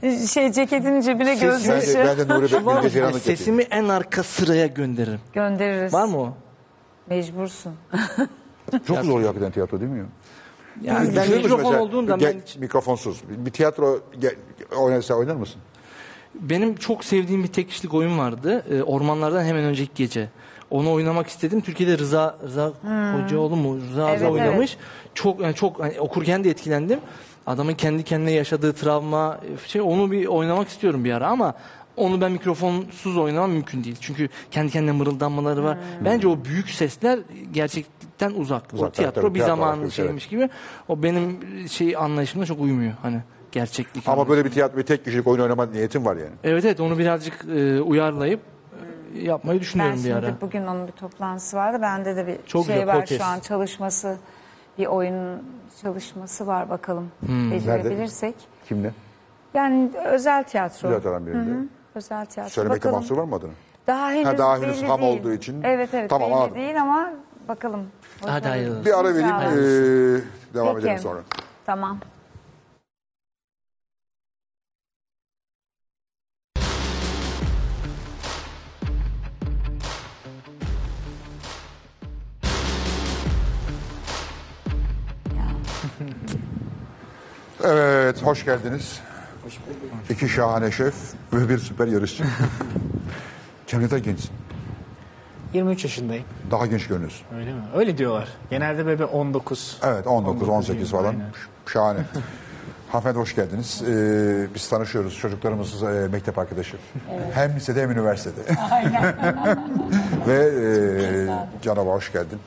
Speaker 1: oynayın.
Speaker 3: şey ceketinin cebine göz
Speaker 1: Ben de, ben de Nuri
Speaker 2: Var
Speaker 1: Bilge
Speaker 2: mı?
Speaker 1: Ceylan'ı getirdim.
Speaker 2: Sesimi en arka sıraya gönderirim.
Speaker 3: Göndeririz.
Speaker 2: Var mı o?
Speaker 3: Mecbursun.
Speaker 1: Çok zor yapılan tiyatro değil mi ya?
Speaker 2: Yani ben
Speaker 1: Düşünür müsün
Speaker 2: mikrofon
Speaker 1: mesela?
Speaker 2: olduğundan
Speaker 1: şey Gel-
Speaker 2: ben
Speaker 1: Mikrofonsuz. Bir bir tiyatro gel, oynarsa oynar mısın?
Speaker 2: Benim çok sevdiğim bir tek kişilik oyun vardı. Ee, Ormanlardan hemen önceki gece. Onu oynamak istedim. Türkiye'de Rıza Rıza Hocaoğlu mu Rıza abi
Speaker 3: Hmm. Evet, evet.
Speaker 2: oynamış. Çok yani çok hani okurken de etkilendim. Adamın kendi kendine yaşadığı travma e, şey onu bir oynamak istiyorum bir ara ama onu ben mikrofonsuz oynamam mümkün değil. Çünkü kendi kendine mırıldanmaları var.
Speaker 3: Hmm.
Speaker 2: Bence o büyük sesler gerçeklikten uzak.
Speaker 1: Uzak,
Speaker 2: o tiyatro
Speaker 1: tabii,
Speaker 2: bir
Speaker 1: tiyatro
Speaker 2: zamanın
Speaker 1: olarak,
Speaker 2: şeymiş gibi. O benim şey anlayışımla çok uymuyor hani gerçeklik.
Speaker 1: Ama böyle bir tiyatro, bir tek kişilik oyun oynama niyetin var yani.
Speaker 2: Evet evet onu birazcık e, uyarlayıp e, yapmayı
Speaker 3: Ben
Speaker 2: düşünüyorum bir
Speaker 3: şimdi
Speaker 2: ara.
Speaker 3: bugün onun bir toplantısı vardı. Bende de bir
Speaker 2: Çok
Speaker 3: şey
Speaker 2: güzel,
Speaker 3: var
Speaker 2: Kotes.
Speaker 3: şu an çalışması. Bir oyun çalışması var bakalım.
Speaker 2: Hmm.
Speaker 3: Becerebilirsek.
Speaker 1: Kimle?
Speaker 3: Yani özel tiyatro.
Speaker 1: Bilat alan birinde.
Speaker 3: Özel tiyatro.
Speaker 1: Söylemekte
Speaker 3: bakalım.
Speaker 1: mahsur var mı adını?
Speaker 3: Daha henüz,
Speaker 1: Ha, daha henüz
Speaker 3: belli
Speaker 1: ham
Speaker 3: değil.
Speaker 1: olduğu için.
Speaker 3: Evet evet
Speaker 1: Tamam,
Speaker 3: belli
Speaker 1: anladım.
Speaker 3: değil ama bakalım.
Speaker 2: Hadi hayırlısı.
Speaker 1: Bir ara vereyim,
Speaker 3: Sağ
Speaker 1: ee, devam
Speaker 3: Peki.
Speaker 1: edelim sonra.
Speaker 3: Tamam.
Speaker 1: Evet, hoş geldiniz. İki şahane şef ve bir süper
Speaker 3: [laughs]
Speaker 1: yarışçı. Cemre de gençsin.
Speaker 6: 23 yaşındayım.
Speaker 1: Daha genç görünüyorsun.
Speaker 6: Öyle mi? Öyle diyorlar. Genelde bebe 19.
Speaker 1: Evet, 19, 18 falan.
Speaker 6: Aynen.
Speaker 1: Şahane. Hanımefendi hoş geldiniz. Ee, biz tanışıyoruz. Çocuklarımız e, mektep arkadaşı. Hem lisede hem üniversitede. [laughs] Ve e, Canava hoş geldin.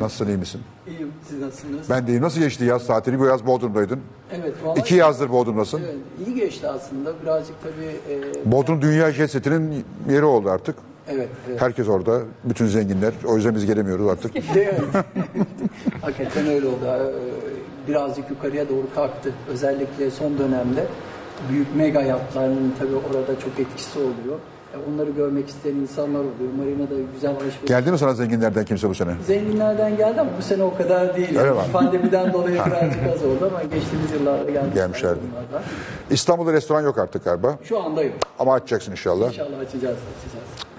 Speaker 1: Nasılsın, iyi misin?
Speaker 7: İyiyim, siz nasılsınız?
Speaker 1: Ben deyim. Nasıl geçti yaz tatili? Bu yaz Bodrum'daydın.
Speaker 7: Evet, vallahi
Speaker 1: İki yazdır Bodrum'dasın.
Speaker 7: evet, iyi geçti aslında. Birazcık tabii... e,
Speaker 1: Bodrum Dünya Jet Seti'nin yeri oldu artık. [laughs]
Speaker 7: evet, evet. [laughs]
Speaker 1: Herkes orada. Bütün zenginler. O yüzden biz gelemiyoruz artık.
Speaker 7: Evet. Hakikaten öyle oldu. Ee, Birazcık yukarıya doğru kalktı. Özellikle son dönemde büyük mega yatlarının tabii orada çok etkisi oluyor. E, Onları görmek isteyen insanlar oluyor. Marina'da güzel alışveriş.
Speaker 1: Geldi mi sana zenginlerden kimse bu sene?
Speaker 7: Zenginlerden geldi ama bu sene o kadar değil.
Speaker 1: Öyle mi? [laughs]
Speaker 7: Pandemiden dolayı birazcık az oldu ama geçtiğimiz yıllarda gelmişler.
Speaker 1: Gelmişlerdi.
Speaker 7: bunlardan.
Speaker 1: İstanbul'da restoran yok artık galiba.
Speaker 7: Şu anda yok.
Speaker 1: Ama açacaksın inşallah.
Speaker 7: İnşallah açacağız,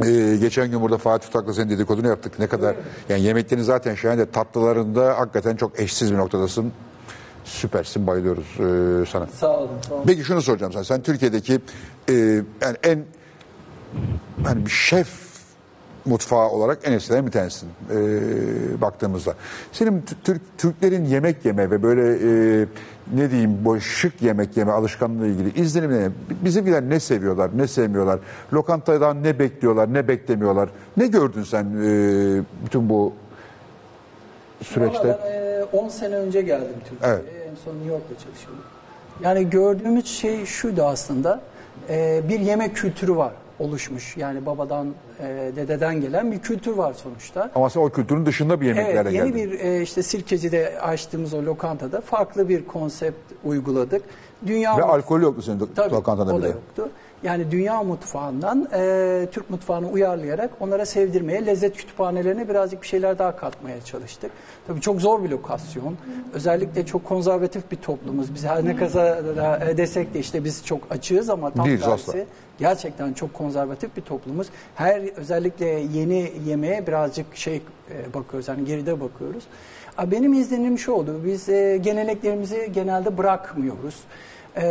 Speaker 7: açacağız.
Speaker 1: Ee, geçen gün burada Fatih Tutak'la senin dedikodunu yaptık. Ne kadar yani yemeklerin zaten şahane tatlılarında hakikaten çok eşsiz bir noktadasın. Süpersin bayılıyoruz ee, sana.
Speaker 7: Sağ olun, sağ olun.
Speaker 1: Peki şunu soracağım sana. Sen Türkiye'deki e, yani en hani bir şef mutfağı olarak en eskiden bir tanesin e, baktığımızda. Senin t- Türk Türklerin yemek yeme ve böyle e, ne diyeyim bu şık yemek yeme alışkanlığı ilgili izlenim ne? Bizimkiler ne seviyorlar, ne sevmiyorlar? Lokantadan ne bekliyorlar, ne beklemiyorlar? Ne gördün sen e, bütün bu süreçte?
Speaker 7: Valla ben, e, 10 sene önce geldim Türkiye'ye. En son New York'ta çalışıyordum. Yani gördüğümüz şey şuydu aslında. e, bir yemek kültürü var oluşmuş. Yani babadan, e, dededen gelen bir kültür var sonuçta.
Speaker 1: Ama sen o kültürün dışında bir yemeklere
Speaker 7: Evet, yeni
Speaker 1: geldin.
Speaker 7: bir e, işte Sirkeci'de açtığımız o lokantada farklı bir konsept uyguladık. Dünya
Speaker 1: Ve
Speaker 7: mutfağı-
Speaker 1: alkol yoktu senin do-
Speaker 7: Tabii,
Speaker 1: lokantanda
Speaker 7: o da
Speaker 1: bile.
Speaker 7: yoktu. Yani dünya mutfağından e, Türk mutfağını uyarlayarak onlara sevdirmeye, lezzet kütüphanelerine birazcık bir şeyler daha katmaya çalıştık. Tabii çok zor bir lokasyon. Özellikle çok konservatif bir toplumuz. Biz her ne kadar da, e, desek de işte biz çok açığız ama tam
Speaker 1: Değiliz
Speaker 7: tersi
Speaker 1: asla.
Speaker 7: gerçekten çok konservatif bir toplumuz. Her özellikle yeni yemeğe birazcık şey e, bakıyoruz yani geride bakıyoruz. A, Benim izlenim şu oldu. Biz e, geleneklerimizi genelde bırakmıyoruz. E,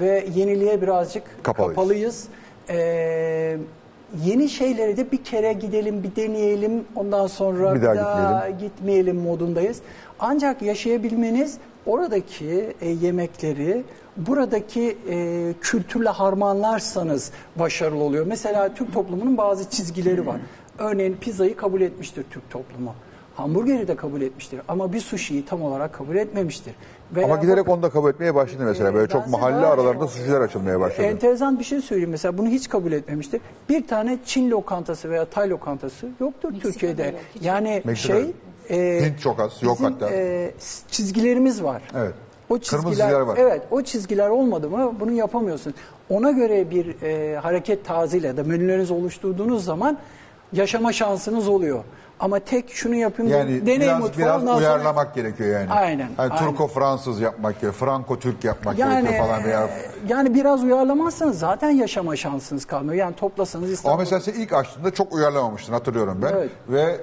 Speaker 7: ve yeniliğe birazcık
Speaker 1: Kapalıyız.
Speaker 7: kapalıyız. E, yeni şeylere de bir kere gidelim, bir deneyelim. Ondan sonra
Speaker 1: Bir daha
Speaker 7: gitmeyelim modundayız. Ancak yaşayabilmeniz oradaki e, yemekleri buradaki e, kültürle harmanlarsanız başarılı oluyor. Mesela Türk toplumunun bazı çizgileri var. Örneğin pizzayı kabul etmiştir Türk toplumu. Hamburgeri de kabul etmiştir ama bir suşiyi tam olarak kabul etmemiştir. Veya
Speaker 1: Ama giderek
Speaker 7: bak-
Speaker 1: onu da kabul etmeye başladı mesela. Böyle
Speaker 7: Ee,
Speaker 1: çok
Speaker 7: ben
Speaker 1: mahalle
Speaker 7: size-
Speaker 1: aralarında suçlar açılmaya başladı.
Speaker 7: Enteresan bir şey söyleyeyim mesela bunu hiç kabul etmemiştir. Bir tane Çin lokantası veya Tay lokantası yoktur
Speaker 8: Meksika'da
Speaker 7: Türkiye'de.
Speaker 8: yok, hiç
Speaker 7: yani
Speaker 1: Meksika'da
Speaker 7: şey e,
Speaker 1: Hint çok az, yok
Speaker 7: bizim,
Speaker 1: hatta.
Speaker 7: e, s- çizgilerimiz var.
Speaker 1: Evet.
Speaker 7: O
Speaker 1: Kırmızı
Speaker 7: çizgiler,
Speaker 1: çizgiler var.
Speaker 7: Evet, o çizgiler olmadı mı bunu yapamıyorsun. Ona göre bir e, hareket tarzıyla ya da menülerinizi oluşturduğunuz zaman yaşama şansınız oluyor. Ama tek şunu yapayım
Speaker 1: Yani
Speaker 7: deney
Speaker 1: biraz,
Speaker 7: mutfağı
Speaker 1: biraz
Speaker 7: ondan sonra-
Speaker 1: uyarlamak gerekiyor yani.
Speaker 7: Aynen,
Speaker 1: Hani
Speaker 7: aynen.
Speaker 1: Turko-Fransız yapmak gerekiyor, Franco-Türk yapmak
Speaker 7: Yani, e,
Speaker 1: gerekiyor falan veya
Speaker 7: yani biraz uyarlamazsanız zaten yaşama şansınız kalmıyor. Yani toplasanız
Speaker 1: Ama
Speaker 7: İstanbul
Speaker 1: mesela sen ilk açtığında çok uyarlamamıştın hatırlıyorum ben.
Speaker 7: Evet.
Speaker 1: Ve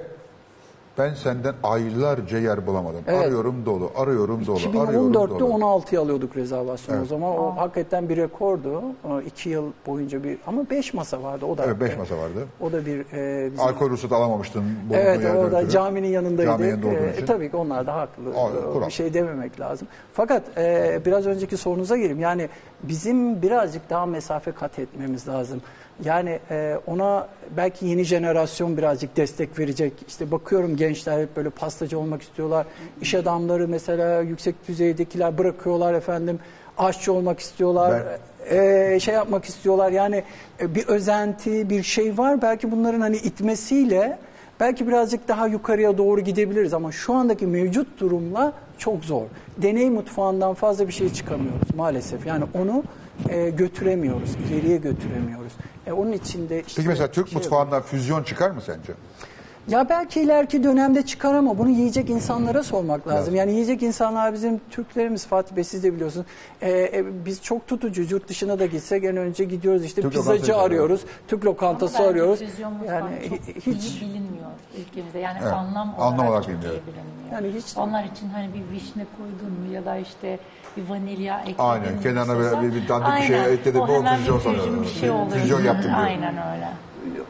Speaker 1: ben senden aylarca yer bulamadım.
Speaker 7: Evet.
Speaker 1: Arıyorum dolu, arıyorum dolu, şey arıyorum dolu.
Speaker 7: 2014'te 16'ya alıyorduk rezervasyonu o zaman. O hakikaten bir rekordu. 2 yıl boyunca bir ama 5 masa vardı o da.
Speaker 1: Evet, beş masa vardı.
Speaker 7: O da bir e, bizim-
Speaker 1: Alkol ruhsatı alamamıştın. bulunduğun
Speaker 7: Evet
Speaker 1: yerden
Speaker 7: orada
Speaker 1: ötürü.
Speaker 7: caminin yanındaydık.
Speaker 1: Caminin yanında olduğun
Speaker 7: Ee,
Speaker 1: için.
Speaker 7: tabii ki onlar da haklı.
Speaker 1: Aynen,
Speaker 7: Ee,
Speaker 1: kural.
Speaker 7: bir şey dememek lazım. Fakat e, biraz önceki sorunuza gireyim. Yani bizim birazcık daha mesafe kat etmemiz lazım. Yani e, ona belki yeni jenerasyon birazcık destek verecek. İşte bakıyorum gençler hep böyle pastacı olmak istiyorlar. İş adamları mesela yüksek düzeydekiler bırakıyorlar efendim. Aşçı olmak istiyorlar.
Speaker 1: Ben-
Speaker 7: Ee, şey yapmak istiyorlar. Yani e, bir özenti, bir şey var. Belki bunların hani itmesiyle belki birazcık daha yukarıya doğru gidebiliriz ama şu andaki mevcut durumla çok zor. Deney mutfağından fazla bir şey çıkamıyoruz maalesef. Yani onu e, götüremiyoruz, ileriye götüremiyoruz. E, onun içinde işte
Speaker 1: Peki mesela Türk
Speaker 7: şey-
Speaker 1: mutfağından füzyon çıkar mı sence?
Speaker 7: ya belki ileriki dönemde çıkar ama bunu yiyecek insanlara sormak lazım. Yani yiyecek insanlar bizim Türklerimiz Fatih Bey siz de biliyorsunuz. Ee, e, biz çok tutucuyuz. Yurt dışına da gitsek en önce gidiyoruz işte
Speaker 1: Türk
Speaker 7: pizzacı
Speaker 1: lokantası
Speaker 7: arıyoruz. Türk lokantası arıyoruz.
Speaker 9: Yani
Speaker 7: Yani hi-
Speaker 9: hiç
Speaker 7: hiç
Speaker 9: bilinmiyor ülkemizde. Yani
Speaker 1: Evet,
Speaker 9: anlam olarak,
Speaker 1: anlam olarak
Speaker 9: Türkiye
Speaker 1: bilmiyorum.
Speaker 9: bilinmiyor.
Speaker 7: Yani hiç-
Speaker 9: Onlar için hani bir vişne koydun mu ya da işte bir vanilya ekledin
Speaker 1: Aynen,
Speaker 9: mi
Speaker 1: kenarına
Speaker 9: sosa,
Speaker 1: böyle bir dandik bir şey
Speaker 9: aynen,
Speaker 1: ekledin mi
Speaker 9: o
Speaker 1: o
Speaker 9: hemen
Speaker 1: füzyon
Speaker 9: bir füzyon
Speaker 1: sanıyorum.
Speaker 9: bir şey
Speaker 1: Füzyon
Speaker 9: oluyor.
Speaker 1: yaptım diyor.
Speaker 9: Aynen öyle.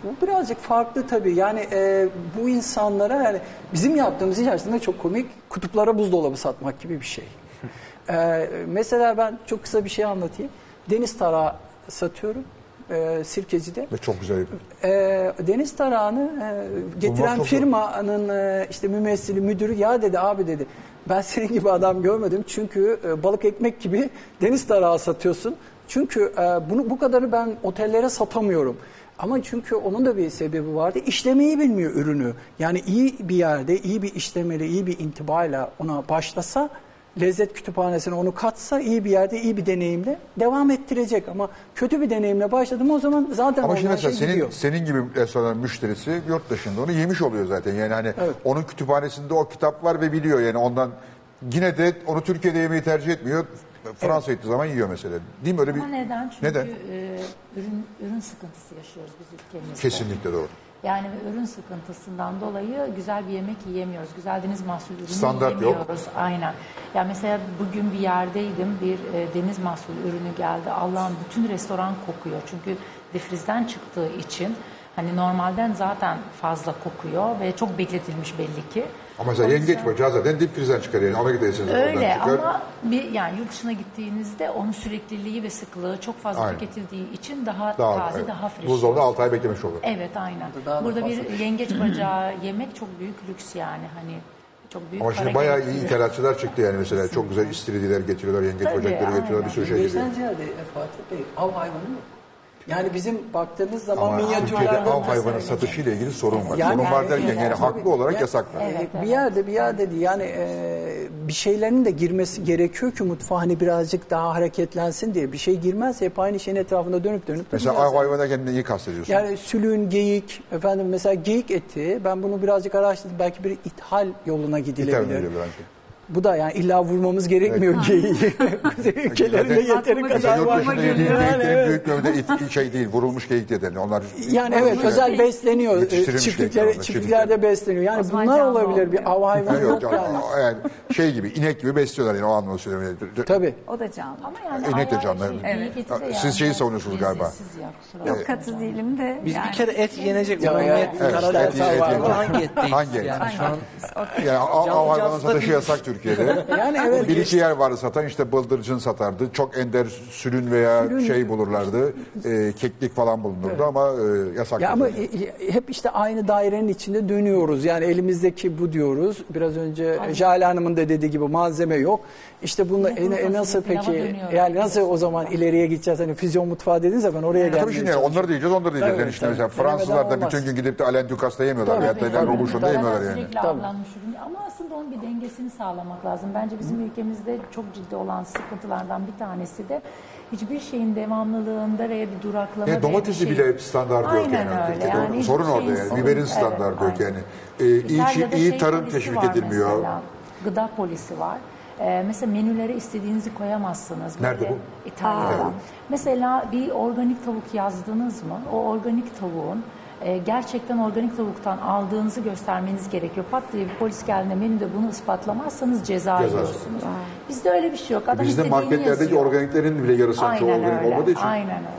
Speaker 7: bu birazcık farklı tabii. Yani e, bu insanlara yani bizim yaptığımız iş aslında çok komik. Kutuplara buzdolabı satmak gibi bir şey. Ee, mesela ben çok kısa bir şey anlatayım. Deniz tarağı satıyorum. E, sirkecide.
Speaker 1: Ve çok güzel yapıyor.
Speaker 7: e, deniz tarağını e,
Speaker 1: Bunlar
Speaker 7: getiren
Speaker 1: çok-
Speaker 7: firmanın e, işte mümessili müdürü ya dedi abi dedi ben senin gibi adam görmedim çünkü e, balık ekmek gibi deniz tarağı satıyorsun. Çünkü e, bunu bu kadarı ben otellere satamıyorum. Ama çünkü onun da bir sebebi vardı. İşlemeyi bilmiyor ürünü. Yani iyi bir yerde, iyi bir işlemeli, iyi bir intibayla ona başlasa lezzet kütüphanesine onu katsa iyi bir yerde iyi bir deneyimle devam ettirecek ama kötü bir deneyimle başladım o zaman zaten
Speaker 1: Ama şimdi
Speaker 7: olmayan
Speaker 1: mesela
Speaker 7: şey
Speaker 1: senin,
Speaker 7: gidiyor.
Speaker 1: senin gibi restoran müşterisi yurt dışında onu yemiş oluyor zaten. Yani hani
Speaker 7: Evet.
Speaker 1: onun kütüphanesinde o kitap var ve biliyor yani ondan. Yine de onu Türkiye'de yemeyi tercih etmiyor. Fransa'ya gittiği zaman yiyor mesela. Değil mi öyle bir?
Speaker 9: Ama neden? Çünkü
Speaker 1: Neden?
Speaker 9: e, ürün, ürün sıkıntısı yaşıyoruz biz ülkemizde.
Speaker 1: Kesinlikle doğru.
Speaker 9: Yani ürün sıkıntısından dolayı güzel bir yemek yiyemiyoruz. Güzel deniz mahsulü ürünü
Speaker 1: Standart yok.
Speaker 9: yiyemiyoruz. Aynen. Ya mesela bugün bir yerdeydim. Bir e, deniz mahsulü ürünü geldi. Allah'ım bütün restoran kokuyor. Çünkü difrizden çıktığı için hani normalden zaten fazla kokuyor ve çok bekletilmiş belli ki.
Speaker 1: Ama mesela yengeç bacağı zaten dip krizden çıkar yani. Amerika'daysınız.
Speaker 9: Öyle
Speaker 1: oradan çıkar.
Speaker 9: ama bir yani yurt dışına gittiğinizde onun sürekliliği ve sıklığı çok fazla
Speaker 1: Aynen.
Speaker 9: tüketildiği için daha,
Speaker 1: Daha,
Speaker 9: taze,
Speaker 1: evet.
Speaker 9: daha fresh.
Speaker 1: Buzdolabında 6 ay beklemiş olur.
Speaker 9: Evet aynen.
Speaker 7: daha
Speaker 9: Burada
Speaker 7: da
Speaker 9: bir
Speaker 7: fazla.
Speaker 9: yengeç
Speaker 7: [clears throat]
Speaker 9: bacağı yemek çok büyük lüks yani hani çok büyük
Speaker 1: Ama şimdi
Speaker 9: para
Speaker 1: bayağı iyi
Speaker 9: gerektiriyor.
Speaker 1: ithalatçılar çıktı yani mesela. Çok güzel istiridiler getiriyorlar, yengeç
Speaker 9: Tabii,
Speaker 1: bacakları getiriyorlar,
Speaker 9: aynen.
Speaker 1: bir sürü şey geliyor.
Speaker 7: Geçen ziyade e, Fatih Bey av hayvanı yok. Yani bizim baktığınız zaman
Speaker 1: Ama Türkiye'de
Speaker 7: minyatürlerden
Speaker 1: av hayvanı satışıyla ilgili sorun var.
Speaker 7: Yani-
Speaker 1: sorun var derken
Speaker 9: Yani-
Speaker 1: yani haklı olarak
Speaker 7: Ya-
Speaker 1: yasaklar.
Speaker 7: e, bir yerde bir yerde değil. Yani e, bir şeylerin de girmesi gerekiyor ki mutfağa hani birazcık daha hareketlensin diye. Bir şey girmezse hep aynı şeyin etrafında dönüp dönüp
Speaker 1: Mesela
Speaker 7: duracağız.
Speaker 1: ay hayvan derken neyi kastediyorsun?
Speaker 7: Yani sülüğün geyik, efendim mesela geyik eti, ben bunu birazcık araştırdım. Belki bir ithal yoluna
Speaker 1: İthal mi
Speaker 7: gidilebilir.
Speaker 1: diyorlar bence?
Speaker 7: Bu da yani illa vurmamız gerekmiyor geyiği. [laughs] Kuzey ülkelerinde
Speaker 1: Zaten-
Speaker 7: yeteri
Speaker 1: Mesela
Speaker 7: kadar
Speaker 1: yurt
Speaker 7: var.
Speaker 1: dışında yediğin geyiklerin büyük bölümde
Speaker 7: [laughs]
Speaker 1: it, şey değil, vurulmuş geyik de denir. Onlar
Speaker 7: Yani evet özel besleniyor.
Speaker 1: Yetiştirilmiş
Speaker 7: Çiftlikler,
Speaker 1: şey,
Speaker 7: çiftliklerde besleniyor. Yani
Speaker 3: zaman
Speaker 7: bunlar
Speaker 3: canlı
Speaker 7: olabilir. Bir
Speaker 3: olmuyor.
Speaker 7: av hayvanı
Speaker 1: Yok
Speaker 7: yok
Speaker 1: canım,
Speaker 7: yani.
Speaker 1: yani şey gibi inek gibi besliyorlar yani o anlamda söylüyorum.
Speaker 7: Tabii.
Speaker 3: O da canlı.
Speaker 9: Ama yani
Speaker 1: İnek de
Speaker 9: ayağı
Speaker 1: canlı,
Speaker 9: şey,
Speaker 1: evet.
Speaker 9: iyi getiriyor
Speaker 1: Siz
Speaker 9: yani.
Speaker 1: şeyi savunuyorsunuz galiba.
Speaker 9: Lezzetsiz ya, kusura
Speaker 3: Yok
Speaker 9: bakmayın.
Speaker 3: katı değilim de.
Speaker 2: Biz
Speaker 3: yani.
Speaker 2: bir kere et yenecek.
Speaker 7: Ya,
Speaker 2: olan
Speaker 7: ya,
Speaker 2: et,
Speaker 7: evet,
Speaker 2: karadeniz
Speaker 7: et, et, et,
Speaker 2: var.
Speaker 7: et.
Speaker 2: Hangi etteyiz?
Speaker 1: Hangi et?
Speaker 2: Yani şu an
Speaker 1: Yani av, av hayvanı
Speaker 2: cansız da
Speaker 1: satışı
Speaker 2: değil.
Speaker 1: yasak
Speaker 7: [laughs]
Speaker 1: Türkiye'de.
Speaker 7: Yani evet.
Speaker 1: Bir iki yer vardı satan işte bıldırcın satardı. Çok ender sülün veya şey
Speaker 9: [laughs]
Speaker 1: bulurlardı. Ee, keklik falan bulunurdu ama e, yasak.
Speaker 7: Ya ama
Speaker 1: dedi.
Speaker 7: e- e- hep işte aynı dairenin içinde dönüyoruz. Yani elimizdeki bu diyoruz. Biraz önce Jale Hanım'ın da dediği gibi malzeme yok. İşte bununla
Speaker 9: Evet,
Speaker 7: e,
Speaker 9: bunu
Speaker 7: e, nasıl
Speaker 9: konuşuyoruz. Pilava
Speaker 7: peki
Speaker 9: dönüyoruz.
Speaker 7: yani nasıl o zaman ileriye gideceğiz? Hani füzyon mutfağı dediniz ya ben oraya gelmeye
Speaker 1: Tabii şimdi yani onları diyeceğiz, onları diyeceğiz.
Speaker 7: Tabii,
Speaker 1: yani işte
Speaker 7: tabii.
Speaker 1: mesela
Speaker 7: Denemeden
Speaker 1: Fransızlar da
Speaker 7: olmaz.
Speaker 1: bütün gün gidip de Alain Ducas'ta yemiyorlar.
Speaker 7: Tabii,
Speaker 1: Veyahut da
Speaker 7: tabii.
Speaker 1: Alain Robuchon'da
Speaker 9: Zaten
Speaker 1: yemiyorlar yani.
Speaker 9: sürekli avlanmış ürün. Ama aslında onun bir dengesini sağlamak lazım. Bence bizim ülkemizde çok ciddi olan sıkıntılardan bir tanesi de hiçbir şeyin devamlılığında araya bir duraklama
Speaker 1: Yani
Speaker 9: ve
Speaker 1: E, domatesi
Speaker 9: bir şey-
Speaker 1: bile hep standart yok
Speaker 9: Aynen
Speaker 1: yani.
Speaker 9: öyle.
Speaker 1: Türkiye'de.
Speaker 9: Yani
Speaker 1: Sorun
Speaker 9: hiçbir
Speaker 1: orada
Speaker 9: şeyin
Speaker 1: yani.
Speaker 9: sorunu-
Speaker 1: Biberin
Speaker 9: Evet,
Speaker 1: standartı yok
Speaker 9: aynen.
Speaker 1: yani. Ee, iyi, çi-
Speaker 9: İtalya'da
Speaker 1: iyi
Speaker 9: şey
Speaker 1: tarım
Speaker 9: polisi
Speaker 1: teşvik
Speaker 9: var
Speaker 1: edilmiyor.
Speaker 9: Mesela, gıda polisi var. Ee, mesela menülere istediğinizi koyamazsınız.
Speaker 1: Nerede
Speaker 9: Böyle
Speaker 1: bu?
Speaker 9: İtalya'da.
Speaker 1: Aa.
Speaker 9: Mesela bir organik tavuk yazdınız mı? O organik tavuğun e, gerçekten organik tavuktan aldığınızı göstermeniz gerekiyor. Pat diye bir polis geldiğinde menüde bunu ispatlamazsanız ceza
Speaker 1: Ceza.
Speaker 9: yiyorsunuz. Bizde öyle bir şey yok. Adam
Speaker 1: E, Bizde
Speaker 9: istediğini
Speaker 1: marketlerdeki
Speaker 9: yazıyor.
Speaker 1: organiklerin bile yarısı çoğu
Speaker 9: Aynen
Speaker 1: organik olmadığı
Speaker 9: öyle.
Speaker 1: için.
Speaker 9: Aynen öyle.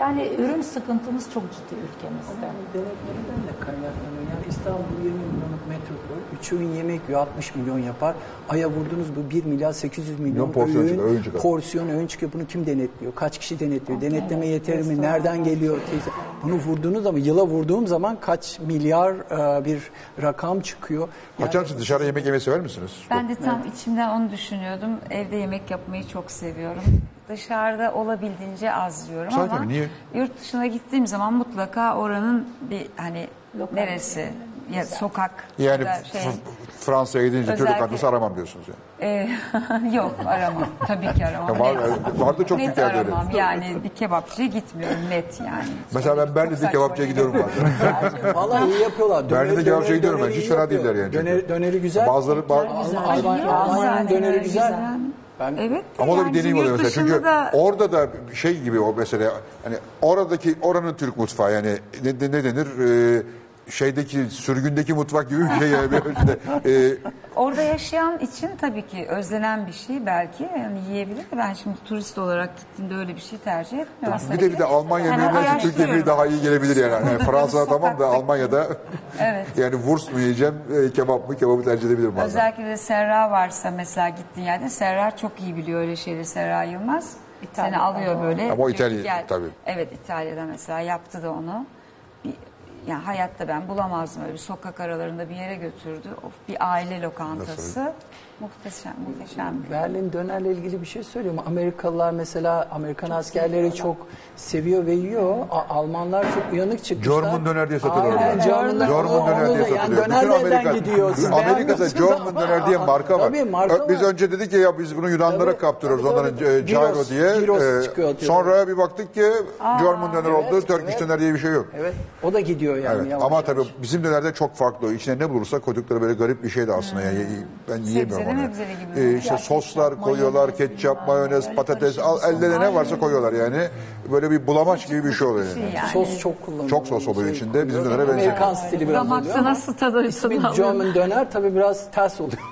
Speaker 9: Yani ürün sıkıntımız çok ciddi ülkemizde.
Speaker 7: Denetlerinden de kaynaklanıyor. Yani İstanbul 20 milyonluk metropol, 3 öğün yemek yiyor 60 milyon yapar. Aya vurdunuz bu 1 milyar 800 milyon
Speaker 1: Milyon porsiyon
Speaker 7: öğün,
Speaker 1: çıkıyor, öğün çıkıyor.
Speaker 7: porsiyon öğün çıkıyor. Bunu kim denetliyor? Kaç kişi denetliyor? Denetleme yeter mi? Nereden geliyor? Teyze? Bunu vurdunuz ama yıla vurduğum zaman kaç milyar e, bir rakam çıkıyor. Yani
Speaker 1: Hocam siz dışarı yemek yemeyi sever misiniz?
Speaker 3: Ben de tam içimden onu düşünüyordum. Evde yemek yapmayı çok seviyorum. Dışarıda olabildiince az yiyorum
Speaker 1: Zaten
Speaker 3: ama
Speaker 1: niye?
Speaker 3: yurt dışına gittiğim zaman mutlaka oranın bir hani
Speaker 9: Lokal.
Speaker 3: neresi ya sokak
Speaker 1: Yani
Speaker 3: ya da şey
Speaker 1: F- Fransa'ya gidince çocuk
Speaker 3: Özellikle-
Speaker 1: adresi aramam diyorsunuz yani.
Speaker 3: e, [laughs] yok aramam tabii ki aramam.
Speaker 1: Ya var-
Speaker 3: Net-
Speaker 1: vardı çok
Speaker 3: Hani net
Speaker 1: dükkanları.
Speaker 3: aramam yani bir kebapçıya gitmiyorum net yani.
Speaker 1: Mesela ben Berlin'de
Speaker 3: saçma
Speaker 1: kebapçıya
Speaker 3: yani.
Speaker 1: gidiyorum bazen.
Speaker 7: Vallahi iyi yapıyorlar. Döneri-
Speaker 1: Berlin'de kebapçıya
Speaker 7: döneri-
Speaker 1: gidiyorum ben.
Speaker 7: döneri
Speaker 1: Hiç
Speaker 7: iyi
Speaker 1: fena
Speaker 7: yapıyor.
Speaker 1: değiller yani.
Speaker 7: Döneri, döneri güzel.
Speaker 1: Bazıları, ba-
Speaker 9: Ay,
Speaker 7: Alman-
Speaker 9: biliyorum
Speaker 7: Almanya'nın
Speaker 3: zaten,
Speaker 7: döneri güzel. Ben-
Speaker 3: Evet. de
Speaker 1: Ama o da bir
Speaker 3: yani
Speaker 1: deneyim
Speaker 3: yurt
Speaker 1: oluyor mesela.
Speaker 3: dışında
Speaker 1: Çünkü
Speaker 3: da-
Speaker 1: orada da şey gibi o mesela hani oradaki oranın Türk mutfağı yani ne, ne- ne denir Ee, şeydeki sürgündeki mutfak gibi bir şey yani bir ölçüde. Ee,
Speaker 3: Orada yaşayan için tabii ki özlenen bir şey belki yani yiyebilir de ben şimdi turist olarak gittiğimde öyle bir şey tercih etmiyorum.
Speaker 1: bir de bir de Almanya
Speaker 3: Yani
Speaker 1: yani Türkiye
Speaker 3: Hani araştırıyorum.
Speaker 1: bir daha iyi gelebilir yani. yani Fransa'da tamam da Almanya'da
Speaker 3: Evet.
Speaker 1: yani wurst mu yiyeceğim e, kebap mı kebabı tercih edebilirim bazen.
Speaker 3: Özellikle de Serra varsa mesela gittiğin yerde Serra çok iyi biliyor öyle şeyleri Serra Yılmaz. Seni
Speaker 9: İtalya'dan.
Speaker 3: alıyor böyle.
Speaker 1: Ama o
Speaker 3: diyor ki,
Speaker 1: İtalya-
Speaker 3: "Gel."
Speaker 1: tabii.
Speaker 3: Evet İtalya'da mesela yaptı da onu. Bir, yani hayatta ben bulamazdım öyle bir sokak aralarında bir yere götürdü. Of bir aile lokantası. Muhteşem muhteşem.
Speaker 7: Berlin dönerle ilgili bir şey söyleyeyim. Amerikalılar mesela Amerikan askerleri çok seviyor ve yiyor. A- Almanlar çok uyanık çıkmışlar.
Speaker 1: German döner diye satılıyor
Speaker 7: Aynen,
Speaker 1: orada.
Speaker 7: German,
Speaker 1: German döner diye
Speaker 7: Yani
Speaker 1: satılıyor.
Speaker 7: döner
Speaker 1: Bütün
Speaker 7: de elden
Speaker 1: Amerika-
Speaker 7: gidiyor. Siz
Speaker 1: Amerika'da
Speaker 7: beğenmiyorsunuz
Speaker 1: German
Speaker 7: ama-
Speaker 1: döner diye marka var.
Speaker 7: Tabii marka
Speaker 1: Ö- Biz
Speaker 7: var.
Speaker 1: önce dedik ki ya biz bunu Yunanlara
Speaker 7: Tabii,
Speaker 1: kaptırıyoruz.
Speaker 7: tabii,
Speaker 1: Onların
Speaker 7: tabii.
Speaker 1: e, gyro
Speaker 7: Gyros-
Speaker 1: diye.
Speaker 7: gyros
Speaker 1: e,
Speaker 7: çıkıyor atıyorum.
Speaker 1: sonra bir baktık ki German döner oldu. Turkish
Speaker 7: evet.
Speaker 1: döner diye bir şey yok.
Speaker 7: Evet. O da gidiyor yani.
Speaker 1: Evet.
Speaker 7: yavaş
Speaker 1: Ama
Speaker 7: yavaş.
Speaker 1: tabii bizim dönerde çok farklı. İçine ne bulursa koydukları böyle garip bir şey de aslında. Yani
Speaker 7: Hmm.
Speaker 1: ben yiyemiyorum onu.
Speaker 3: mebzeli gibi.
Speaker 1: Ee, işte soslar koyuyorlar, ketçap, mayonez, patates, al, ellerine ne varsa koyuyorlar yani. Böyle bir bulamaç gibi bir şey oluyor yani.
Speaker 3: Yani.
Speaker 7: Sos çok kullanılıyor.
Speaker 1: Çok sos oluyor
Speaker 7: Şey
Speaker 1: içinde. Bizim
Speaker 7: kullanılıyor.
Speaker 1: dönere benziyor.
Speaker 7: Amerikan stili biraz oluyor.
Speaker 3: Damakta
Speaker 7: ama
Speaker 3: nasıl tadıyorsun?
Speaker 7: Bir German döner tabii biraz
Speaker 1: [laughs]
Speaker 7: ters oluyor.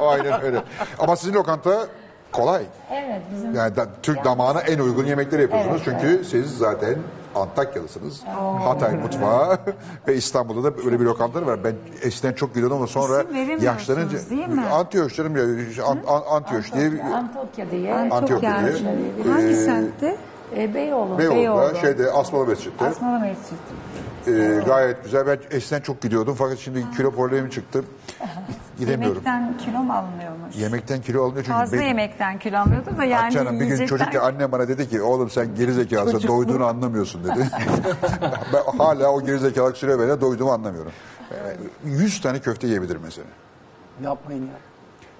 Speaker 1: Aynen öyle. Ama sizin lokanta kolay.
Speaker 9: Evet bizim
Speaker 1: Yani da- Türk damağına en uygun yemekleri yapıyorsunuz. Çünkü siz zaten Antakyalısınız. Hatay mutfağı
Speaker 3: [laughs]
Speaker 1: ve İstanbul'da da böyle bir lokantaları var. Ben eskiden çok gidiyordum ama sonra
Speaker 3: İsim veremiyorsunuz,
Speaker 1: yaşlanınca
Speaker 3: değil mi?
Speaker 1: Antiyoş dedim ya. An- An- Antiyoş diye bir-
Speaker 9: Antokya diye.
Speaker 1: Antiyopya diye.
Speaker 3: Antiyopya.
Speaker 1: Ee,
Speaker 3: Hangi semtte?
Speaker 9: E, Beyoğlu.
Speaker 1: Beyoğlu'da
Speaker 3: Beyoğlu.
Speaker 1: şey şeyde Asmalı Mescid'de.
Speaker 3: Asmalı Mescid.
Speaker 1: Ee, gayet güzel. Ben eskiden çok gidiyordum fakat şimdi kilo problemi
Speaker 3: [laughs]
Speaker 1: çıktı. Gidemiyorum.
Speaker 3: Yemekten kilo mu alınıyormuş?
Speaker 1: Yemekten kilo alınıyor çünkü
Speaker 3: Fazla
Speaker 1: ben-
Speaker 3: yemekten kilo alınıyordu da yani
Speaker 1: Canım bir gün
Speaker 3: yiyecekten- [laughs]
Speaker 1: çocukken annem bana dedi ki oğlum sen gerizekalısın doyduğunu anlamıyorsun dedi.
Speaker 3: [laughs]
Speaker 1: ben hala o gerizekalık süre böyle doyduğumu anlamıyorum. Ee, 100 tane köfte yiyebilirim mesela.
Speaker 7: Yapmayın ya.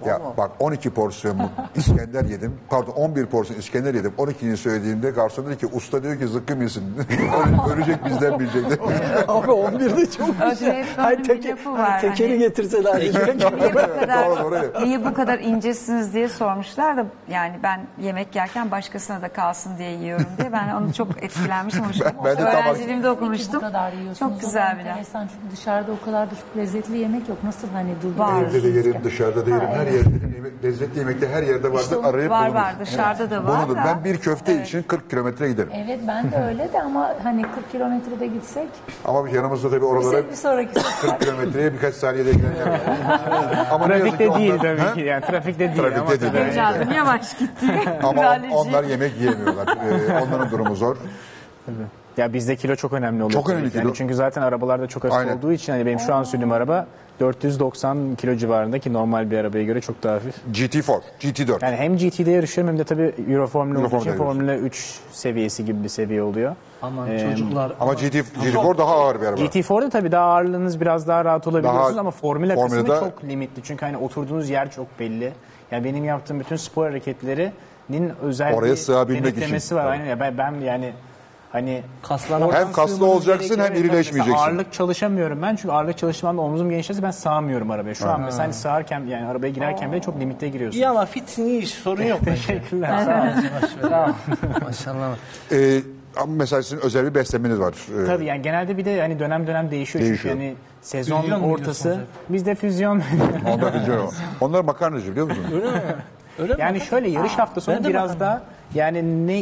Speaker 1: Ya bak 12 porsiyonluk İskender yedim. Pardon 11 porsiyon İskender yedim. 12'ni söylediğimde garson dedi ki usta diyor ki zıkkım [laughs] yesin. Ölecek bizden bilecek. dedi.
Speaker 10: Abi 11'de çok güzel.
Speaker 3: Özellikle
Speaker 10: Hayır,
Speaker 3: bir
Speaker 10: teke-
Speaker 3: lafı var,
Speaker 10: hayır, tekeri
Speaker 3: hani-
Speaker 10: getirseler. direkt-
Speaker 3: niye bu
Speaker 1: Doğru, doğru.
Speaker 3: kadar, niye bu kadar incesiniz diye sormuşlar da yani ben yemek yerken başkasına da kalsın diye yiyorum diye ben onu çok etkilenmişim. hoşuma-
Speaker 1: Ben- ben de tabak-
Speaker 3: Öğrenciliğimde
Speaker 9: Peki bu
Speaker 3: okumuştum.
Speaker 9: kadar yiyorsunuz. O
Speaker 3: Çok güzel bir laf.
Speaker 9: enteresan. Çünkü dışarıda o kadar da çok lezzetli yemek yok. Nasıl hani
Speaker 3: Var.
Speaker 9: durduruyorsunuz?
Speaker 1: Evde de yerim,
Speaker 9: ki?
Speaker 1: dışarıda da yerim, her yerde de yerim. Lezzetli yemekte her yerde vardır.
Speaker 3: İşte o-
Speaker 1: arayıp
Speaker 3: var,
Speaker 1: bulunur.
Speaker 3: var. Dışarıda da var
Speaker 1: Bulunur.
Speaker 3: da.
Speaker 1: Ben bir köfte için 40 kilometre giderim.
Speaker 9: Evet ben de öyle de ama hani 40 kilometrede gitsek.
Speaker 1: Ama yanımızda tabii oralara
Speaker 9: Bize bir sonraki sefer.
Speaker 1: 40 kilometreye birkaç saniyede
Speaker 6: [laughs]
Speaker 1: gidenler var. Ama ne yazık ki
Speaker 6: Trafikte değil
Speaker 1: onlar-
Speaker 6: tabii
Speaker 1: Ha?
Speaker 6: ki. Yani trafikte değil
Speaker 1: Trafikte
Speaker 6: ama
Speaker 1: değil.
Speaker 6: tabii.
Speaker 1: Evet.
Speaker 3: Evladım yavaş gitti.
Speaker 1: Ama on- onlar yemek
Speaker 6: [laughs]
Speaker 1: yiyemiyorlar. Ee, onların durumu zor.
Speaker 6: Ya bizde kilo çok önemli oluyor.
Speaker 1: Çok
Speaker 6: tabii
Speaker 1: önemli
Speaker 6: ki. Yani
Speaker 1: kilo.
Speaker 6: çünkü zaten arabalarda çok hafif
Speaker 1: Aynen.
Speaker 6: olduğu için hani benim şu an sürdüğüm araba 490 kilo civarında ki normal bir arabaya göre çok daha hafif.
Speaker 1: GT4, GT4.
Speaker 6: Yani hem GT'de yarışıyorum hem de tabii Euro Formula olduğu
Speaker 1: Formula'da
Speaker 6: için Formula 3 seviyesi gibi bir seviye oluyor.
Speaker 10: Aman
Speaker 2: Ee,
Speaker 10: çocuklar.
Speaker 1: Ama GT, GT4 daha ağır bir araba.
Speaker 6: GT4'da E tabii daha ağırlığınız biraz daha rahat olabiliyorsunuz
Speaker 1: Daha
Speaker 6: ama formula
Speaker 1: Formula'da-
Speaker 6: kısmı çok limitli. Çünkü hani oturduğunuz yer çok belli. Yani benim yaptığım bütün spor hareketlerinin özel
Speaker 1: Oraya
Speaker 6: bir
Speaker 1: sığabilmek
Speaker 6: denetlemesi
Speaker 1: için.
Speaker 6: var.
Speaker 1: Tabii.
Speaker 6: Aynen ya ben, ben yani hani
Speaker 2: Kaslarına
Speaker 6: oradan
Speaker 1: Hem kaslı
Speaker 6: sığmanız
Speaker 1: olacaksın,
Speaker 6: gerekiyor.
Speaker 1: hem
Speaker 6: Evet, tabii.
Speaker 1: irileşmeyeceksin.
Speaker 6: Mesela ağırlık çalışamıyorum ben çünkü ağırlık çalışmamda omzum genişlese ben sığamıyorum arabaya. Şu an mesela hani sığarken yani arabaya girerken bile çok limite giriyorsun.
Speaker 2: İyi ama fitsin iyi iş, sorun yok.
Speaker 6: Teşekkürler.
Speaker 2: Sağ olun, Maşallah. Maşallah.
Speaker 1: Ee, ama mesela sizin özel bir beslemeniz var. Ee,
Speaker 6: Tabii yani genelde bir de hani dönem dönem değişiyor.
Speaker 1: Değişiyor.
Speaker 6: Çünkü hani sezon
Speaker 2: Füzyon mu
Speaker 6: ortası
Speaker 2: diyorsunuz
Speaker 6: bizde füzyon [laughs]
Speaker 1: Onlar, güzel. onlar makarnacı biliyor musun?
Speaker 2: Öyle mi?
Speaker 6: Yani şöyle yarış hafta sonu
Speaker 2: ben de
Speaker 6: biraz
Speaker 2: bakarım.
Speaker 6: daha yani ne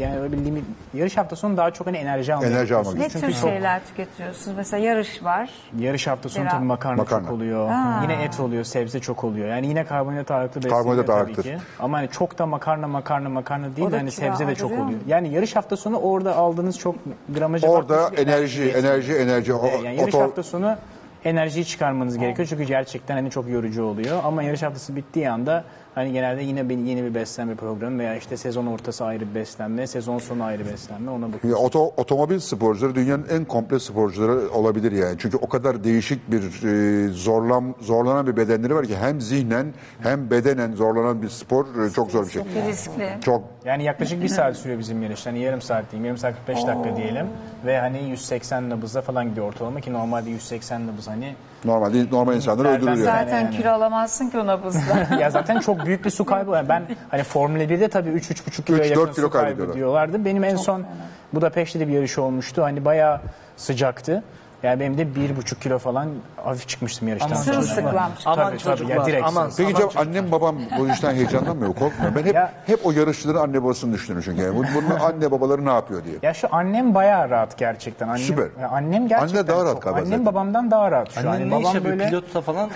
Speaker 6: yani öyle bir limit yarış hafta sonu daha çok hani enerji almaya
Speaker 1: Enerji almak
Speaker 6: çalışıyorsunuz.
Speaker 3: Ne
Speaker 6: Çünkü
Speaker 3: tür
Speaker 6: çok-
Speaker 3: şeyler tüketiyorsunuz? Mesela yarış var.
Speaker 6: Yarış hafta sonu
Speaker 3: Biraz-
Speaker 6: tabii makarna,
Speaker 1: Makarna.
Speaker 6: çok oluyor. Yine et oluyor, sebze çok oluyor. Yani yine karbonhidrat ağırlıklı besleniyor
Speaker 1: Karbonhidrat
Speaker 6: tabii
Speaker 1: ağırlıktır.
Speaker 6: ki. Ama hani çok da makarna makarna makarna değil
Speaker 3: O
Speaker 6: de
Speaker 3: da
Speaker 6: hani
Speaker 3: kilo
Speaker 6: sebze de çok
Speaker 3: aldırıyor
Speaker 6: oluyor.
Speaker 3: mu?
Speaker 6: Yani yarış hafta sonu orada aldığınız çok gramaja
Speaker 1: Orada
Speaker 6: bakmış bir
Speaker 1: enerji, enerji, enerji. o-
Speaker 6: Evet, Ee, yani yarış
Speaker 1: otor-
Speaker 6: hafta sonu enerjiyi çıkarmanız gerekiyor çünkü gerçekten hani çok yorucu oluyor ama yarış haftası bittiği anda hani genelde yine bir, yeni bir beslenme programı veya işte sezon ortası ayrı bir beslenme, sezon sonu ayrı beslenme ona bakıyoruz.
Speaker 1: Ya oto, otomobil sporcuları dünyanın en komple sporcuları olabilir yani. Çünkü o kadar değişik bir e, zorlan zorlanan bir bedenleri var ki hem zihnen hem bedenen zorlanan bir spor e, çok zor bir şey.
Speaker 3: Riskli.
Speaker 1: Çok
Speaker 6: Yani yaklaşık bir saat sürüyor bizim yarış. Hani yarım saat diyeyim, yarım saat 45 dakika diyelim. Ve hani 180 nabızla falan gidiyor ortalama ki normalde 180 nabız hani.
Speaker 1: normal değil, normal insanları
Speaker 6: Miktardan
Speaker 1: öldürüyor.
Speaker 6: zaten-
Speaker 1: Yani.
Speaker 3: Zaten
Speaker 6: yani.
Speaker 3: kilo alamazsın ki
Speaker 1: [laughs]
Speaker 3: o nabızla.
Speaker 6: Ya zaten çok büyük bir su kaybı. Yani ben hani Formula 1'de tabii 3-3,5 kiloya
Speaker 1: Üç, dört
Speaker 6: yakın
Speaker 1: kilo
Speaker 6: su kaybı
Speaker 1: kaybediyorlar.
Speaker 6: diyorlardı. Benim en son Budapeşte de bir yarış olmuştu. Hani bayağı sıcaktı. Yani benim de 1,5 kilo falan hafif çıkmıştım yarıştan.
Speaker 2: Aman
Speaker 6: sonra.
Speaker 3: Sırılsıklam.
Speaker 2: Aman
Speaker 6: Tabii, tabii. Ya
Speaker 2: çocuklar.
Speaker 6: direkt
Speaker 2: aman,
Speaker 1: Peki
Speaker 2: aman
Speaker 1: canım annem babam bu işten heyecanlanmıyor mu? korkmuyor. mu? Ben hep
Speaker 6: Ya-
Speaker 1: hep o yarışçıların anne babasını düşünürüm çünkü. Yani. Bu- Bunun anne babaları ne yapıyor diye.
Speaker 6: Ya şu annem bayağı rahat gerçekten. Annem,
Speaker 1: Süper.
Speaker 6: Ya Annem gerçekten
Speaker 1: Anne daha rahat
Speaker 6: çok-
Speaker 1: galiba
Speaker 6: Annem
Speaker 1: zaten.
Speaker 6: babamdan daha rahat şu
Speaker 2: Annen
Speaker 6: an. Hani
Speaker 2: ne iş
Speaker 6: Babam
Speaker 2: yapıyor?
Speaker 6: böyle...
Speaker 2: Pilotsa [laughs] falan.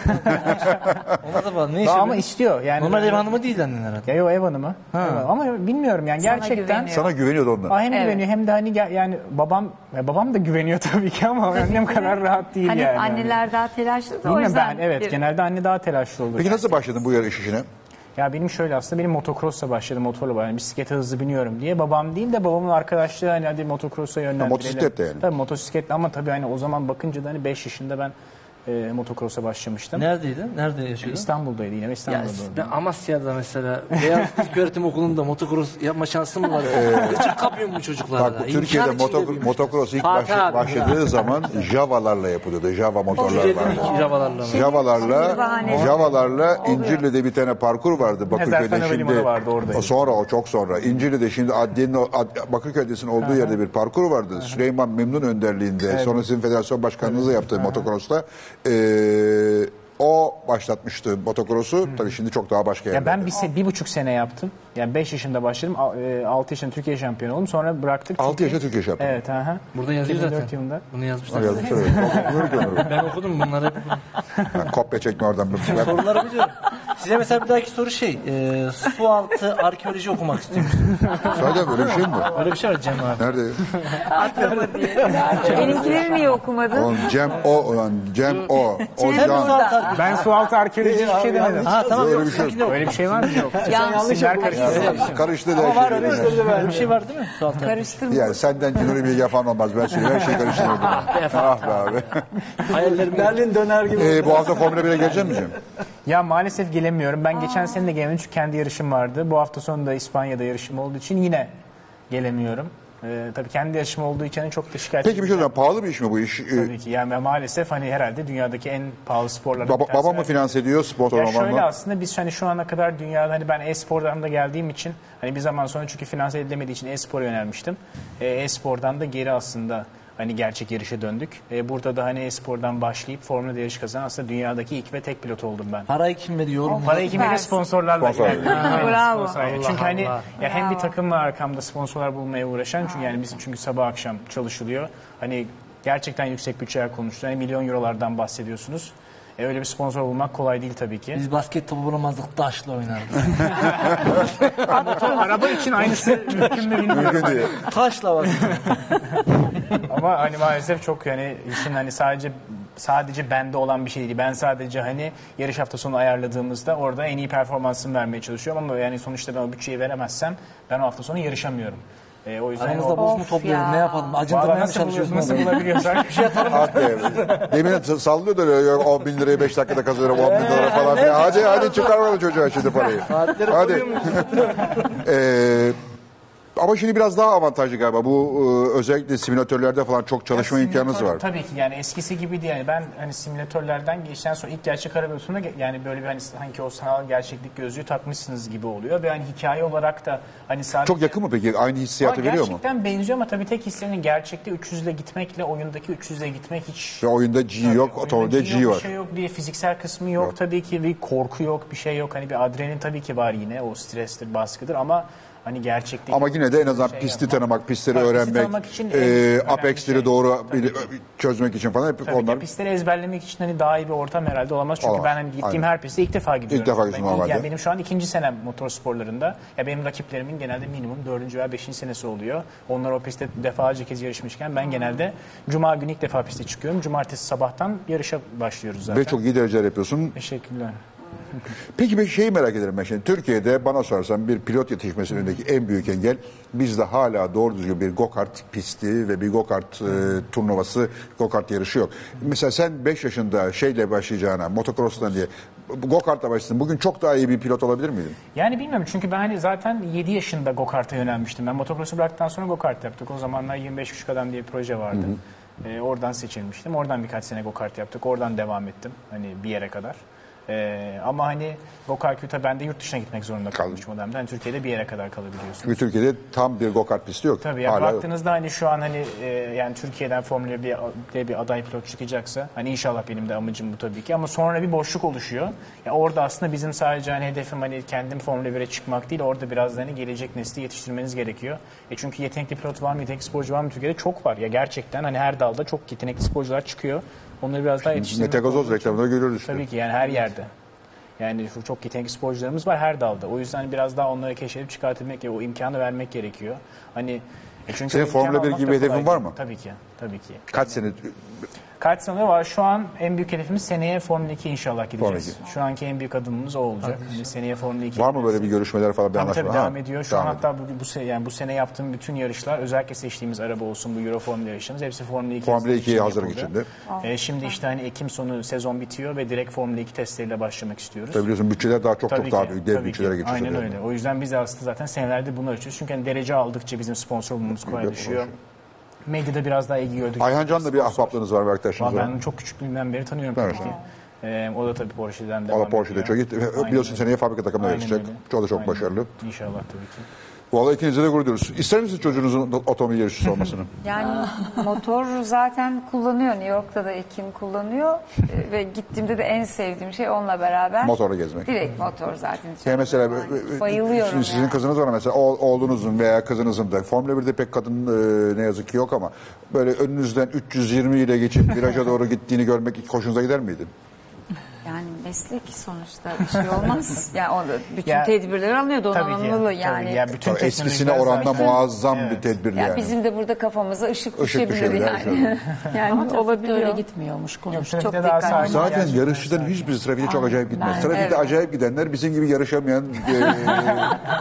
Speaker 2: Ona da bak ne iş
Speaker 6: Daha
Speaker 2: yapıyor?
Speaker 6: ama istiyor. Yani
Speaker 2: Normal ev hanımı değil annen herhalde.
Speaker 6: Ya yo ev hanımı. Ev hanımı. Ama bilmiyorum yani gerçekten.
Speaker 3: güveniyor.
Speaker 1: Sana güveniyordu onlar.
Speaker 6: Aa, hem güveniyor hem de hani gel- yani babam ya babam da güveniyor [laughs] tabii ki ama annem kadar rahat değil
Speaker 3: Hani
Speaker 6: yani.
Speaker 3: anneler daha telaşlı da o
Speaker 6: Bilmiyorum
Speaker 3: yüzden.
Speaker 6: ben evet
Speaker 3: bir-
Speaker 6: genelde anne daha telaşlı olur.
Speaker 1: Peki nasıl başladın bu yarış işine?
Speaker 6: Ya benim şöyle aslında benim motocross'la başladım motorla başladım. Bisiklete hızlı biniyorum diye. Babam değil de babamın arkadaşlığı hani hadi motocross'a yönlendirelim.
Speaker 1: motosikletle yani.
Speaker 6: Tabii motosikletle ama tabii hani o zaman bakınca da hani 5 yaşında ben e, motocross'a başlamıştım.
Speaker 2: Neredeydin? Nerede yaşıyordun?
Speaker 6: İstanbul'daydı yine
Speaker 2: Ya
Speaker 6: İstanbul'da. doğdum.
Speaker 2: ben Amasya'da mesela Beyaz İlköğretim Okulu'nda motokros yapma şansım mı var? Hiç kapıyorum bu çocuklarla.
Speaker 1: Bak bu
Speaker 2: İmkan
Speaker 1: Türkiye'de
Speaker 2: içinde
Speaker 1: moto,
Speaker 2: bir-
Speaker 1: motokros ilk
Speaker 2: Fatih
Speaker 1: başla-
Speaker 2: abi.
Speaker 1: başladığı zaman Java'larla yapılıyordu. Java motorlar
Speaker 2: Ücretli
Speaker 1: vardı.
Speaker 2: javalarla.
Speaker 1: Javalarla,
Speaker 3: Şimdi bahane.
Speaker 1: Javalarla İncirli'de bir tane parkur vardı Bakırköy'de
Speaker 6: Ezel Fener
Speaker 1: şimdi.
Speaker 6: Limanı vardı, oradaydı.
Speaker 1: O sonra o çok sonra. İncirli'de şimdi Adliye'nin o- Ad- Bakırköy'desinin olduğu yerde bir parkur vardı. Süleyman Memnun önderliğinde. Sonra sizin federasyon başkanınızla yaptığı motokrosta. Ee, o başlatmıştı motokrosu. Tabii şimdi çok daha başka
Speaker 6: Ya
Speaker 1: yerlerde.
Speaker 6: ben bir, se- bir buçuk sene yaptım. Yani 5 yaşında başladım. 6 yaşında Türkiye şampiyonu oldum. Sonra bıraktık.
Speaker 1: Altı
Speaker 6: çünkü-
Speaker 1: yaşında Türkiye şampiyonu.
Speaker 6: Evet. Aha.
Speaker 2: Burada yazıyor
Speaker 6: 2004
Speaker 2: zaten.
Speaker 6: yılında.
Speaker 2: Bunu yazmışlar.
Speaker 1: Ha, yazmışlar öyle. Okuyor ki onları.
Speaker 2: Ben okudum bunları.
Speaker 1: Ha, Kopya çekme oradan.
Speaker 2: Soruları biliyorum. Size mesela bir dahaki soru şey. E, su altı arkeoloji okumak istiyorum.
Speaker 1: Söyle böyle bir şey mi? var?
Speaker 2: Öyle bir şey var Cem abi.
Speaker 1: Nerede?
Speaker 3: Benimkileri niye okumadın?
Speaker 1: Oğlum Cem O olan Cem O. O
Speaker 2: Sen su
Speaker 1: Can.
Speaker 2: altı arkeoloji.
Speaker 6: Ben su altı arkeoloji hiçbir şey demedim.
Speaker 2: Ha tamam
Speaker 1: Böyle
Speaker 2: yok.
Speaker 1: bir şey
Speaker 2: sizinkini oku.
Speaker 6: Öyle bir şey var mı? Yok.
Speaker 3: Yanlış
Speaker 6: İsimler karıştı.
Speaker 1: Karıştı da her şey. birbirine.
Speaker 2: Öyle bir şey var değil mi? Su altı arkeoloji.
Speaker 3: Karıştırma.
Speaker 1: Yani senden Cüneyt
Speaker 6: [laughs]
Speaker 1: Bilge falan olmaz. Ben söyleyeyim her şey karıştırırdım. ah be abi.
Speaker 2: Hayallerim
Speaker 10: Berlin döner gibi.
Speaker 1: Ee, bu bu hafta Formula 1'e geleceğim mi Cem?
Speaker 6: Ya maalesef gelemiyorum. Ben geçen sene de gelemedim çünkü kendi yarışım vardı. Bu hafta sonu da İspanya'da yarışım olduğu için yine gelemiyorum. Ee, tabii kendi yarışım olduğu için hani çok da şikayet
Speaker 1: Peki bir şey soracağım. Pahalı bir iş mi bu iş? Ee,
Speaker 2: şey-
Speaker 6: Tabii ki. Yani maalesef hani herhalde dünyadaki en pahalı sporlardan
Speaker 1: Baba,
Speaker 6: bir tanesi.
Speaker 1: baba mı finanse ediyor sponsor
Speaker 6: Ya şöyle
Speaker 1: olmamla?
Speaker 6: aslında biz hani şu ana kadar dünyada hani ben e-spordan da geldiğim için hani bir zaman sonra çünkü finanse edilemediği için e-spora yönelmiştim. E, E-spordan da geri aslında hani gerçek yarışa döndük. E, burada da hani e-spordan başlayıp Formula yarış kazanan aslında dünyadaki ilk ve tek pilot oldum ben.
Speaker 2: Parayı kim veriyor? oğlum?
Speaker 6: Parayı kim veriyor?
Speaker 3: Süpersin.
Speaker 6: Sponsorlarla.
Speaker 1: Sponsor.
Speaker 6: geldi. Aynen,
Speaker 3: Bravo.
Speaker 6: sponsorlarla. Çünkü hani
Speaker 2: Allah.
Speaker 6: ya hem bir
Speaker 3: Bravo.
Speaker 6: takım var arkamda sponsorlar bulmaya uğraşan çünkü yani bizim çünkü sabah akşam çalışılıyor. Hani gerçekten yüksek bütçeler konuşuluyor. Hani milyon eurolardan bahsediyorsunuz. E, öyle bir sponsor bulmak kolay değil tabii ki.
Speaker 2: Biz basket topu bulamazdık taşla oynardık.
Speaker 6: Araba [laughs] için aynısı mümkün mü bilmiyorum.
Speaker 1: Mümkün değil.
Speaker 2: taşla bak.
Speaker 6: Ama hani maalesef çok yani işin hani sadece sadece bende olan bir şey değil. Ben sadece hani yarış hafta sonu ayarladığımızda orada en iyi performansımı vermeye çalışıyorum ama yani sonuçta ben o bütçeyi veremezsem ben o hafta sonu yarışamıyorum. E, o yüzden
Speaker 2: Aramızda
Speaker 6: o,
Speaker 2: buz mu topluyoruz?
Speaker 3: ya.
Speaker 2: Ne yapalım? Acındırmaya mı
Speaker 6: Vallahi
Speaker 2: çalışıyoruz?
Speaker 6: nasıl,
Speaker 2: ne
Speaker 6: nasıl
Speaker 2: yapalım?
Speaker 6: bulabiliyorsak bir şey yapalım.
Speaker 1: Ah be. Demin s- sallıyor da öyle, 10 bin lirayı 5 dakikada kazanırım 10
Speaker 6: Ee,
Speaker 1: bin dolara falan filan. Hadi hadi çıkarmalı çocuğa şimdi parayı.
Speaker 2: Saatleri
Speaker 1: Hadi.
Speaker 2: koyuyor muyuz?
Speaker 1: [laughs] Ee, ama şimdi biraz daha avantajlı galiba. Bu e, özellikle simülatörlerde falan çok çalışma
Speaker 6: Simülatör
Speaker 1: imkanınız var.
Speaker 6: Tabii ki yani eskisi gibi değil. Yani ben hani simülatörlerden geçten sonra ilk gerçek araba yolculuğunda ge- yani böyle bir hani sanki o sanal gerçeklik gözlüğü takmışsınız gibi oluyor. Ve hani hikaye olarak da hani sadece...
Speaker 1: Çok yakın mı peki? Aynı hissiyatı
Speaker 6: Ama
Speaker 1: veriyor mu?
Speaker 6: Gerçekten benziyor ama tabii tek hissenin gerçekte 300 ile gitmekle oyundaki 300 ile gitmek hiç...
Speaker 1: Ve oyunda G yok,
Speaker 6: Oyunda
Speaker 1: otomobilde
Speaker 6: G
Speaker 1: G
Speaker 6: yok, Bir
Speaker 1: var.
Speaker 6: şey yok diye fiziksel kısmı yok. Tabii ki bir korku yok, bir şey yok. Hani bir adrenalin tabii ki var yine. O strestir, baskıdır ama hani gerçeklik...
Speaker 1: Ama yine de en azından
Speaker 6: Şey
Speaker 1: pisti
Speaker 6: yapmak.
Speaker 1: tanımak, pistleri
Speaker 6: Tabii, pisti
Speaker 1: öğrenmek,
Speaker 6: tanımak için en
Speaker 1: e,
Speaker 6: önemli
Speaker 1: apexleri
Speaker 6: şey.
Speaker 1: doğru bil- çözmek için falan hep
Speaker 6: Tabii ki
Speaker 1: onlar
Speaker 6: pistleri ezberlemek için hani daha iyi bir ortam herhalde olamaz. Çünkü
Speaker 1: Olamaz.
Speaker 6: ben hani gittiğim
Speaker 1: Aynen.
Speaker 6: her piste ilk defa gidiyorum.
Speaker 1: defa
Speaker 6: Ben
Speaker 1: gidiyorsun
Speaker 6: ilk-
Speaker 1: normalde.
Speaker 6: Yani benim şu an ikinci senem motorsporlarında. Ya benim rakiplerimin genelde minimum dördüncü veya beşinci senesi oluyor. Onlar o pistte defalarca kez yarışmışken ben genelde cuma günü ilk defa piste çıkıyorum. Cumartesi sabahtan yarışa başlıyoruz zaten.
Speaker 1: ve çok iyi dereceler yapıyorsun.
Speaker 6: Teşekkürler.
Speaker 1: Peki bir şeyi merak ederim ben şimdi. Türkiye'de bana sorarsan bir pilot yetişmesinin önündeki en büyük engel bizde hala doğru düzgün bir go-kart pisti ve bir go-kart e, turnuvası, go-kart yarışı yok. Mesela sen 5 yaşında şeyle başlayacağına, motocross'tan diye bu go-kartla başladın. Bugün çok daha iyi bir pilot olabilir miydin?
Speaker 6: Yani bilmiyorum çünkü ben hani zaten 7 yaşında go-kart'a yönelmiştim. Ben motokrosu bıraktıktan sonra go-kart yaptık. O zamanlar 25 Küçük Adam diye bir proje vardı. Ee, oradan seçilmiştim. Oradan birkaç sene go-kart yaptık. Oradan devam ettim. Hani bir yere kadar. Ee, ama hani go-kart'a ben de yurt dışına gitmek zorunda kalmıştım o dönemde. Hani Türkiye'de bir yere kadar kalabiliyorsun.
Speaker 1: Çünkü Türkiye'de tam bir go-kart pisti yok.
Speaker 6: Tabii yani
Speaker 1: hala yok.
Speaker 6: baktığınızda hani şu an hani e, yani Türkiye'den Formula 1'de bir aday pilot çıkacaksa hani inşallah benim de amacım bu tabii ki ama sonra bir boşluk oluşuyor. Ya orada aslında bizim sadece hani hedefim hani kendim Formula 1'e çıkmak değil orada biraz da hani gelecek nesli yetiştirmeniz gerekiyor. E çünkü yetenekli pilot var mı yetenekli sporcu var mı Türkiye'de çok var ya gerçekten hani her dalda çok yetenekli sporcular çıkıyor. Onları biraz daha yetiştirmek.
Speaker 1: Mete Gazoz reklamında görüyoruz. işte.
Speaker 6: Tabii ki yani her yerde. Yani şu çok yetenekli sporcularımız var her dalda. O yüzden biraz daha onları keşfedip çıkartabilmek, o imkanı vermek gerekiyor. Hani e çünkü
Speaker 1: Senin
Speaker 6: o imkanı
Speaker 1: Formula bir
Speaker 6: almak
Speaker 1: gibi
Speaker 6: da
Speaker 1: hedefin
Speaker 6: kolay
Speaker 1: var
Speaker 6: değil.
Speaker 1: mı?
Speaker 6: Tabii ki, tabii ki.
Speaker 1: Kaç sene
Speaker 6: Kaç sene var? Şu an en büyük hedefimiz seneye Formula 2 inşallah gideceğiz.
Speaker 1: Formula
Speaker 6: Şu anki en büyük adımımız o olacak. Hani seneye Formula 2.
Speaker 1: var mı böyle bir görüşmeler falan bir
Speaker 6: Tabii
Speaker 1: anlaşma?
Speaker 6: tabii
Speaker 1: Ha,
Speaker 6: devam ediyor. Şu
Speaker 1: devam
Speaker 6: an
Speaker 1: ediyor.
Speaker 6: hatta bugün bu sene yani bu sene yaptığım bütün yarışlar özellikle seçtiğimiz araba olsun bu Euro Formula yarışlarımız hepsi Formula 2
Speaker 1: Formula
Speaker 6: testleri için
Speaker 1: 2'ye hazırlık
Speaker 6: yapıldı.
Speaker 1: içinde.
Speaker 6: Ee, şimdi işte hani Ekim sonu sezon bitiyor ve direkt Formula 2 testleriyle başlamak istiyoruz.
Speaker 1: Tabii biliyorsun bütçeler daha çok çok daha büyük dev
Speaker 6: tabii
Speaker 1: bütçelere geçiyor.
Speaker 6: Aynen öyle. O yüzden biz de aslında zaten senelerde bunu açıyoruz. Çünkü hani derece aldıkça bizim sponsor bulmamız kolay düşüyor. Medyada biraz daha ilgi gördük.
Speaker 1: Ayhan Can'la bir ahbaplığınız var bir arkadaşınız var.
Speaker 6: Ben çok küçüklüğümden beri tanıyorum.
Speaker 1: Evet.
Speaker 6: tabii ki. Ee, o da tabii Porsche'den
Speaker 1: O
Speaker 6: devam
Speaker 1: da Porsche'de çok
Speaker 6: ediyor.
Speaker 1: iyi. Ve
Speaker 6: Aynen
Speaker 1: Biliyorsun
Speaker 6: öyle.
Speaker 1: seneye fabrika takımına
Speaker 6: Aynen
Speaker 1: geçecek.
Speaker 6: öyle.
Speaker 1: O da çok
Speaker 6: Aynen.
Speaker 1: başarılı.
Speaker 6: İnşallah tabii ki.
Speaker 1: Vallahi ikinize de gurur duyuyoruz. İster misiniz çocuğunuzun otomobil
Speaker 6: [laughs]
Speaker 1: yarışçısı olmasını? [laughs]
Speaker 3: Yani motor zaten kullanıyor. New York'ta da Ekin kullanıyor. Ee, Ve gittiğimde de en sevdiğim şey onunla beraber.
Speaker 1: Motorla gezmek.
Speaker 3: Direkt motor zaten.
Speaker 1: Yani mesela
Speaker 3: Yani
Speaker 1: şimdi
Speaker 3: bayılıyorum.
Speaker 1: sizin
Speaker 3: yani.
Speaker 1: kızınız var mesela o- oğlunuzun veya kızınızın da Formula 1'de pek kadın e, ne yazık ki yok ama böyle önünüzden 320 ile geçip viraja doğru gittiğini görmek hiç hoşunuza gider miydi?
Speaker 3: Yani ne Meslek sonuçta bir şey
Speaker 1: [laughs]
Speaker 3: olmaz. yani o da bütün
Speaker 6: Ya,
Speaker 3: tedbirleri alınıyor
Speaker 6: Tabii ki.
Speaker 3: donanımlı
Speaker 6: Tabii.
Speaker 3: yani.
Speaker 6: Ya bütün
Speaker 1: Tabii eskisine
Speaker 6: teknolojiler
Speaker 1: oranda
Speaker 6: zaten-
Speaker 1: muazzam
Speaker 6: Evet.
Speaker 1: bir tedbir
Speaker 3: Ya
Speaker 1: yani.
Speaker 3: bizim de burada kafamıza ışık, düşebilir
Speaker 1: düşebilir,
Speaker 3: [laughs] yani.
Speaker 9: Ama
Speaker 3: yani
Speaker 9: trafikte öyle
Speaker 3: olabiliyor.
Speaker 9: gitmiyormuş konu.
Speaker 6: Trafikte
Speaker 3: Çok
Speaker 6: daha
Speaker 3: dikkatli.
Speaker 6: sakin.
Speaker 4: Zaten
Speaker 6: Gerçekten
Speaker 4: yarışçıların
Speaker 6: sakin.
Speaker 4: hiçbirisi trafikte çok
Speaker 9: Aynen.
Speaker 4: acayip gitmez.
Speaker 9: Ben-
Speaker 4: Trafikte
Speaker 3: Evet.
Speaker 4: acayip gidenler bizim gibi yarışamayan
Speaker 3: [laughs]
Speaker 4: e,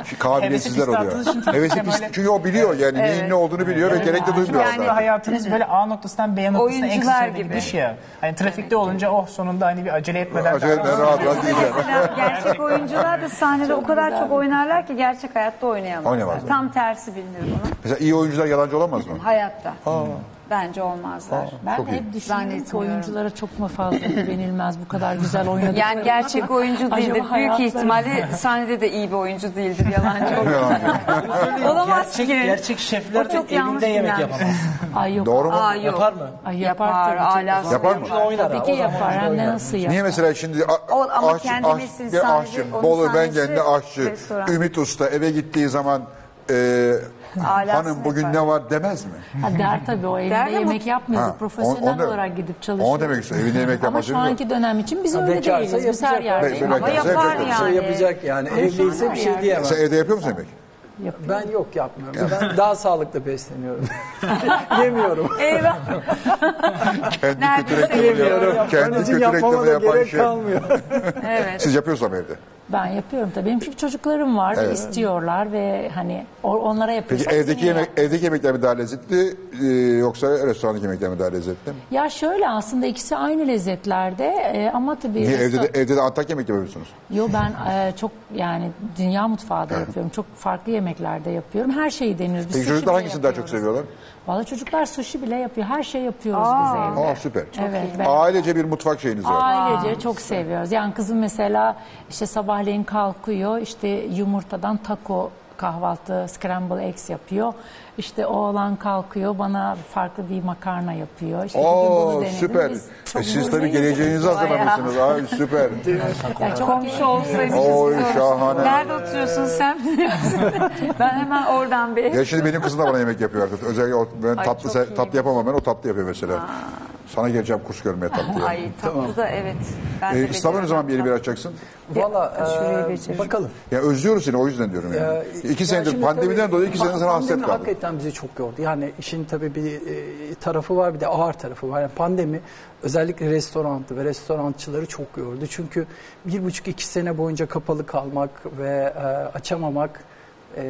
Speaker 1: şey,
Speaker 4: kabiliyetsizler
Speaker 6: Hevesi piste
Speaker 4: oluyor.
Speaker 6: attığı için trafikte
Speaker 4: Hevesi pist,
Speaker 6: böyle-
Speaker 1: Çünkü o biliyor yani neyin
Speaker 3: Evet.
Speaker 1: ne olduğunu biliyor ve gerek de duymuyor.
Speaker 3: Yani-
Speaker 1: zaten.
Speaker 6: hayatınız böyle A noktasından B noktasına en
Speaker 3: Oyuncular
Speaker 6: kısa sürede
Speaker 3: gibi.
Speaker 6: gidiş ya. Hani trafikte olunca oh sonunda hani bir acele etmeden
Speaker 1: Acele
Speaker 6: daha-
Speaker 1: eder, rahat rahat gideceğim.
Speaker 3: Mesela gerçek oyuncular da sahnede o kadar çok oynarlar ki gerçek hayatta oynayamazlar.
Speaker 1: Oynayamazlar.
Speaker 3: Tam tersi bilinir bunun.
Speaker 1: Mesela iyi oyuncular yalancı olamaz mı?
Speaker 3: Hayatta. Bence olmazlar.
Speaker 9: Ben
Speaker 1: Çok iyi.
Speaker 9: hep düşündüm ki
Speaker 3: Zannetmiyorum.
Speaker 9: oyunculara çok mu fazla güvenilmez bu kadar güzel oynadık.
Speaker 3: Yani gerçek oyuncu
Speaker 9: Acaba
Speaker 3: değildir. Büyük
Speaker 9: hayatları-
Speaker 3: ihtimalle sahnede de iyi bir oyuncu değildir. Yalancı olur. [laughs] Olamaz
Speaker 7: gerçek,
Speaker 3: ki.
Speaker 7: Gerçek şefler
Speaker 3: O
Speaker 7: de
Speaker 3: çok yanlış
Speaker 7: evinde yemek
Speaker 3: bilen.
Speaker 7: yapamaz.
Speaker 9: Ay yok.
Speaker 1: Doğru mu?
Speaker 3: Aa, yok.
Speaker 7: Yapar şey mı?
Speaker 9: Ay yapar,
Speaker 3: Yapar.
Speaker 9: tabii canım.
Speaker 3: Alası
Speaker 1: Yapar mı?
Speaker 7: Oynar
Speaker 9: Tabii
Speaker 7: ha,
Speaker 9: ki
Speaker 7: o zaman
Speaker 9: yapar.
Speaker 7: oynar.
Speaker 9: Hem de nasıl yapar?
Speaker 1: Niye mesela şimdi a-
Speaker 3: O- ama
Speaker 1: aşçı,
Speaker 3: kendi
Speaker 1: aşçı,
Speaker 3: mesleği
Speaker 1: bir
Speaker 3: sahibi,
Speaker 1: aşçı,
Speaker 3: onun
Speaker 1: Bolu
Speaker 3: sahnesi
Speaker 1: Bengen'de aşçı,
Speaker 3: restoran.
Speaker 1: Ümit Usta eve gittiği zaman e,
Speaker 3: Alasını
Speaker 1: hanım bugün
Speaker 3: yapar.
Speaker 1: ne var demez mi?
Speaker 9: Ha, der tabii o evde
Speaker 3: Der ama-
Speaker 9: yemek yapmıyor.
Speaker 1: Ha,
Speaker 9: Profesyonel
Speaker 1: onu- onu-
Speaker 9: olarak gidip çalışıyor.
Speaker 1: onu demek istiyorum. Evinde yemek
Speaker 9: Ama
Speaker 1: yapması
Speaker 9: şu
Speaker 1: yok.
Speaker 9: anki dönem için biz öyle
Speaker 7: bekarsa
Speaker 9: değiliz. Biz her
Speaker 7: yapacak.
Speaker 9: yerde
Speaker 1: Be-
Speaker 3: Ama
Speaker 1: Belki de
Speaker 3: yapar
Speaker 1: yapacak.
Speaker 3: yani.
Speaker 7: Şey yapacak yani. Evliyse bir şey diyemem.
Speaker 1: Sen evde yapıyor musun yemek?
Speaker 9: yapıyor.
Speaker 7: Ben yok yapmıyorum. Ben daha
Speaker 1: [laughs]
Speaker 7: sağlıklı besleniyorum. Yemiyorum. [laughs]
Speaker 3: Eyvah.
Speaker 1: Kendi
Speaker 3: Neredeyse
Speaker 1: kötü reklamı
Speaker 7: Yemiyorum.
Speaker 1: yapan, kendi
Speaker 7: Onun için
Speaker 1: kötü reklamı
Speaker 7: yapmama da
Speaker 1: yapan
Speaker 7: gerek
Speaker 1: şey.
Speaker 7: kalmıyor.
Speaker 3: Evet.
Speaker 1: Siz yapıyorsunuz ama evde.
Speaker 9: Ben yapıyorum tabii. Benim çünkü çocuklarım var. istiyorlar ve hani o- onlara
Speaker 1: Peki
Speaker 9: yapıyoruz.
Speaker 1: evdeki, yemek, evdeki yemekler mi daha lezzetli e, yoksa restorandaki yemekler mi daha lezzetli?
Speaker 9: Ya şöyle aslında ikisi aynı lezzetlerde e, ama tabii
Speaker 1: Niye
Speaker 9: resto-
Speaker 1: evde de, evde de Antakya yemek yapıyorsunuz?
Speaker 9: Yo ben e, çok yani dünya mutfağı da yapıyorum. Çok farklı yemeklerde yapıyorum. Her şeyi deniyoruz. Biz
Speaker 1: Peki
Speaker 9: sushi
Speaker 1: çocuklar
Speaker 9: bile
Speaker 1: hangisini daha çok
Speaker 9: yapıyoruz.
Speaker 1: seviyorlar?
Speaker 9: Valla çocuklar sushi bile yapıyor. Her şey yapıyoruz biz evde.
Speaker 1: Aa süper.
Speaker 9: Evet. ben-
Speaker 1: Ailece bir mutfak şeyiniz var.
Speaker 9: Ailece çok seviyoruz. Yani kızım mesela işte sabahleyin kalkıyor işte yumurtadan taco kahvaltı scramble eggs yapıyor. İşte oğlan kalkıyor bana farklı bir makarna yapıyor. İşte bugün bunu
Speaker 1: Oo
Speaker 9: denedim.
Speaker 1: süper.
Speaker 9: Biz çok şey.
Speaker 1: E, siz tabii
Speaker 9: mutluyuz.
Speaker 1: geleceğinizi hazırlamışsınız. Abi
Speaker 9: [laughs]
Speaker 1: süper.
Speaker 9: Yani çok
Speaker 3: Komşu olsaydı.
Speaker 1: Oy,
Speaker 3: biz-
Speaker 1: şahane.
Speaker 3: Nerede oturuyorsun sen? [laughs] ben hemen oradan bir.
Speaker 1: Ya şimdi benim kızım da bana yemek yapıyor artık. Özellikle o- ben tatlı
Speaker 3: çok
Speaker 1: se-
Speaker 3: iyi.
Speaker 1: tatlı yapamam ben o tatlı yapıyor mesela. Sana geleceğim kurs görmeye tatlı.
Speaker 3: Ay
Speaker 1: yani.
Speaker 3: tatlı da evet. Ben
Speaker 1: E,
Speaker 3: de
Speaker 1: İstanbul'da ne zaman bir yeri bir
Speaker 3: beceremem.
Speaker 1: açacaksın?
Speaker 3: Şuraya
Speaker 7: Valla
Speaker 3: geçelim.
Speaker 7: e, bakalım.
Speaker 1: Ya özlüyoruz seni o yüzden diyorum yani.
Speaker 7: Ee,
Speaker 1: iki
Speaker 7: ya
Speaker 1: senedir
Speaker 7: şimdi
Speaker 1: pandemiden
Speaker 7: tabii
Speaker 1: dolayı iki senedir sana hasret
Speaker 7: pandemi
Speaker 1: kaldım.
Speaker 7: Hakikaten bizi çok yordu. Yani işin tabii bir e, tarafı var bir de ağır tarafı var. Yani pandemi özellikle restorantı ve restorançıları çok yordu. Çünkü bir buçuk iki sene boyunca kapalı kalmak ve e, açamamak e,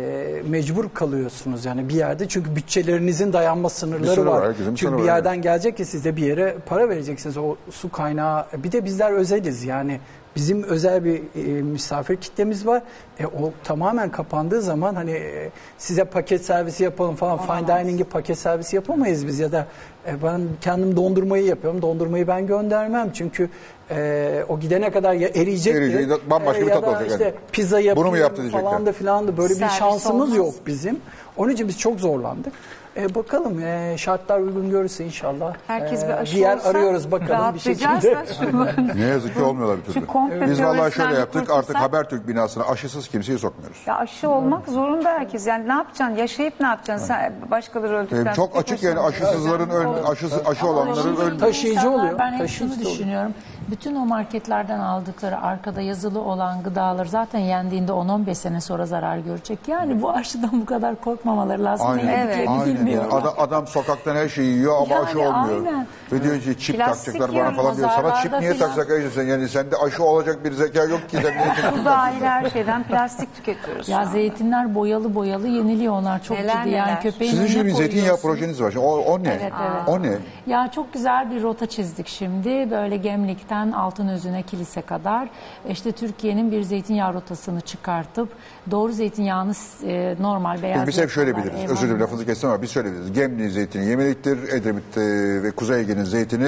Speaker 7: mecbur kalıyorsunuz yani bir yerde. Çünkü bütçelerinizin dayanma sınırları
Speaker 1: sınırı
Speaker 7: var.
Speaker 1: var, herkesin bir
Speaker 7: Çünkü
Speaker 1: sınırı
Speaker 7: bir
Speaker 1: var,
Speaker 7: yerden gelecek ki size bir yere para vereceksiniz o su kaynağı. E, Bir de bizler özeliz yani bizim özel bir e, misafir kitlemiz var. E, o tamamen kapandığı zaman hani e, size paket servisi yapalım falan fine dining'i paket servisi yapamayız biz ya da e, ben kendim dondurmayı yapıyorum. Dondurmayı ben göndermem çünkü e, o gidene kadar ya eriyecek
Speaker 1: Eriyecek, bambaşka bir
Speaker 7: ya
Speaker 1: tat
Speaker 7: da
Speaker 1: olacak
Speaker 7: işte
Speaker 1: yani.
Speaker 7: pizza yapayım
Speaker 1: Bunu mu yaptı diyecekler.
Speaker 7: falan da filan da böyle
Speaker 3: Servis
Speaker 7: bir şansımız
Speaker 3: olmaz.
Speaker 7: yok bizim. Onun için biz çok zorlandık. E, bakalım e, şartlar uygun görürse inşallah.
Speaker 3: Herkes
Speaker 7: e,
Speaker 3: bir aşı
Speaker 7: bir yer
Speaker 3: olsa
Speaker 7: arıyoruz bakalım bir
Speaker 3: rahatlayacağız
Speaker 7: şekilde.
Speaker 3: da
Speaker 7: [laughs]
Speaker 3: şu-
Speaker 1: Ne yazık ki olmuyorlar bir
Speaker 3: Şu
Speaker 1: türlü.
Speaker 3: komple
Speaker 1: Biz vallahi şöyle
Speaker 3: teröristlerle
Speaker 1: yaptık
Speaker 3: kurtulsak-
Speaker 1: artık Habertürk binasına aşısız kimseyi sokmuyoruz.
Speaker 3: Ya aşı olmak zorunda herkes. Yani ne yapacaksın? Yaşayıp ne yapacaksın? Sen başkaları öldükten
Speaker 1: E,
Speaker 3: sonra
Speaker 1: çok
Speaker 3: tek
Speaker 1: açık yani
Speaker 3: başına-
Speaker 1: aşısızların öl- aşısı, aşı olanların
Speaker 9: Şimdi
Speaker 1: ölmüyor.
Speaker 7: Taşıyıcı
Speaker 9: insanlar,
Speaker 7: oluyor.
Speaker 9: Ben hep
Speaker 7: Taşıyıcı
Speaker 9: şunu
Speaker 7: oluyor.
Speaker 9: düşünüyorum. Bütün o marketlerden aldıkları arkada yazılı olan gıdalar zaten yendiğinde 10-15 sene sonra zarar görecek. Yani bu aşıdan bu kadar korkmamaları lazım. Ne
Speaker 3: Evet.
Speaker 9: yediklerini
Speaker 1: Aynen. yani.
Speaker 9: bilmiyorlar.
Speaker 1: Adam, adam sokaktan her şeyi yiyor ama
Speaker 9: Yani
Speaker 1: aşı olmuyor.
Speaker 9: aynen.
Speaker 1: Ve diyor ki çip
Speaker 3: Plastik
Speaker 1: takacaklar bana
Speaker 3: yiyorum,
Speaker 1: falan diyor. Sana çip
Speaker 9: pazarlarda
Speaker 1: niye
Speaker 9: filan.
Speaker 1: takacak Ece sen? Yani sende aşı olacak bir zeka yok ki. Sen niye çip
Speaker 3: Bu
Speaker 1: takacaksın?
Speaker 3: dahil her şeyden plastik tüketiyoruz.
Speaker 9: Ya
Speaker 3: Ya
Speaker 9: zeytinler boyalı boyalı yeniliyor onlar çok
Speaker 3: Neler
Speaker 9: ciddi yani
Speaker 3: neler.
Speaker 9: köpeğin
Speaker 1: Sizin
Speaker 9: önüne
Speaker 1: şimdi bir zeytinyağı
Speaker 9: koyuyorsun.
Speaker 1: projeniz var. Şimdi O, o ne?
Speaker 9: Evet, evet.
Speaker 1: O ne?
Speaker 9: Ya çok güzel bir rota çizdik şimdi. Böyle Gemlik'ten Altınözü'ne kilise kadar işte Türkiye'nin bir zeytinyağı rotasını çıkartıp doğru zeytinyağını e, normal beyaz
Speaker 1: Peki biz hep şöyle
Speaker 9: yakalar,
Speaker 1: biliriz.
Speaker 9: eyvallah.
Speaker 1: Özür dilerim lafınızı kestim ama biz şöyle biliriz. Gemli zeytini Yemlik'tir. Edremit e, ve Kuzey Ege'nin zeytini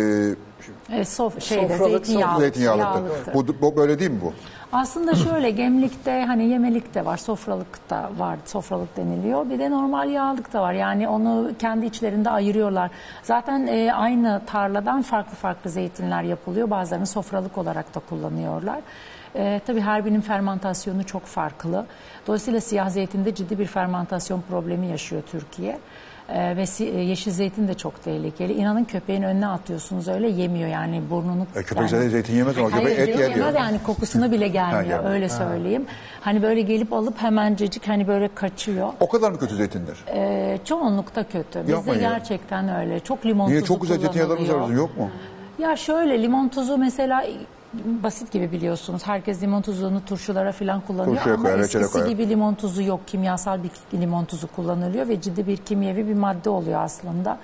Speaker 1: e,
Speaker 9: E, sof, şeyde,
Speaker 7: Sofralık,
Speaker 9: zeytinyağlı,
Speaker 1: zeytinyağlıdır. Bu, bu böyle değil mi bu?
Speaker 9: Aslında şöyle gemlikte hani yemelik de var, sofralık da var, sofralık deniliyor. Bir de normal yağlık da var. Yani onu kendi içlerinde ayırıyorlar. Zaten e, aynı tarladan farklı farklı zeytinler yapılıyor. Bazılarını sofralık olarak da kullanıyorlar. E, tabii her birinin fermantasyonu çok farklı. Dolayısıyla siyah zeytinde ciddi bir fermantasyon problemi yaşıyor Türkiye. Ee, ve si- e, yeşil zeytin de çok tehlikeli. İnanın köpeğin önüne atıyorsunuz öyle yemiyor yani burnunu.
Speaker 1: E, köpek
Speaker 9: yani-
Speaker 1: zaten zeytin yemez ama
Speaker 9: Hayır,
Speaker 1: köpek et
Speaker 9: canım
Speaker 1: yer diyor.
Speaker 9: yemez yani kokusuna bile gelmiyor
Speaker 1: gelmiyor.
Speaker 9: öyle söyleyeyim. Hani böyle gelip alıp hemencecik hani böyle kaçıyor.
Speaker 1: O kadar mı kötü zeytinler?
Speaker 9: Ee, çoğunlukta kötü. Bizde
Speaker 1: Yapmayın ya.
Speaker 9: gerçekten öyle. Çok limon
Speaker 1: Niye
Speaker 9: tuzu
Speaker 1: çok güzel zeytin
Speaker 9: kullanılıyor.
Speaker 1: yağlarımız var bizim yok mu?
Speaker 9: Ya şöyle limon tuzu mesela basit gibi biliyorsunuz. Herkes limon tuzunu turşulara falan kullanıyor
Speaker 1: Turşuya
Speaker 9: ama
Speaker 1: koyar, reçele
Speaker 9: eskisi
Speaker 1: koyar.
Speaker 9: gibi limon tuzu yok. Kimyasal bir limon tuzu kullanılıyor ve ciddi bir kimyevi bir madde oluyor aslında.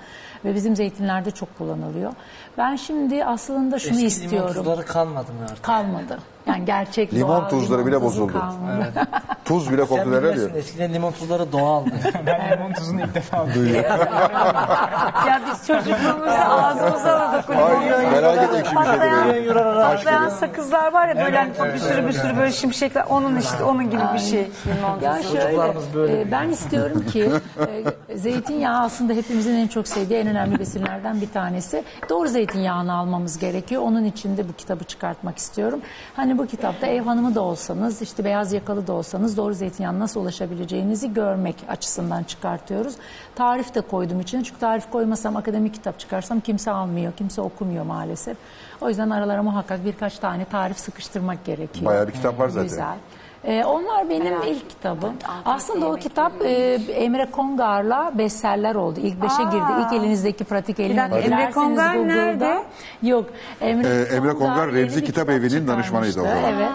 Speaker 9: Ve bizim zeytinlerde çok kullanılıyor. Ben şimdi aslında şunu
Speaker 2: Eski limon
Speaker 9: istiyorum.
Speaker 2: tuzları kalmadı mı artık?
Speaker 9: Kalmadı. Yani gerçek
Speaker 1: Limon
Speaker 9: doğal
Speaker 1: tuzları
Speaker 9: limon
Speaker 1: bile
Speaker 9: tuzu
Speaker 1: bozuldu.
Speaker 9: kalmadı.
Speaker 1: Tuz bile
Speaker 2: Sen
Speaker 1: koktu derler
Speaker 2: bilmezsin
Speaker 1: diyor.
Speaker 2: eskiden limon tuzları doğaldı.
Speaker 6: Ben limon tuzunu ilk defa
Speaker 3: Ya biz çocukluğumuzda ağzımıza alırdık.
Speaker 1: Ay, felaket ekşi bir şey şeydir
Speaker 3: Patlayan-
Speaker 1: öyle.
Speaker 3: Patlayan sakızlar var ya böyle hani bir sürü bir sürü böyle şimşekler. Onun işte onun gibi bir şey. Limon
Speaker 9: Ya
Speaker 3: tuzu.
Speaker 9: Ee, şöyle,
Speaker 2: Çocuklarımız böyle
Speaker 9: e, ben istiyorum ki e, zeytinyağı aslında hepimizin en çok sevdiği en önemli besinlerden bir tanesi. Doğru zeytinyağını almamız gerekiyor. Onun için de bu kitabı çıkartmak istiyorum. Hani bu kitapta ev hanımı da olsanız, işte beyaz yakalı da olsanız doğru zeytinyağına nasıl ulaşabileceğinizi görmek açısından çıkartıyoruz. Tarif de koydum içine çünkü tarif koymasam akademik kitap çıkarsam kimse almıyor, kimse okumuyor maalesef. O yüzden aralara muhakkak birkaç tane tarif sıkıştırmak gerekiyor.
Speaker 1: Bayağı bir kitap var zaten.
Speaker 9: Güzel. Ee, onlar benim ilk kitabım. Aslında o kitap e, Emre Kongar'la bestseller oldu. İlk beşe girdi. İlk elinizdeki pratik elini
Speaker 3: dakika, Emre
Speaker 9: elerseniz
Speaker 3: Kongar
Speaker 9: Google'da-
Speaker 3: nerede?
Speaker 9: Yok. Emre,
Speaker 1: Ee, Emre Kongar
Speaker 9: yeni
Speaker 1: Remzi
Speaker 9: bir
Speaker 1: Kitap Evi'nin danışmanıydı o
Speaker 9: çıkarmıştı.
Speaker 1: zaman.
Speaker 9: Evet.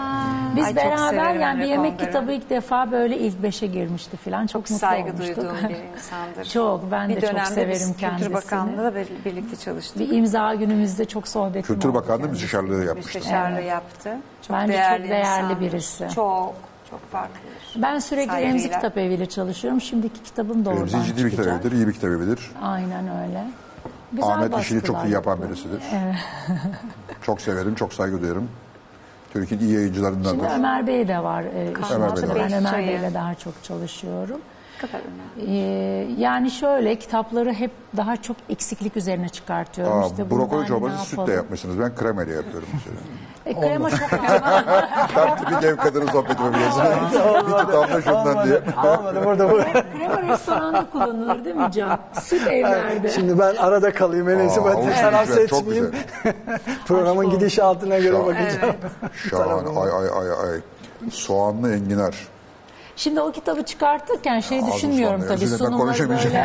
Speaker 9: Biz
Speaker 3: Ay, çok
Speaker 9: beraber
Speaker 3: severim
Speaker 9: yani bir
Speaker 3: Emre
Speaker 9: yemek
Speaker 3: Kongar'ı.
Speaker 9: kitabı ilk defa böyle ilk beşe girmişti falan. Çok, mutlu
Speaker 3: saygı
Speaker 9: olmuştuk. [laughs]
Speaker 3: duyduğum bir insandır.
Speaker 9: Çok, ben de
Speaker 3: bir
Speaker 9: çok
Speaker 3: dönemde
Speaker 9: severim
Speaker 3: biz Kültür
Speaker 9: kendisini.
Speaker 3: Bakanlığı'nda da bir- birlikte çalıştık.
Speaker 9: Bir imza günümüzde çok sohbetim
Speaker 1: Kültür
Speaker 9: oldu
Speaker 1: Bakanlığı
Speaker 9: kendisiyle.
Speaker 1: müsteşarlığı yapmıştı.
Speaker 3: Müsteşarlığı yaptı. Çok
Speaker 9: Bence çok
Speaker 3: değerli
Speaker 9: değerli
Speaker 3: insandır.
Speaker 9: birisi.
Speaker 3: Çok, çok farklı.
Speaker 9: Ben sürekli
Speaker 3: Saygıyla.
Speaker 9: Remzi Kitap Evi'yle çalışıyorum. Şimdiki kitabım da oradan
Speaker 1: Remzi ciddi Ee, bir kitap
Speaker 9: çıkacak.
Speaker 1: evidir, iyi bir kitap evidir.
Speaker 9: Aynen öyle. Güzel
Speaker 1: Ahmet işini çok
Speaker 9: baskılar
Speaker 1: iyi yapan
Speaker 9: yapıyor.
Speaker 1: birisidir. çok severim, çok saygı duyarım. Türkiye'nin iyi
Speaker 9: Şimdi
Speaker 1: yayıncılarındandır.
Speaker 9: Ömer Bey de var. E, işin
Speaker 1: Ömer Bey
Speaker 9: altında.
Speaker 1: de var.
Speaker 9: ben Ömer
Speaker 3: Çayı.
Speaker 9: Bey'le daha çok çalışıyorum.
Speaker 3: Kadar önemli.
Speaker 9: E, yani şöyle kitapları hep daha çok eksiklik üzerine çıkartıyorum.
Speaker 1: Aa,
Speaker 9: işte bundan
Speaker 1: brokoli
Speaker 9: ne
Speaker 1: çorbası sütle
Speaker 9: yapalım?
Speaker 1: yapmışsınız. Ben kremayla yapıyorum. mesela.
Speaker 9: E, krema çok az.
Speaker 1: Tam tipik ev kadını sohbetimi biliyorsun. bir tutamda şundan diye.
Speaker 2: Kalmadı burada bu.
Speaker 9: krema restoranda kullanılır değil mi Can? Süt evlerde.
Speaker 7: Şimdi ben arada kalayım en iyisi
Speaker 1: Aa, o
Speaker 7: ben
Speaker 1: güzel,
Speaker 7: taraf
Speaker 1: çok
Speaker 7: seçmeyeyim.
Speaker 1: güzel.
Speaker 7: Programın gidişatına göre
Speaker 1: Şahane.
Speaker 7: bakacağım.
Speaker 1: Şahane. Ay ay ay ay. Soğanlı enginar.
Speaker 9: Şimdi o kitabı çıkartırken şey düşünmüyorum tabii
Speaker 1: Sizinle ben
Speaker 9: sunumları
Speaker 1: konuşamayacağım.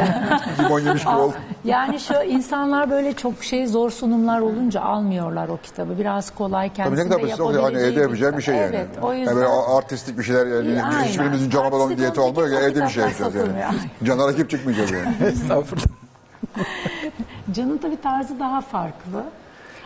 Speaker 1: [laughs]
Speaker 9: böyle.
Speaker 1: Limon yemiş gibi oldum.
Speaker 9: Yani şu insanlar böyle çok şey zor sunumlar olunca almıyorlar o kitabı. Biraz kolay
Speaker 1: Tabii ne
Speaker 9: kendisinde
Speaker 1: kadar basit. oluyor. Hani
Speaker 9: yapabileceği
Speaker 1: evde yapacağım bir şey yani.
Speaker 9: Evet o
Speaker 1: Yani
Speaker 9: yüzden.
Speaker 1: böyle artistik bir şeyler yani.
Speaker 9: Aynen.
Speaker 1: Hiçbirimizin Can Abalon
Speaker 9: Artistik
Speaker 1: diyeti
Speaker 9: olan
Speaker 1: olmuyor.
Speaker 9: kitap
Speaker 1: evde bir şey
Speaker 9: kitaplar
Speaker 1: yapacağız yani.
Speaker 9: satılmıyor.
Speaker 1: Can'a rakip çıkmayacağız yani.
Speaker 9: [laughs]
Speaker 7: Estağfurullah.
Speaker 9: Can'ın tabii tarzı daha farklı.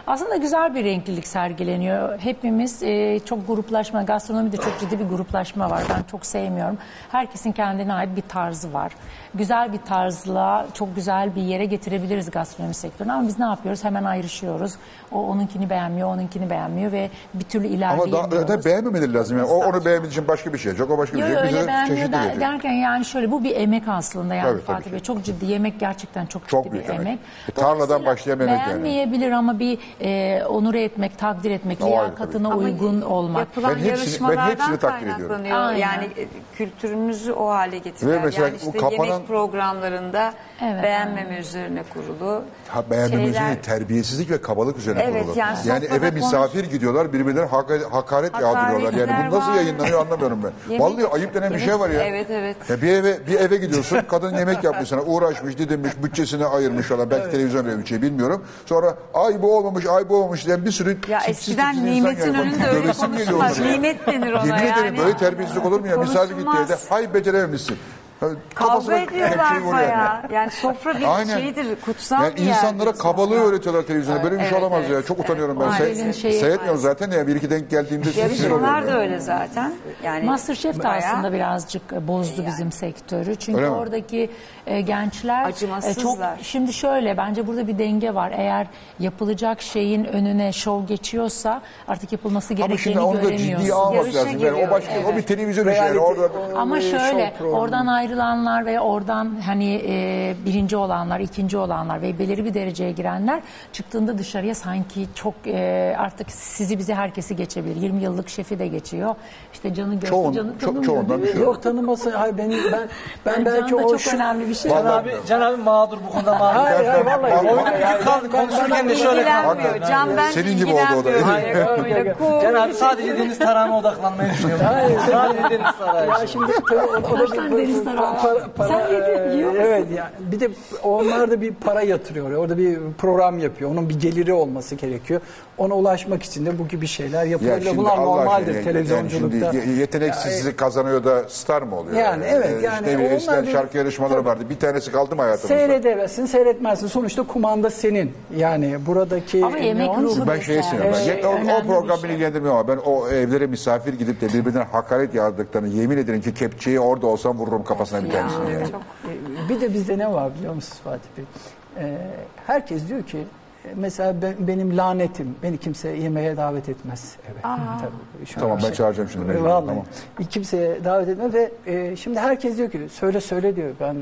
Speaker 9: Aslında güzel bir renklilik sergileniyor. Hepimiz e, çok gruplaşma, gastronomide çok ciddi bir gruplaşma var. Ben çok sevmiyorum. Herkesin kendine ait bir tarzı var. Güzel bir tarzla çok güzel bir yere getirebiliriz gastronomi sektörünü. Ama biz ne yapıyoruz? Hemen ayrışıyoruz. O onunkini beğenmiyor, onunkini beğenmiyor ve bir türlü
Speaker 1: Ama
Speaker 9: ilerleyemiyoruz.
Speaker 1: daha, zaten beğenmemeleri lazım. Yani. O, onu beğenmediği için başka bir şey yapacak. O başka bir
Speaker 9: Yok
Speaker 1: şey yapacak.
Speaker 9: öyle
Speaker 1: Bize
Speaker 9: beğenmiyor
Speaker 1: çeşitli
Speaker 9: der-
Speaker 1: geliyor.
Speaker 9: derken yani şöyle bu bir emek aslında yani
Speaker 1: Tabii, tabii
Speaker 9: Fatih
Speaker 1: ki.
Speaker 9: Bey. Çok ciddi yemek gerçekten çok,
Speaker 1: Çok
Speaker 9: ciddi
Speaker 1: büyük
Speaker 9: bir
Speaker 1: emek.
Speaker 9: emek.
Speaker 1: E, tarladan
Speaker 9: Dolayısıyla
Speaker 1: başlayan emek yani.
Speaker 9: Beğenmeyebilir ama bir e, onure etmek, takdir etmek,
Speaker 1: O ayrı tabii.
Speaker 9: liyakatına uygun olmak.
Speaker 3: Yapılan
Speaker 1: Ben hepsini- ben
Speaker 3: yarışmalardan
Speaker 1: hepsini takdir ediyorum.
Speaker 3: kaynaklanıyor.
Speaker 9: Aynen.
Speaker 3: Yani e, kültürümüzü o hale getiren.
Speaker 1: Ve mesela
Speaker 3: yani
Speaker 1: bu
Speaker 3: işte
Speaker 1: kapanan-
Speaker 3: yemek programlarında
Speaker 9: Evet,
Speaker 3: beğenmeme üzerine kurulu.
Speaker 1: Ha, beğenmemesi
Speaker 3: şeyler-
Speaker 1: değil, terbiyesizlik ve kabalık üzerine
Speaker 3: Evet,
Speaker 1: kurulu.
Speaker 3: yani
Speaker 1: Yani,
Speaker 3: sofrada
Speaker 1: eve
Speaker 3: konuş-
Speaker 1: misafir gidiyorlar, birbirlerine haka- hakaret yağdırıyorlar. Yani bu nasıl
Speaker 3: var.
Speaker 1: yayınlanıyor anlamıyorum ben.
Speaker 3: [laughs] Yemek-
Speaker 1: Vallahi ayıp denen bir
Speaker 3: yemek-
Speaker 1: şey var ya.
Speaker 3: [laughs] Evet, evet.
Speaker 1: Ya bir eve bir eve gidiyorsun, kadın yemek yapmış sana, uğraşmış, didinmiş, bütçesini ayırmış falan, belki televizyon öyle bir şey bilmiyorum. Sonra ay bu olmamış, ay bu olmamış diyen bir sürü
Speaker 3: Ya
Speaker 1: tipsiz
Speaker 3: eskiden
Speaker 1: tipsiz insan
Speaker 3: nimetin
Speaker 1: geliyor.
Speaker 3: önünde öyle
Speaker 1: Göresim geliyor onlara
Speaker 3: konuştular.
Speaker 1: ya.
Speaker 3: Nimet denir ona
Speaker 1: Yemin
Speaker 3: yani.
Speaker 1: ederim böyle terbiyesizlik olur mu ya? Misafir gitti
Speaker 3: Konuşulmaz.
Speaker 1: evde, hay becerememişsin. Ya,
Speaker 3: Kavga
Speaker 1: kafasına
Speaker 3: ediyorlar
Speaker 1: kepçeyi vuruyor yani.
Speaker 3: bayağı. Yani sofra bir
Speaker 1: Aynen.
Speaker 3: Şey, şeydir, kutsal
Speaker 1: Yani
Speaker 3: bir yerdir
Speaker 1: insanlara
Speaker 3: sofra.
Speaker 1: kabalığı öğretiyorlar televizyonda. Böyle bir şey
Speaker 3: Evet,
Speaker 1: olamaz
Speaker 3: evet.
Speaker 1: ya. Çok utanıyorum ben.
Speaker 3: Maalesef.
Speaker 1: Se-
Speaker 9: Şeyi-
Speaker 1: Seyretmiyorum zaten ya. Bir iki denk geldiğimde sinir
Speaker 3: Yarışmalar
Speaker 1: oluyorum.
Speaker 3: da
Speaker 1: ya.
Speaker 3: öyle zaten. Yani
Speaker 9: Masterchef de
Speaker 3: bayağı- şey
Speaker 9: aslında birazcık e, bozdu bizim sektörü. Çünkü
Speaker 1: Öyle mi?
Speaker 9: oradaki e, gençler e, çok
Speaker 3: Acımasızlar.
Speaker 9: şimdi şöyle bence burada bir denge var. Eğer yapılacak şeyin önüne şov geçiyorsa artık yapılması
Speaker 1: Ama
Speaker 9: gerekeni
Speaker 1: şimdi onu da
Speaker 9: göremiyorsun.
Speaker 1: ciddiye almak
Speaker 3: Yarışa
Speaker 1: lazım. Yani o
Speaker 3: geliyor,
Speaker 1: başka o bir televizyon işi. Yani
Speaker 7: Reality-
Speaker 1: orada
Speaker 9: Ama şöyle oradan ayrı ayrılanlar ve oradan hani e, birinci olanlar, ikinci olanlar ve belirli bir dereceye girenler çıktığında dışarıya sanki çok e, artık sizi bizi herkesi geçebilir. 20 yıllık şefi de geçiyor. İşte canı görse
Speaker 1: Çoğun-
Speaker 9: canı
Speaker 1: ço-
Speaker 9: tanımıyor.
Speaker 1: çoğundan bir
Speaker 9: diyor.
Speaker 1: şey yok.
Speaker 7: Yok tanıması hayır ben ben ben
Speaker 9: Yani
Speaker 7: belki
Speaker 9: can da
Speaker 7: o
Speaker 9: çok
Speaker 7: şu
Speaker 9: önemli bir şey.
Speaker 2: Can abi, Can abi mağdur bu konuda mağdur.
Speaker 7: Hayır hayır vallahi.
Speaker 1: Vallahi-
Speaker 7: Oyunu gücü
Speaker 2: kaldı, konuşurken de şöyle
Speaker 3: İlgilenmiyor. Can ben
Speaker 1: Senin gibi oldu o da.
Speaker 3: ilgilenmiyorum.
Speaker 1: Hayır,
Speaker 3: Öyle cool.
Speaker 2: Can abi sadece deniz tarağına odaklanmayı düşünüyorum. sadece deniz tarağı.
Speaker 7: Ya şimdi tabii o, o da
Speaker 9: Baştan deniz tarağı. Sen yedi- yiyor musun?
Speaker 7: Evet ya. Bir de onlar da bir para yatırıyor. Orada bir program yapıyor. Onun bir geliri olması gerekiyor. Ona ulaşmak için de bu gibi şeyler yapıyor.
Speaker 1: şimdi
Speaker 7: Bunlar
Speaker 1: Allah aşkına
Speaker 7: normaldir
Speaker 1: yani- yani
Speaker 7: televizyonculukta. e-
Speaker 1: şimdi ye- yeteneksizlik kazanıyor da star mı oluyor?
Speaker 7: Yani evet,
Speaker 1: Ee,
Speaker 7: yani
Speaker 1: işte bir-
Speaker 7: onlar
Speaker 1: eskiden
Speaker 7: bir-
Speaker 1: şarkı yarışmaları vardı. Bir tanesi kaldı mı hayatımızda?
Speaker 7: Seyredersin, seyretmezsin. Sonuçta kumanda senin. Yani buradaki
Speaker 9: Ama yemek
Speaker 7: Ne olmuş?
Speaker 9: ruhu
Speaker 1: Ben şeye
Speaker 9: besler.
Speaker 1: sinirlendim.
Speaker 9: Şey,
Speaker 1: Ben- o, o
Speaker 9: önemli
Speaker 1: program
Speaker 9: bir
Speaker 1: beni
Speaker 9: şey.
Speaker 1: ilgilendirmiyor ama ben o evlere misafir gidip de birbirine hakaret yazdıklarını yemin ederim ki kepçeyi orada olsam vururum kafasına bir tanesini. yani.
Speaker 7: Ee, Bir de bizde ne var biliyor musunuz Fatih Bey? Ee, herkes diyor ki e, mesela ben- benim lanetim beni kimse yemeğe davet etmez. Evet. Tabii, şu an
Speaker 1: Tamam
Speaker 7: bir
Speaker 1: ben
Speaker 7: şey.
Speaker 1: çağıracağım şimdi. mecbur,
Speaker 7: Vallahi.
Speaker 1: Tamam.
Speaker 7: Kimseye davet etmez ve e, şimdi herkes diyor ki söyle söyle diyor. Ben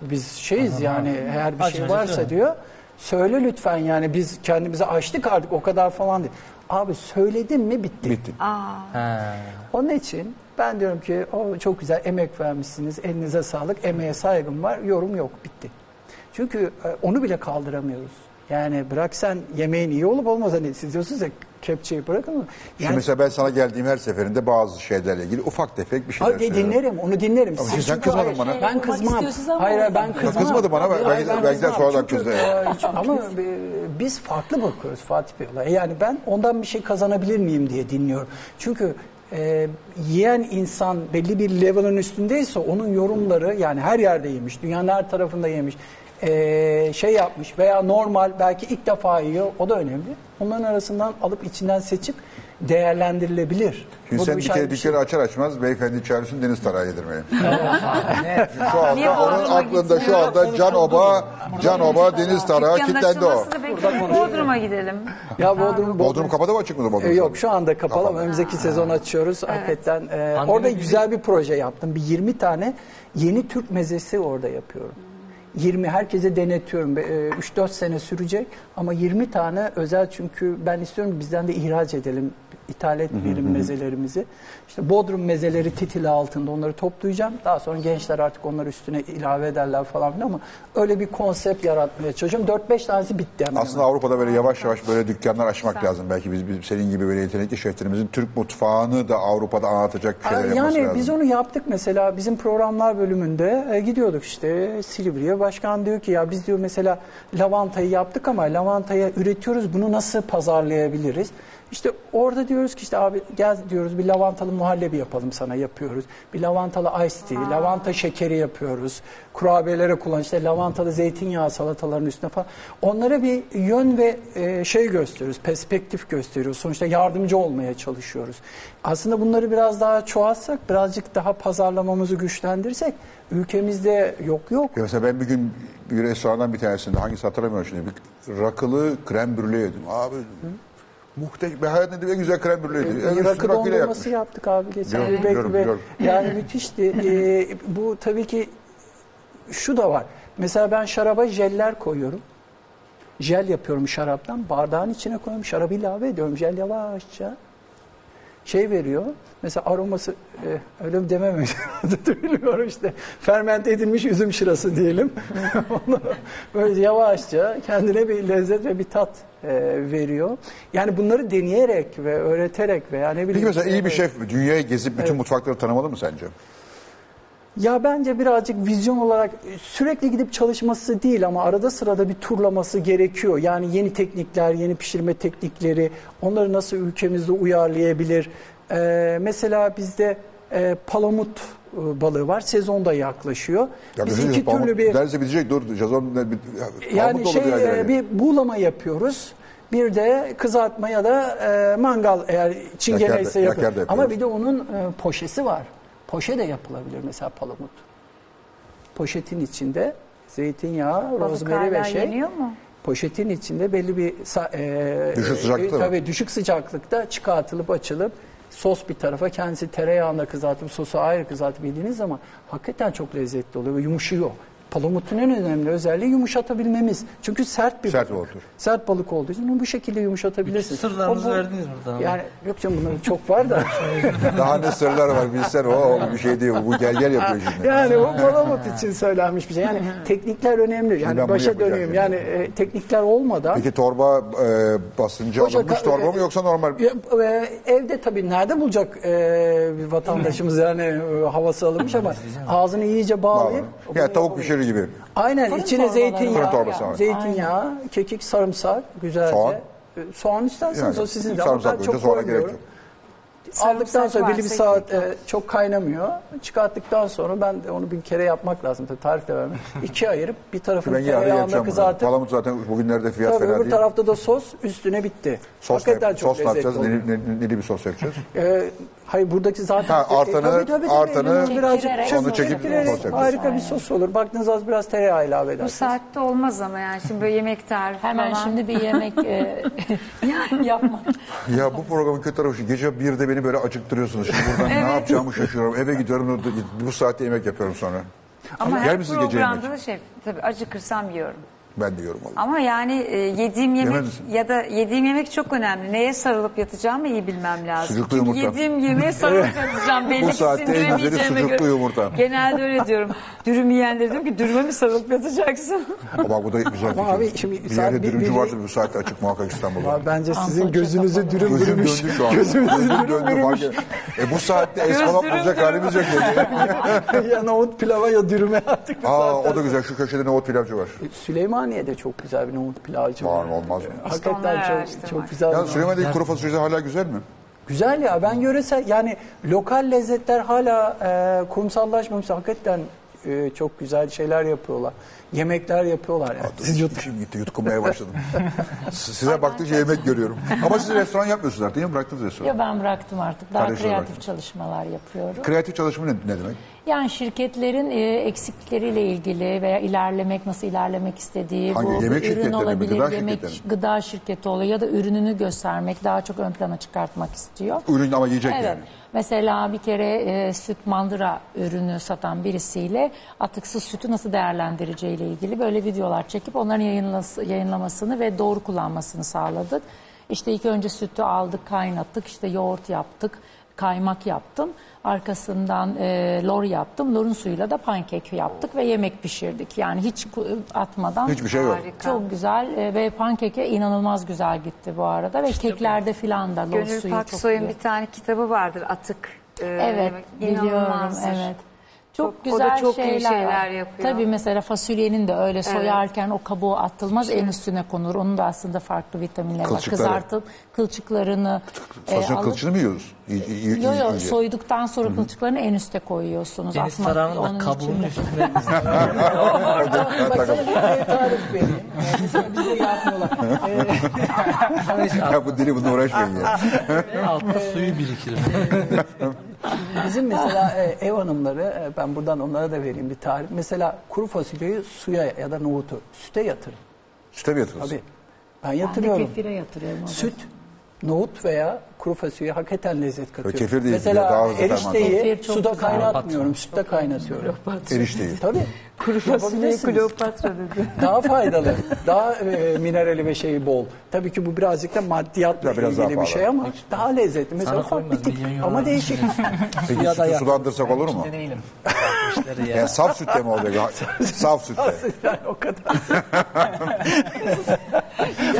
Speaker 7: biz şeyiz yani eğer bir şey varsa diyor. Söyle lütfen yani biz kendimizi açtık artık o kadar falan diyor. Abi söyledim mi bitti.
Speaker 1: Bitti.
Speaker 7: Onun için ben diyorum ki o çok güzel emek vermişsiniz. Elinize sağlık. Emeğe saygım var. Yorum yok. Bitti. Çünkü e, onu bile kaldıramıyoruz. Yani bırak sen yemeğin iyi olup olmaz hani siz diyorsunuz ya kepçeyi bırakın mı?
Speaker 1: Şimdi
Speaker 7: Yani,
Speaker 1: mesela ben sana geldiğim her seferinde bazı şeylerle ilgili ufak tefek bir şeyler
Speaker 7: Hayır,
Speaker 1: söylüyorum.
Speaker 7: dinlerim onu dinlerim.
Speaker 1: Ama sen kızmadın
Speaker 7: hayır,
Speaker 1: bana.
Speaker 7: Ben kızmam.
Speaker 9: İstiyorsunuz e, ama-
Speaker 7: Hayır hayır, ben
Speaker 9: Ya
Speaker 7: kızmam.
Speaker 1: kızmadı bana,
Speaker 7: Hayır,
Speaker 1: belki de-
Speaker 7: hayır, ben
Speaker 1: belki de
Speaker 7: kızmam.
Speaker 1: sonradan
Speaker 7: Çünkü,
Speaker 1: kızdı.
Speaker 7: e, hiç- Ama e, biz farklı bakıyoruz Fatih Bey olaya. Yani ben ondan bir şey kazanabilir miyim diye dinliyorum. Çünkü e, yiyen insan belli bir level'ın üstündeyse onun yorumları yani her yerde yemiş, dünyanın her tarafında yemiş, e, şey yapmış veya normal belki ilk defa yiyor o da önemli. Onların arasından alıp içinden seçip değerlendirilebilir.
Speaker 1: Şimdi
Speaker 7: Bu da
Speaker 1: sen bir
Speaker 7: şahane
Speaker 1: kere
Speaker 7: bir şey.
Speaker 1: dükkanı açar açmaz beyefendi çağırırsın deniz tarağı yedirmeye. şu
Speaker 3: Niye
Speaker 1: anda onun
Speaker 3: Bodrum'a
Speaker 1: aklında şu anda can oba, can oba deniz tarağı
Speaker 3: Dükkanın
Speaker 1: kilitlendi o.
Speaker 3: açılması da bekliyor. Bodrum'a gidelim.
Speaker 7: Ya Bodrum,
Speaker 1: Bodrum kapadı mı açık mı Bodrum?
Speaker 7: E, Yok şu anda kapalı ama
Speaker 1: Kapalı.
Speaker 7: önümüzdeki sezon açıyoruz. Hakikaten e, orada güzel bir proje yaptım. Bir 20 tane yeni Türk mezesi orada yapıyorum. 20 herkese denetiyorum. Be- e, 3-4 sene sürecek ama 20 tane özel çünkü ben istiyorum ki bizden de ihraç edelim, ithal etmeyelim mezelerimizi. İşte Bodrum mezeleri titili altında onları toplayacağım. Daha sonra gençler artık onları üstüne ilave ederler falan filan ama öyle bir konsept yaratmaya çalışıyorum. 4-5 tanesi bitti hemen.
Speaker 1: Aslında Avrupa'da böyle yavaş yavaş böyle dükkanlar açmak lazım. Belki biz, biz senin gibi böyle yetenekli şeflerimizin Türk mutfağını da Avrupa'da anlatacak şeyler
Speaker 7: Ay,
Speaker 1: yapması
Speaker 7: Yani
Speaker 1: lazım.
Speaker 7: biz onu yaptık mesela bizim programlar bölümünde e, gidiyorduk işte Silivri'ye başkan diyor ki ya biz diyor mesela lavantayı yaptık ama lavantayı üretiyoruz bunu nasıl pazarlayabiliriz? İşte orada diyoruz ki işte abi gel diyoruz bir lavantalı muhallebi yapalım sana yapıyoruz. Bir lavantalı iced tea, lavanta şekeri yapıyoruz. Kurabiyelere kullan işte lavantalı zeytinyağı salataların üstüne falan. Onlara bir yön ve e, şey gösteriyoruz, perspektif gösteriyoruz. Sonuçta yardımcı olmaya çalışıyoruz. Aslında bunları biraz daha çoğaltsak, birazcık daha pazarlamamızı güçlendirsek ülkemizde yok yok.
Speaker 1: Ya mesela ben bir gün bir restorandan bir tanesinde hangisi hatırlamıyorum şimdi bir rakılı krem brüle yedim. Abi muhteşem. Ben hayatımda en güzel krem brüle yedim. En üstü
Speaker 7: Ee, rakı
Speaker 1: rakıyla
Speaker 7: dondurması
Speaker 1: yapmış.
Speaker 7: yaptık abi geçen
Speaker 1: Biliyorum,
Speaker 7: bir bek-
Speaker 1: biliyorum,
Speaker 7: ve-
Speaker 1: biliyorum.
Speaker 7: Yani
Speaker 1: [laughs]
Speaker 7: müthişti. Ee, bu tabii ki şu da var. Mesela ben şaraba jeller koyuyorum. Jel yapıyorum şaraptan. Bardağın içine koyuyorum. Şarabı ilave ediyorum. Jel yavaşça şey veriyor. Mesela aroması e, öyle mi dememem [laughs] bilmiyorum işte. Fermente edilmiş üzüm şırası diyelim. [laughs] Onu böyle yavaşça kendine bir lezzet ve bir tat e, veriyor. Yani bunları deneyerek ve öğreterek veya ne bileyim.
Speaker 1: Peki mesela iyi bir
Speaker 7: şey.
Speaker 1: şef dünyayı gezip bütün mutfakları tanımalı mı sence?
Speaker 7: Ya bence birazcık vizyon olarak e, sürekli gidip çalışması değil ama arada sırada bir turlaması gerekiyor. Yani yeni teknikler, yeni pişirme teknikleri, onları nasıl ülkemizde uyarlayabilir? Ee, mesela bizde e, palamut e, balığı var. Sezon da yaklaşıyor.
Speaker 1: Ya
Speaker 7: Biz
Speaker 1: düşünün,
Speaker 7: iki
Speaker 1: Pamuk
Speaker 7: türlü bir
Speaker 1: Derse bitecek dur. Cazon, bir,
Speaker 7: yani şey
Speaker 1: bir,
Speaker 7: e, bir buğulama yapıyoruz. Bir de kızartma ya da e, mangal eğer çingene
Speaker 1: Yakerde-
Speaker 7: ise yapıyor.
Speaker 1: yakerde yapıyoruz.
Speaker 7: Ama bir de onun e, poşesi var. Poşe de yapılabilir mesela palamut. Poşetin içinde zeytinyağı,
Speaker 3: Balık
Speaker 7: rozmeri ve
Speaker 3: hala
Speaker 7: şey.
Speaker 3: yeniyor mu?
Speaker 7: Poşetin içinde belli bir sa-
Speaker 1: [laughs]
Speaker 7: e,
Speaker 1: Düşük sıcaklıkta mı?
Speaker 7: tabii düşük sıcaklıkta çıkartılıp açılıp sos bir tarafa kendisi tereyağında kızartıp sosu ayrı kızartıp yediğiniz zaman hakikaten çok lezzetli oluyor ve yumuşuyor. Palamutun en önemli özelliği yumuşatabilmemiz. Çünkü sert bir
Speaker 1: Sert
Speaker 7: balık.
Speaker 1: balık.
Speaker 7: Sert balık olduğu için onu bu şekilde yumuşatabilirsiniz.
Speaker 2: Sırlarınızı
Speaker 7: O bu-
Speaker 2: verdiniz burada. ama.
Speaker 7: Yani yok canım bunların çok
Speaker 2: [laughs]
Speaker 7: var da.
Speaker 1: Daha ne sırlar var bilsen o bir şey değil. Bu gel gel yapıyor şimdi.
Speaker 7: Yani o palamut için söylenmiş bir
Speaker 2: [laughs]
Speaker 7: şey. Yani teknikler önemli.
Speaker 1: ben
Speaker 7: Yani
Speaker 1: bunu
Speaker 7: başa
Speaker 1: yapacağım
Speaker 7: döneyim.
Speaker 1: yani.
Speaker 7: Yani e, teknikler olmadan
Speaker 1: Peki torba e, basınca
Speaker 7: Hoca,
Speaker 1: alınmış
Speaker 7: ka-
Speaker 1: torba
Speaker 7: e,
Speaker 1: mı yoksa normal?
Speaker 7: Ya, e, evde tabii nerede bulacak e, bir vatandaşımız yani e, havası alınmış ama ağzını iyice bağlayıp
Speaker 1: Ya tavuk pişirir gibi.
Speaker 7: aynen
Speaker 9: Fırın
Speaker 7: içine
Speaker 9: torbaları
Speaker 1: Fırın
Speaker 7: zeytinyağı,
Speaker 1: torbası hani. var.
Speaker 7: zeytinyağı, kekik, sarımsak güzelce.
Speaker 1: Soğan.
Speaker 7: E, Soğan isterseniz
Speaker 1: Yani
Speaker 7: o sizin de ama ben
Speaker 1: sarımsak
Speaker 7: çok
Speaker 1: koyunca sonra gerek
Speaker 7: koymuyorum.
Speaker 1: yok.
Speaker 7: Aldıktan
Speaker 3: Sarımsak
Speaker 7: sonra belli bir
Speaker 3: varsa
Speaker 7: saat e, çok kaynamıyor. Çıkarttıktan sonra ben de onu bin kere yapmak lazım. Tabii tarif de
Speaker 1: [laughs]
Speaker 7: vermem. İkiye ayırıp bir tarafını
Speaker 1: Ben yarın
Speaker 7: tereyağında
Speaker 1: yapacağım bunu.
Speaker 7: kızartıp
Speaker 1: Palamut zaten bugünlerde fiyat
Speaker 7: Tabii
Speaker 1: fena
Speaker 7: öbür
Speaker 1: değil.
Speaker 7: tarafta da sos üstüne bitti.
Speaker 1: Sos ne,
Speaker 7: Hakikaten çok
Speaker 1: sos ne
Speaker 7: lezzetli
Speaker 1: yapacağız?
Speaker 7: oluyor.
Speaker 1: Neli, neli, neli bir sos yapacağız? [laughs]
Speaker 7: Ee, hayır buradaki zaten e,
Speaker 1: Ha, artanı- artanı
Speaker 7: elimiz birazcık
Speaker 9: çektirerek
Speaker 1: onu çekip
Speaker 7: çektirerek
Speaker 1: sos yapıyoruz.
Speaker 7: harika bir sos olur. Baktığınız az biraz tereyağı ilave
Speaker 3: Bu
Speaker 7: edersiniz.
Speaker 3: saatte olmaz ama yani şimdi böyle yemek tarifi
Speaker 9: Hemen
Speaker 3: falan.
Speaker 9: şimdi bir yemek
Speaker 7: [laughs]
Speaker 9: e, [laughs] yapmak.
Speaker 1: ya bu programın kötü tarafı şu. Gece bir de beni böyle acıktırıyorsunuz. Şimdi buradan ne yapacağımı şaşırıyorum. Eve gidiyorum. Bu saatte yemek yapıyorum sonra.
Speaker 3: Ama
Speaker 1: Yer
Speaker 3: her
Speaker 1: misiniz gece
Speaker 3: programda
Speaker 1: yemek?
Speaker 3: da şey tabii acıkırsam yiyorum.
Speaker 1: Ben de yiyorum vallahi.
Speaker 3: Ama yani e, yediğim yemek
Speaker 1: Yemez misin?
Speaker 3: ya da yediğim yemek çok önemli. Neye sarılıp yatacağımı iyi bilmem lazım.
Speaker 1: Sucuklu
Speaker 3: Çünkü
Speaker 1: yumurta.
Speaker 3: Yediğim
Speaker 1: [laughs]
Speaker 3: yemeğe sarılıp yatacağım. Belli
Speaker 1: Bu
Speaker 3: ki
Speaker 1: saatte en güzeli
Speaker 3: sindiremeyeceğime
Speaker 1: sucuklu
Speaker 3: göre.
Speaker 1: yumurta.
Speaker 3: Genelde öyle diyorum. Dürüm yiyenlere diyorum ki dürüme mi sarılıp yatacaksın?
Speaker 1: Ama bu da güzel fikir.
Speaker 7: abi şimdi
Speaker 1: bir
Speaker 7: saat
Speaker 1: yerde
Speaker 7: bir-
Speaker 1: dürümcü
Speaker 7: bir-
Speaker 1: vardı bu saatte açık muhakkak İstanbul'da.
Speaker 7: Abi Bence sizin
Speaker 9: Ampul
Speaker 7: gözünüzü
Speaker 9: çakmak
Speaker 7: dürüm
Speaker 1: Gözüm
Speaker 7: bürümüş.
Speaker 1: döndü şu an. Gözüm döndü. fark et- E bu saatte eskalap
Speaker 3: dürüm
Speaker 1: olacak
Speaker 3: dürüm.
Speaker 1: halimiz yok.
Speaker 7: ya nohut pilava ya dürüme artık. bu
Speaker 1: Aa
Speaker 7: saatten
Speaker 1: o da güzel. Şu köşede nohut pilavcı var.
Speaker 7: sonra. Süleymaniye'de çok güzel bir nohut pilavcı
Speaker 1: Var mı olmaz mı?
Speaker 3: İşte onları
Speaker 7: Hakikaten çok,
Speaker 3: araştırmak.
Speaker 7: çok güzel. bir
Speaker 1: Ya
Speaker 7: nohut.
Speaker 1: Süleymaniye'deki kuru fasulyesi hala güzel mi?
Speaker 7: Güzel ya ben yöresel yani lokal lezzetler hala e, kurumsallaşmamış. Hakikaten e, çok güzel şeyler yapıyorlar. Yemekler yapıyorlar. Yani.
Speaker 1: Siz yut. Şimdi şey gitti yutkunmaya başladım. S- Size baktıkça yemek görüyorum. Ama siz restoran yapmıyorsunuz artık değil mi? Bıraktınız restoran.
Speaker 9: Ya ben bıraktım artık. Daha
Speaker 1: Kardeşim
Speaker 9: kreatif
Speaker 1: bıraktı.
Speaker 9: çalışmalar yapıyorum.
Speaker 1: Kreatif çalışma ne, ne demek?
Speaker 9: Yani şirketlerin e, eksikleriyle ilgili veya ilerlemek nasıl ilerlemek istediği
Speaker 1: Hangi
Speaker 9: bu
Speaker 1: yemek
Speaker 9: ürün
Speaker 1: şirketleri mi,
Speaker 9: olabilir,
Speaker 1: gıda
Speaker 9: yemek
Speaker 1: şirketleri mi?
Speaker 9: gıda şirketi oluyor ya da ürününü göstermek daha çok ön plana çıkartmak istiyor.
Speaker 1: Ürün ama yiyecek
Speaker 9: Evet.
Speaker 1: yani.
Speaker 9: Mesela bir kere e, süt mandıra ürünü satan birisiyle atıksız sütü nasıl değerlendireceğiyle ilgili böyle videolar çekip onların yayınlas- yayınlamasını ve doğru kullanmasını sağladık. İşte ilk önce sütü aldık, kaynattık, işte yoğurt yaptık, kaymak yaptım. Arkasından e, lor yaptım. Lorun suyuyla da pankek yaptık ve yemek pişirdik. Yani hiç ku- atmadan
Speaker 1: Hiçbir şey yok.
Speaker 3: Harika.
Speaker 9: çok güzel e, ve pankeke inanılmaz güzel gitti bu arada ve keklerde filan da lor
Speaker 3: Gönül
Speaker 9: suyu çok
Speaker 3: Paksoy'un
Speaker 9: iyi.
Speaker 3: bir tane kitabı vardır atık. e,
Speaker 9: Evet
Speaker 3: yemek. şey.
Speaker 9: biliyorum
Speaker 3: İnanılmazdır.
Speaker 9: evet.
Speaker 3: Çok- o
Speaker 9: Çok
Speaker 3: da
Speaker 9: güzel
Speaker 3: çok iyi
Speaker 9: şeyler,
Speaker 3: şeyler
Speaker 9: var.
Speaker 3: yapıyor.
Speaker 9: Tabii mesela fasulyenin de öyle soyarken o kabuğu atılmaz en üstüne konur. Onun da aslında farklı vitaminleri var.
Speaker 1: Kılçıkları.
Speaker 9: Kızartıp kılçıklarını e,
Speaker 1: Fasulye
Speaker 9: alıp
Speaker 1: kılçını mı yiyoruz? Y- y- y-
Speaker 9: Yo yo
Speaker 1: yiyince.
Speaker 9: soyduktan sonra kılçıklarını en üste koyuyorsunuz.
Speaker 2: Deniz
Speaker 9: Atmak-
Speaker 2: tarağının
Speaker 9: onun
Speaker 2: da kabuğunun
Speaker 9: içinde.
Speaker 2: [laughs] üstüne
Speaker 7: Bak sana bir tarif vereyim. Ee, Mesela bize yapmıyorlar. Ee,
Speaker 1: Ya bu dili bununla uğraşmayın ya.
Speaker 2: altta suyu birikir.
Speaker 7: Bizim mesela e, ev hanımları, e, ben buradan onlara da vereyim bir tarif. Mesela kuru fasulyeyi suya ya da nohutu süte yatırın.
Speaker 1: Süte mi yatırız?
Speaker 7: Tabii. Ben
Speaker 9: Ben de
Speaker 7: yatırıyorum.
Speaker 9: kefire yatırıyorum. onu.
Speaker 7: Süt, nohut veya kuru fasulye hakikaten lezzet katıyor.
Speaker 1: kefir de iyi
Speaker 7: Mesela
Speaker 1: gidiyor, daha hızlı
Speaker 9: fermantasyon.
Speaker 7: erişteyi
Speaker 9: Kefir çok
Speaker 7: suda
Speaker 9: güzel.
Speaker 7: kaynatmıyorum, sütte kaynatıyorum.
Speaker 1: Erişteyi.
Speaker 7: Tabii.
Speaker 3: Kuru fasulye
Speaker 7: Yapabilirsiniz.
Speaker 3: Kleopatra
Speaker 1: [laughs]
Speaker 3: dedi.
Speaker 7: Daha faydalı, daha e, minerali ve şeyi bol. Tabii ki bu birazcık da maddiyatla
Speaker 1: Ya biraz daha
Speaker 7: ilgili bir
Speaker 1: pahalı.
Speaker 7: şey ama daha lezzetli. Mesela
Speaker 2: Sana
Speaker 7: ufak bir
Speaker 2: koymaz,
Speaker 7: tık
Speaker 2: milyon euro
Speaker 7: ama
Speaker 2: vermiş
Speaker 7: değişik.
Speaker 1: Peki
Speaker 2: Ya da
Speaker 1: sütü
Speaker 2: ya.
Speaker 1: sulandırsak olur mu?
Speaker 2: Deneyelim.
Speaker 1: [laughs] Yani saf sütle mi olacak? saf sütle.
Speaker 7: yani o
Speaker 1: [laughs]
Speaker 7: kadar.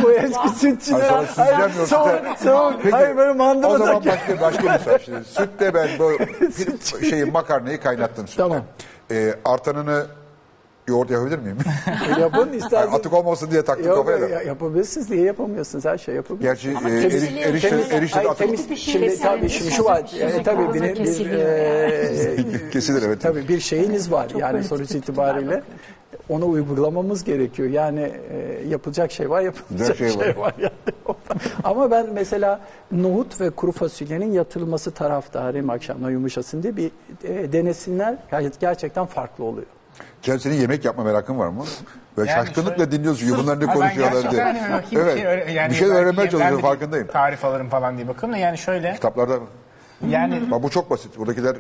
Speaker 7: bu eski
Speaker 1: Ay,
Speaker 7: sütçüler.
Speaker 1: sonra süzeceğim yok.
Speaker 7: soğuk, soğuk.
Speaker 1: Peki,
Speaker 7: Hayır böyle
Speaker 1: O
Speaker 7: mandıra da.
Speaker 1: zaman başka, başka bir soru. Şimdi sütte ben bu
Speaker 7: [laughs]
Speaker 1: pir- şeyi makarnayı kaynattım sütte.
Speaker 7: Tamam.
Speaker 1: Ee, artanını yoğurt yapabilir
Speaker 7: [laughs]
Speaker 1: miyim?
Speaker 7: Yapın
Speaker 1: Yani
Speaker 7: isterseniz.
Speaker 1: atık olmasın diye taktım
Speaker 7: Yok,
Speaker 1: kafaya da.
Speaker 7: ya- yapabilirsiniz diye yapamıyorsunuz her şey yapabilirsiniz.
Speaker 1: Gerçi e, eri, erişte, erişte de
Speaker 7: Hayır,
Speaker 1: atık
Speaker 7: temiz şimdi tabii şimdi şu var e, tabii bir, bir,
Speaker 1: [laughs]
Speaker 7: e, [laughs]
Speaker 1: kesilir evet.
Speaker 7: tabii bir şeyiniz var yani sonuç itibariyle onu uygulamamız gerekiyor. Yani e, yapılacak şey var, yapılacak
Speaker 1: Güzel
Speaker 7: şey,
Speaker 1: şey var.
Speaker 7: var. yani. [laughs] Ama ben mesela nohut ve kuru fasulyenin yatırılması taraftarıyım akşamdan yumuşasın diye bir e, denesinler. Gayet gerçekten farklı oluyor.
Speaker 1: Cem senin yemek yapma merakın var mı? Böyle
Speaker 11: Yani
Speaker 1: şaşkınlıkla
Speaker 11: şöyle-
Speaker 1: dinliyorsun ya bunlar ne
Speaker 11: Ha,
Speaker 1: konuşuyorlar
Speaker 11: ben
Speaker 1: diye.
Speaker 11: gerçekten hani hiçbir
Speaker 1: evet.
Speaker 11: şey öğre- yani
Speaker 1: bir şey
Speaker 11: belki
Speaker 1: öğrenmeye
Speaker 11: ben
Speaker 1: çalışıyorum
Speaker 11: de
Speaker 1: farkındayım.
Speaker 11: Tarif alırım falan diye bakıyorum da yani şöyle
Speaker 1: Kitaplarda
Speaker 6: Yani
Speaker 1: Bak bu çok basit. Buradakiler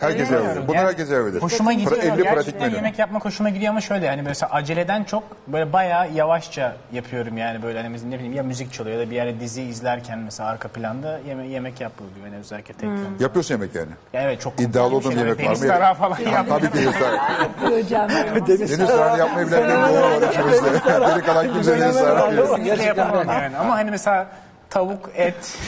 Speaker 1: herkese
Speaker 6: Bilmiyorum.
Speaker 1: yapabilir. Bunu
Speaker 6: Yani
Speaker 1: herkese yapabilir.
Speaker 6: Hoşuma gidiyor.
Speaker 1: Pra- 50 pratik
Speaker 6: Gerçekten
Speaker 1: menü.
Speaker 6: yemek yapmak hoşuma gidiyor ama şöyle hani mesela aceleden çok böyle bayağı yavaşça yapıyorum yani böyle hani mesela ne bileyim ya müzik çalıyor ya da bir yere dizi izlerken mesela arka planda yeme- yemek yapılıyor yani özellikle tek hmm.
Speaker 1: Yapıyorsun yemek yani.
Speaker 6: Evet çok şey
Speaker 1: İddialı
Speaker 2: şey.
Speaker 1: olduğun yemek var mı?
Speaker 6: Deniz tarağı falan
Speaker 1: Ya,
Speaker 6: yaptım.
Speaker 1: tabii ki deniz tarağı.
Speaker 9: Hocam. [laughs]
Speaker 1: Deniz tarağı yapmayı bilen bir doğu var
Speaker 2: [laughs]
Speaker 1: içimizde. Geri kalan kimse deniz tarağı bilir.
Speaker 6: Gerçekten şey yapamam yani ama hani mesela tavuk, et [laughs]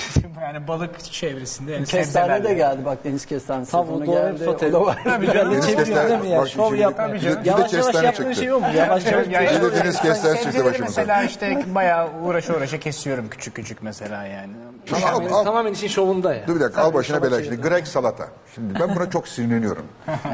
Speaker 6: yani balık çevresinde yani
Speaker 7: Kestane
Speaker 6: sebzeler
Speaker 7: de
Speaker 6: yani.
Speaker 7: geldi bak deniz kestanesi.
Speaker 2: Tavuğu
Speaker 7: Ona
Speaker 2: doğru
Speaker 7: geldi,
Speaker 2: sote.
Speaker 7: o da var.
Speaker 1: Deniz kestane.
Speaker 2: mi ya?
Speaker 1: Bak,
Speaker 2: Şov
Speaker 1: içimizde-
Speaker 2: yapma.
Speaker 1: bir de- Bir de
Speaker 2: Yavaş yavaş
Speaker 1: kestane
Speaker 2: yaptığın
Speaker 1: çıktı.
Speaker 2: şey o mu? Yavaş yavaş.
Speaker 6: Yani
Speaker 1: Bir de deniz kestane çıktı
Speaker 6: sebzeleri
Speaker 1: başımıza.
Speaker 6: Mesela işte bayağı uğraşa uğraşa kesiyorum küçük küçük mesela yani.
Speaker 1: Al,
Speaker 2: Tamamen,
Speaker 1: al.
Speaker 2: Şey tamamen işin şovunda ya.
Speaker 1: Dur bir dakika al başına bela şimdi. Grek salata. Şimdi ben buna çok sinirleniyorum.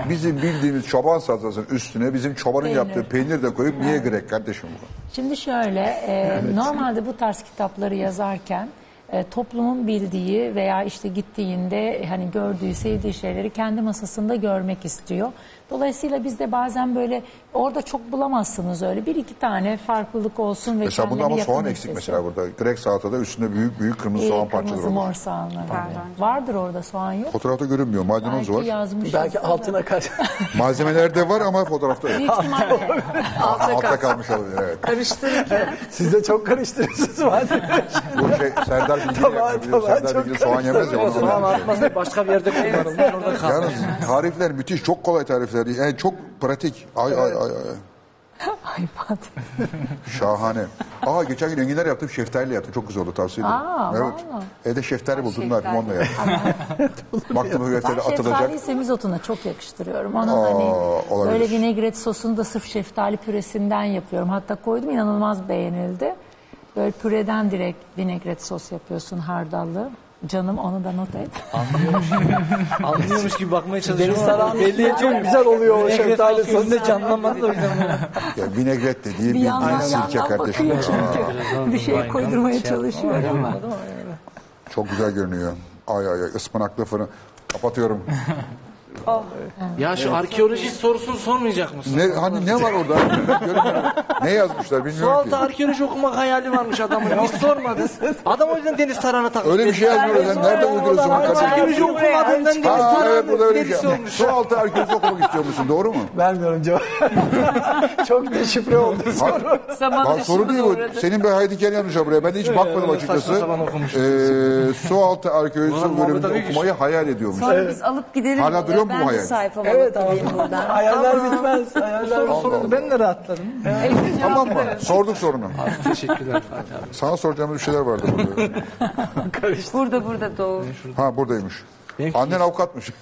Speaker 1: Bizim bildiğimiz çoban salatasının üstüne bizim çobanın yaptığı peynir de koyup niye Grek kardeşim bu?
Speaker 9: Şimdi şöyle, e, normalde bu tarz kitapları yazarken e, toplumun bildiği veya işte gittiğinde hani gördüğü, sevdiği şeyleri kendi masasında görmek istiyor. Dolayısıyla biz de bazen böyle orada çok bulamazsınız öyle bir iki tane farklılık olsun ve
Speaker 1: Mesela bunda
Speaker 9: kendini
Speaker 1: ama
Speaker 9: yakın
Speaker 1: soğan eksik
Speaker 9: hissetsin.
Speaker 1: mesela burada. Grek salatada üstünde büyük büyük kırmızı
Speaker 9: Ee,
Speaker 1: soğan parçaları
Speaker 9: kırmızı
Speaker 1: olur.
Speaker 9: mor soğanlar. Vardır orada soğan yok.
Speaker 1: Fotoğrafta görünmüyor. Maydanoz
Speaker 9: Belki
Speaker 1: var. [laughs]
Speaker 9: yazmış.
Speaker 7: Belki altına
Speaker 2: [laughs]
Speaker 7: kaç.
Speaker 1: Malzemelerde var ama fotoğrafta yok.
Speaker 9: Büyük ihtimalle.
Speaker 7: [laughs]
Speaker 9: [laughs]
Speaker 1: Altta kalmış olabilir evet.
Speaker 7: Siz de çok karıştırıyorsunuz madem.
Speaker 1: Bu şey Serdar Bilgin
Speaker 7: Tamam, tamam,
Speaker 1: Serdar
Speaker 7: çok
Speaker 1: Bilgin soğan yemez ya. ona
Speaker 2: Soğan
Speaker 1: benziyor.
Speaker 2: atmaz da başka bir yerde kullanılmış
Speaker 7: [laughs]
Speaker 2: orada kalmış.
Speaker 1: Yalnız tarifler müthiş. Çok kolay tarifler. Yani çok pratik. Ay ay ay. ay.
Speaker 9: Ay Fatih.
Speaker 1: Şahane. Aa geçen gün enginar yaptım. Şeftaliyle yaptım. Çok güzel oldu. Tavsiye ederim.
Speaker 9: Aa,
Speaker 1: evet.
Speaker 9: valla.
Speaker 1: Evde şeftali buldum. Ne
Speaker 3: Şeftali.
Speaker 1: yapayım onunla yaptım. Baktım bu
Speaker 9: Ben
Speaker 1: şeftali atılacak.
Speaker 9: şeftaliyi semizotuna çok yakıştırıyorum. Onun
Speaker 1: Aa,
Speaker 9: hani
Speaker 1: olabilir.
Speaker 9: böyle vinegret sosunu da sırf şeftali püresinden yapıyorum. Hatta koydum inanılmaz beğenildi. Böyle püreden direkt vinegret sos yapıyorsun hardallı. Canım onu da not et.
Speaker 2: Anlıyormuş gibi bakmaya çalışıyorum.
Speaker 7: Deniz
Speaker 2: ama
Speaker 7: tarağının
Speaker 2: belli
Speaker 7: üstüne
Speaker 2: ediyor.
Speaker 7: çok güzel oluyor o
Speaker 2: Belli ediyor.
Speaker 7: şeftali sosu.
Speaker 2: Gözünde canlanmadı da hocam.
Speaker 1: Ya, vinegret dediği
Speaker 9: Bir
Speaker 1: bildiğin
Speaker 9: yandan
Speaker 1: sirke
Speaker 9: yandan
Speaker 1: kardeşim.
Speaker 9: bakıyor çünkü. bir şey
Speaker 2: Aynen.
Speaker 9: koydurmaya çalışıyor ama.
Speaker 1: Aa, çok güzel görünüyor. Ay ay ay ıspanaklı fırın. Kapatıyorum.
Speaker 2: Ya şu arkeoloji sorusunu sormayacak mısın?
Speaker 1: Ne, hani ne var orada? Görünmüyor. ne yazmışlar bilmiyorum ki.
Speaker 2: Sualtı arkeoloji okumak hayali varmış adamın. Hiç sormadı. Adam o yüzden deniz tarhana takmış.
Speaker 1: Öyle bir şey yazmıyor orada. Nereden uyduruyorsun
Speaker 2: Adam
Speaker 1: hakikaten?
Speaker 2: arkeoloji okumadığından deniz
Speaker 1: Aa
Speaker 2: tarhana
Speaker 1: evet burada öyle bir
Speaker 2: delisi
Speaker 1: şey.
Speaker 2: olmuş.
Speaker 1: Su altı arkeoloji okumak istiyor musun? Doğru mu?
Speaker 7: Vermiyorum cevap. [laughs] çok deşifre oldu.
Speaker 1: Ha,
Speaker 3: Zaman
Speaker 1: ha, soru değil bu. Senin bir haydi gel yanlış buraya. Ben de hiç bakmadım
Speaker 2: öyle
Speaker 1: açıkçası.
Speaker 2: saçma sapan okumuştum.
Speaker 1: Ee, su altı arkeolojisi
Speaker 2: Ulan Muhammed
Speaker 1: bölümünde
Speaker 2: Ali Güç.
Speaker 1: okumayı hayal ediyormuş.
Speaker 3: Sonra biz alıp gidelim.
Speaker 1: Hala duruyor mu bu
Speaker 3: ben
Speaker 1: hayal?
Speaker 3: de sayfamı
Speaker 7: Evet
Speaker 3: alıp
Speaker 7: abi.
Speaker 3: gideyim buradan.
Speaker 7: Hayaller bitmez. Hayaller
Speaker 2: Soru soruldu. Ben de rahatladım.
Speaker 1: Tamam mı? Sorduk sorunu.
Speaker 2: Teşekkürler Fatih abi.
Speaker 1: Sana soracağım bir şeyler vardı burada.
Speaker 3: Burada burada doğu.
Speaker 1: ha buradaymış. Annen avukatmış.
Speaker 2: [laughs]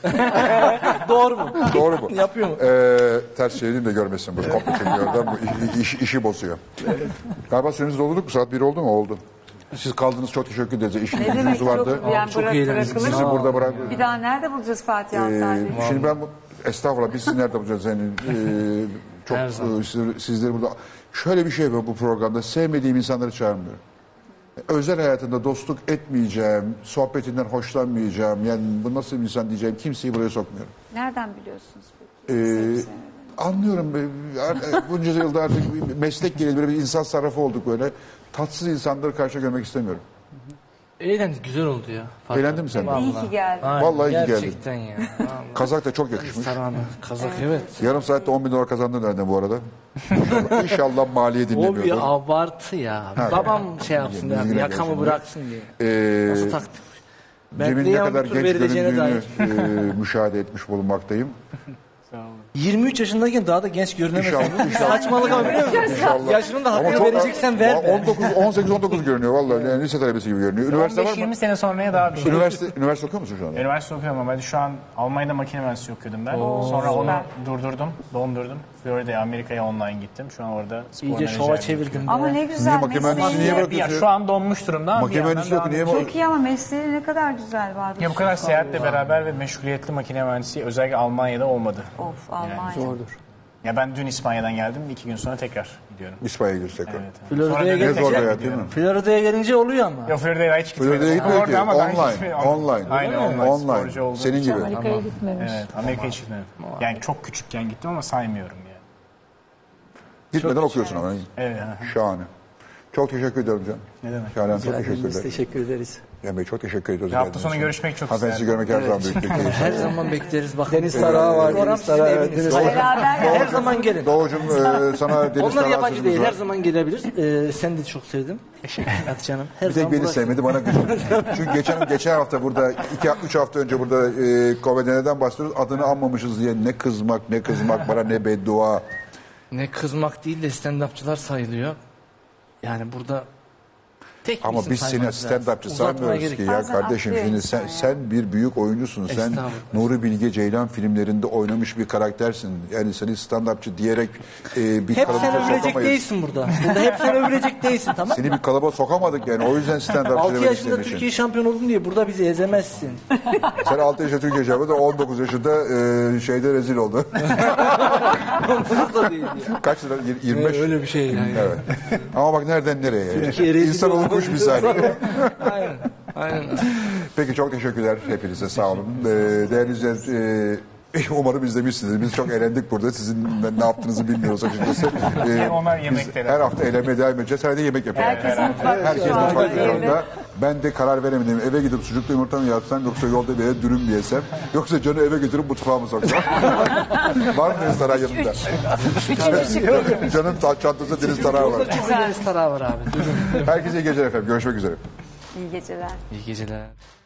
Speaker 2: Doğru mu?
Speaker 1: Doğru bu.
Speaker 2: [laughs] Yapıyor mu?
Speaker 1: Ee, ters çevireyim de görmesin bu kopya çekiyorlar. Bu iş, iş- işi bozuyor. Galiba sürenizi doldurduk mu? Saat 1 oldu mu? Oldu. Siz kaldınız çok teşekkür ederiz. İşiniz
Speaker 3: Ne demek
Speaker 1: gücünüz vardı.
Speaker 3: çok, yani
Speaker 2: Çok
Speaker 3: bırak,
Speaker 2: eğlendik.
Speaker 3: bırakılır
Speaker 1: Sizi
Speaker 3: mı?
Speaker 1: burada bırak.
Speaker 3: Bir daha nerede bulacağız Fatih
Speaker 1: Ee,
Speaker 3: Hanımefendi?
Speaker 1: şimdi ben bu, estağfurullah biz sizi nerede bulacağız yani Ee, çok e, sizleri, sizleri burada şöyle bir şey var bu programda sevmediğim insanları çağırmıyorum. Özel hayatında dostluk etmeyeceğim, sohbetinden hoşlanmayacağım, yani bu nasıl bir insan diyeceğim kimseyi buraya sokmuyorum.
Speaker 3: Nereden biliyorsunuz peki?
Speaker 1: Ee,
Speaker 3: Sevip sevmediğini?
Speaker 1: anlıyorum. e, ar- Bunca yılda artık bir meslek gereği böyle bir insan sarrafı olduk böyle. Tatsız insanları karşıya görmek istemiyorum.
Speaker 2: Eğlendik. Güzel oldu ya. Fatih
Speaker 1: Eğlendin
Speaker 2: abi.
Speaker 1: mi sen? de?
Speaker 3: İyi ki geldin.
Speaker 2: Aynen,
Speaker 1: Vallahi iyi geldin.
Speaker 2: Gerçekten ya.
Speaker 1: [laughs]
Speaker 2: Vallahi.
Speaker 1: Kazak da çok yakışmış.
Speaker 2: Tarhana, kazak evet.
Speaker 1: Yarım saatte 10 bin dolar kazandın nereden bu arada? [laughs] İnşallah, inşallah maliye
Speaker 2: O bir
Speaker 1: dinlemiyordur.
Speaker 2: abartı ya. Babam şey yapsın,
Speaker 1: Bilgi- bilgi
Speaker 2: yakamı
Speaker 1: veriyorsun.
Speaker 2: bıraksın diye.
Speaker 1: Ee,
Speaker 2: Nasıl taktik?
Speaker 1: Cem'in ne
Speaker 2: Bentley'e
Speaker 1: kadar
Speaker 2: bir tur
Speaker 1: genç
Speaker 2: verileceğine
Speaker 1: göründüğünü
Speaker 2: dair.
Speaker 1: e, müşahede etmiş bulunmaktayım.
Speaker 2: 23 yaşındayken daha da genç
Speaker 1: İnşallah,
Speaker 2: görünemezsin.
Speaker 1: inşallah.
Speaker 2: Saçmalık ama biliyor musun?
Speaker 1: İnşallah.
Speaker 2: Yaşının da hakkını
Speaker 1: çok-
Speaker 2: vereceksen ver be.
Speaker 1: 19, 18, 19 görünüyor vallahi. Yani lise talebesi gibi görünüyor. Üniversite var
Speaker 6: 15-20
Speaker 1: mı?
Speaker 6: sene sonraya daha bir şey.
Speaker 1: Üniversite, üniversite okuyor musun şu anda?
Speaker 6: Üniversite okuyorum ama ben şu an Almanya'da makine mühendisliği okuyordum ben. Sonra onu durdurdum, dondurdum. Florida'ya, Amerika'ya online gittim. Şu an orada spor
Speaker 2: İyice şova
Speaker 6: menajerliği
Speaker 2: çevirdim.
Speaker 3: Ama
Speaker 2: ya.
Speaker 3: ne güzel
Speaker 1: makine
Speaker 3: mesleği.
Speaker 1: mühendisi niye
Speaker 6: yapıyorum.
Speaker 1: bırakıyorsun?
Speaker 6: Ya şu an donmuş durumda ama bir
Speaker 1: Makine
Speaker 6: yandan
Speaker 1: mühendisi yok.
Speaker 6: devam
Speaker 1: Niye
Speaker 6: ediyorum.
Speaker 3: Çok iyi ama mesleği ne kadar güzel var.
Speaker 6: Ya bu kadar seyahatle beraber ve meşguliyetli makine mühendisi özellikle Almanya'da olmadı.
Speaker 3: Of Almanya.
Speaker 6: Ya ben dün İspanya'dan geldim. iki gün sonra tekrar gidiyorum.
Speaker 1: İspanya'ya gideriz tekrar.
Speaker 6: Sonra
Speaker 2: Florida'ya
Speaker 6: dönüp
Speaker 1: Ne
Speaker 2: gelince,
Speaker 1: zor
Speaker 6: tekrar
Speaker 1: bir hayat değil
Speaker 6: gidiyorum.
Speaker 1: mi?
Speaker 2: Florida'ya gelince oluyor ama.
Speaker 6: Ya Florida'ya hiç gitmedim.
Speaker 1: Florida'ya gitmiyor
Speaker 6: Orada
Speaker 1: ki.
Speaker 6: ama ben hiç
Speaker 1: Online,
Speaker 6: gitmedim.
Speaker 1: online.
Speaker 6: Aynen online.
Speaker 1: Online.
Speaker 6: Sporcu olduğum
Speaker 1: Senin
Speaker 6: için.
Speaker 1: gibi.
Speaker 9: Amerika'ya gitmemiş.
Speaker 6: Evet Amerika'ya hiç gitmedim. Yani çok küçükken gittim ama saymıyorum yani.
Speaker 1: Gitmeden okuyorsun ama.
Speaker 6: Evet.
Speaker 1: Şahane. Çok teşekkür ediyorum canım.
Speaker 6: Ne demek.
Speaker 1: Şahane,
Speaker 7: Rica
Speaker 1: çok
Speaker 7: ederiz,
Speaker 1: teşekkür
Speaker 7: biz
Speaker 1: ederim.
Speaker 7: teşekkür ederiz.
Speaker 1: Emre çok teşekkür ediyoruz.
Speaker 6: Ve hafta
Speaker 1: geldiğiniz
Speaker 6: sonu
Speaker 1: için.
Speaker 6: görüşmek çok
Speaker 1: Hanımefendi sizi
Speaker 6: isterdim.
Speaker 1: görmek her zaman büyük bir keyif.
Speaker 2: [laughs] Her zaman bekleriz. Bakın.
Speaker 7: Deniz Tarağı var.
Speaker 2: Program
Speaker 7: Deniz
Speaker 2: sizin
Speaker 7: Tarağı, evet,
Speaker 2: eviniz.
Speaker 7: Deniz
Speaker 3: Hayır, haber-
Speaker 2: Her zaman gelin.
Speaker 1: Doğucum
Speaker 2: [laughs]
Speaker 1: e, sana deniz
Speaker 2: Onlar
Speaker 1: tarhası
Speaker 2: yabancı değil.
Speaker 1: var.
Speaker 2: Her zaman gelebilir. Ee, seni de çok sevdim. Teşekkürler canım. Her
Speaker 1: Bir tek beni sevmedi bana
Speaker 2: [laughs]
Speaker 1: gıcık. Çünkü geçen geçen hafta burada iki üç hafta önce burada e, komedyeneden bahsediyoruz. Adını anmamışız diye ne kızmak ne kızmak bana ne beddua.
Speaker 2: Ne kızmak değil de stand-upçılar sayılıyor. Yani burada tek bir
Speaker 1: Ama
Speaker 2: isim
Speaker 1: biz seni
Speaker 2: saymamız lazım.
Speaker 1: stand-upçı
Speaker 2: Uzatmaya
Speaker 1: sanmıyoruz
Speaker 2: gerek
Speaker 1: ki
Speaker 2: yok.
Speaker 1: ya
Speaker 3: Bazen
Speaker 1: kardeşim.
Speaker 3: atlıyor
Speaker 1: Şimdi
Speaker 3: insan
Speaker 1: sen,
Speaker 3: ya.
Speaker 1: sen bir büyük oyuncusun. Sen
Speaker 2: Estağfurullah.
Speaker 1: Nuri Bilge Ceylan filmlerinde oynamış bir karaktersin. Yani seni stand-upçı diyerek e, bir
Speaker 2: Hep
Speaker 1: kalıba
Speaker 2: sen
Speaker 1: sokamayız.
Speaker 2: övülecek değilsin burada. Burada hep sen övülecek değilsin tamam mı?
Speaker 1: Seni bir kalıba sokamadık yani. O
Speaker 2: [laughs]
Speaker 1: yüzden stand-upçı
Speaker 2: 6
Speaker 1: demek
Speaker 2: yaşında
Speaker 1: istemişsin.
Speaker 2: Türkiye şampiyon oldun diye burada bizi ezemezsin.
Speaker 1: Sen 6 yaşında Türkiye şampiyonu da 19 yaşında e, şeyde rezil oldu.
Speaker 2: Umurumuzda değil ya.
Speaker 1: Kaç lira? Yir- 25?
Speaker 2: Öyle bir şey yani.
Speaker 1: Evet. Ama bak nereden nereye?
Speaker 2: Türkiye rezil
Speaker 1: İnsan
Speaker 2: oldu.
Speaker 1: olmuş misali.
Speaker 2: Aynen. Aynen.
Speaker 1: Peki çok teşekkürler hepinize sağ olun. Ee, değerli izleyiciler e, [laughs] umarım izlemişsiniz. Biz çok eğlendik burada. Sizin ne- ne yaptığınızı bilmiyoruz açıkçası. Ee,
Speaker 6: Onlar
Speaker 1: biz
Speaker 6: yemekte de.
Speaker 1: her hafta eğlenmeye devam edeceğiz. Her de yemek yapıyoruz.
Speaker 3: Herkes mutfakta.
Speaker 1: Herkes
Speaker 3: şu anda.
Speaker 1: mutfak
Speaker 3: Evet.
Speaker 1: yanında. Ben de karar veremedim. Eve gidip sucuklu yumurta mı yapsam yoksa yolda bir yere dürüm mü yesem yoksa canı eve götürüp mutfağa mı
Speaker 3: [laughs]
Speaker 1: soksam? var mı deniz tarağı yanında?
Speaker 3: Üçüncü çıktı.
Speaker 1: Canın ta- çantasında deniz tarağı var.
Speaker 2: Çok ileri tarağı var abi.
Speaker 1: Herkese iyi geceler efendim. Görüşmek üzere.
Speaker 3: İyi geceler.
Speaker 2: İyi geceler.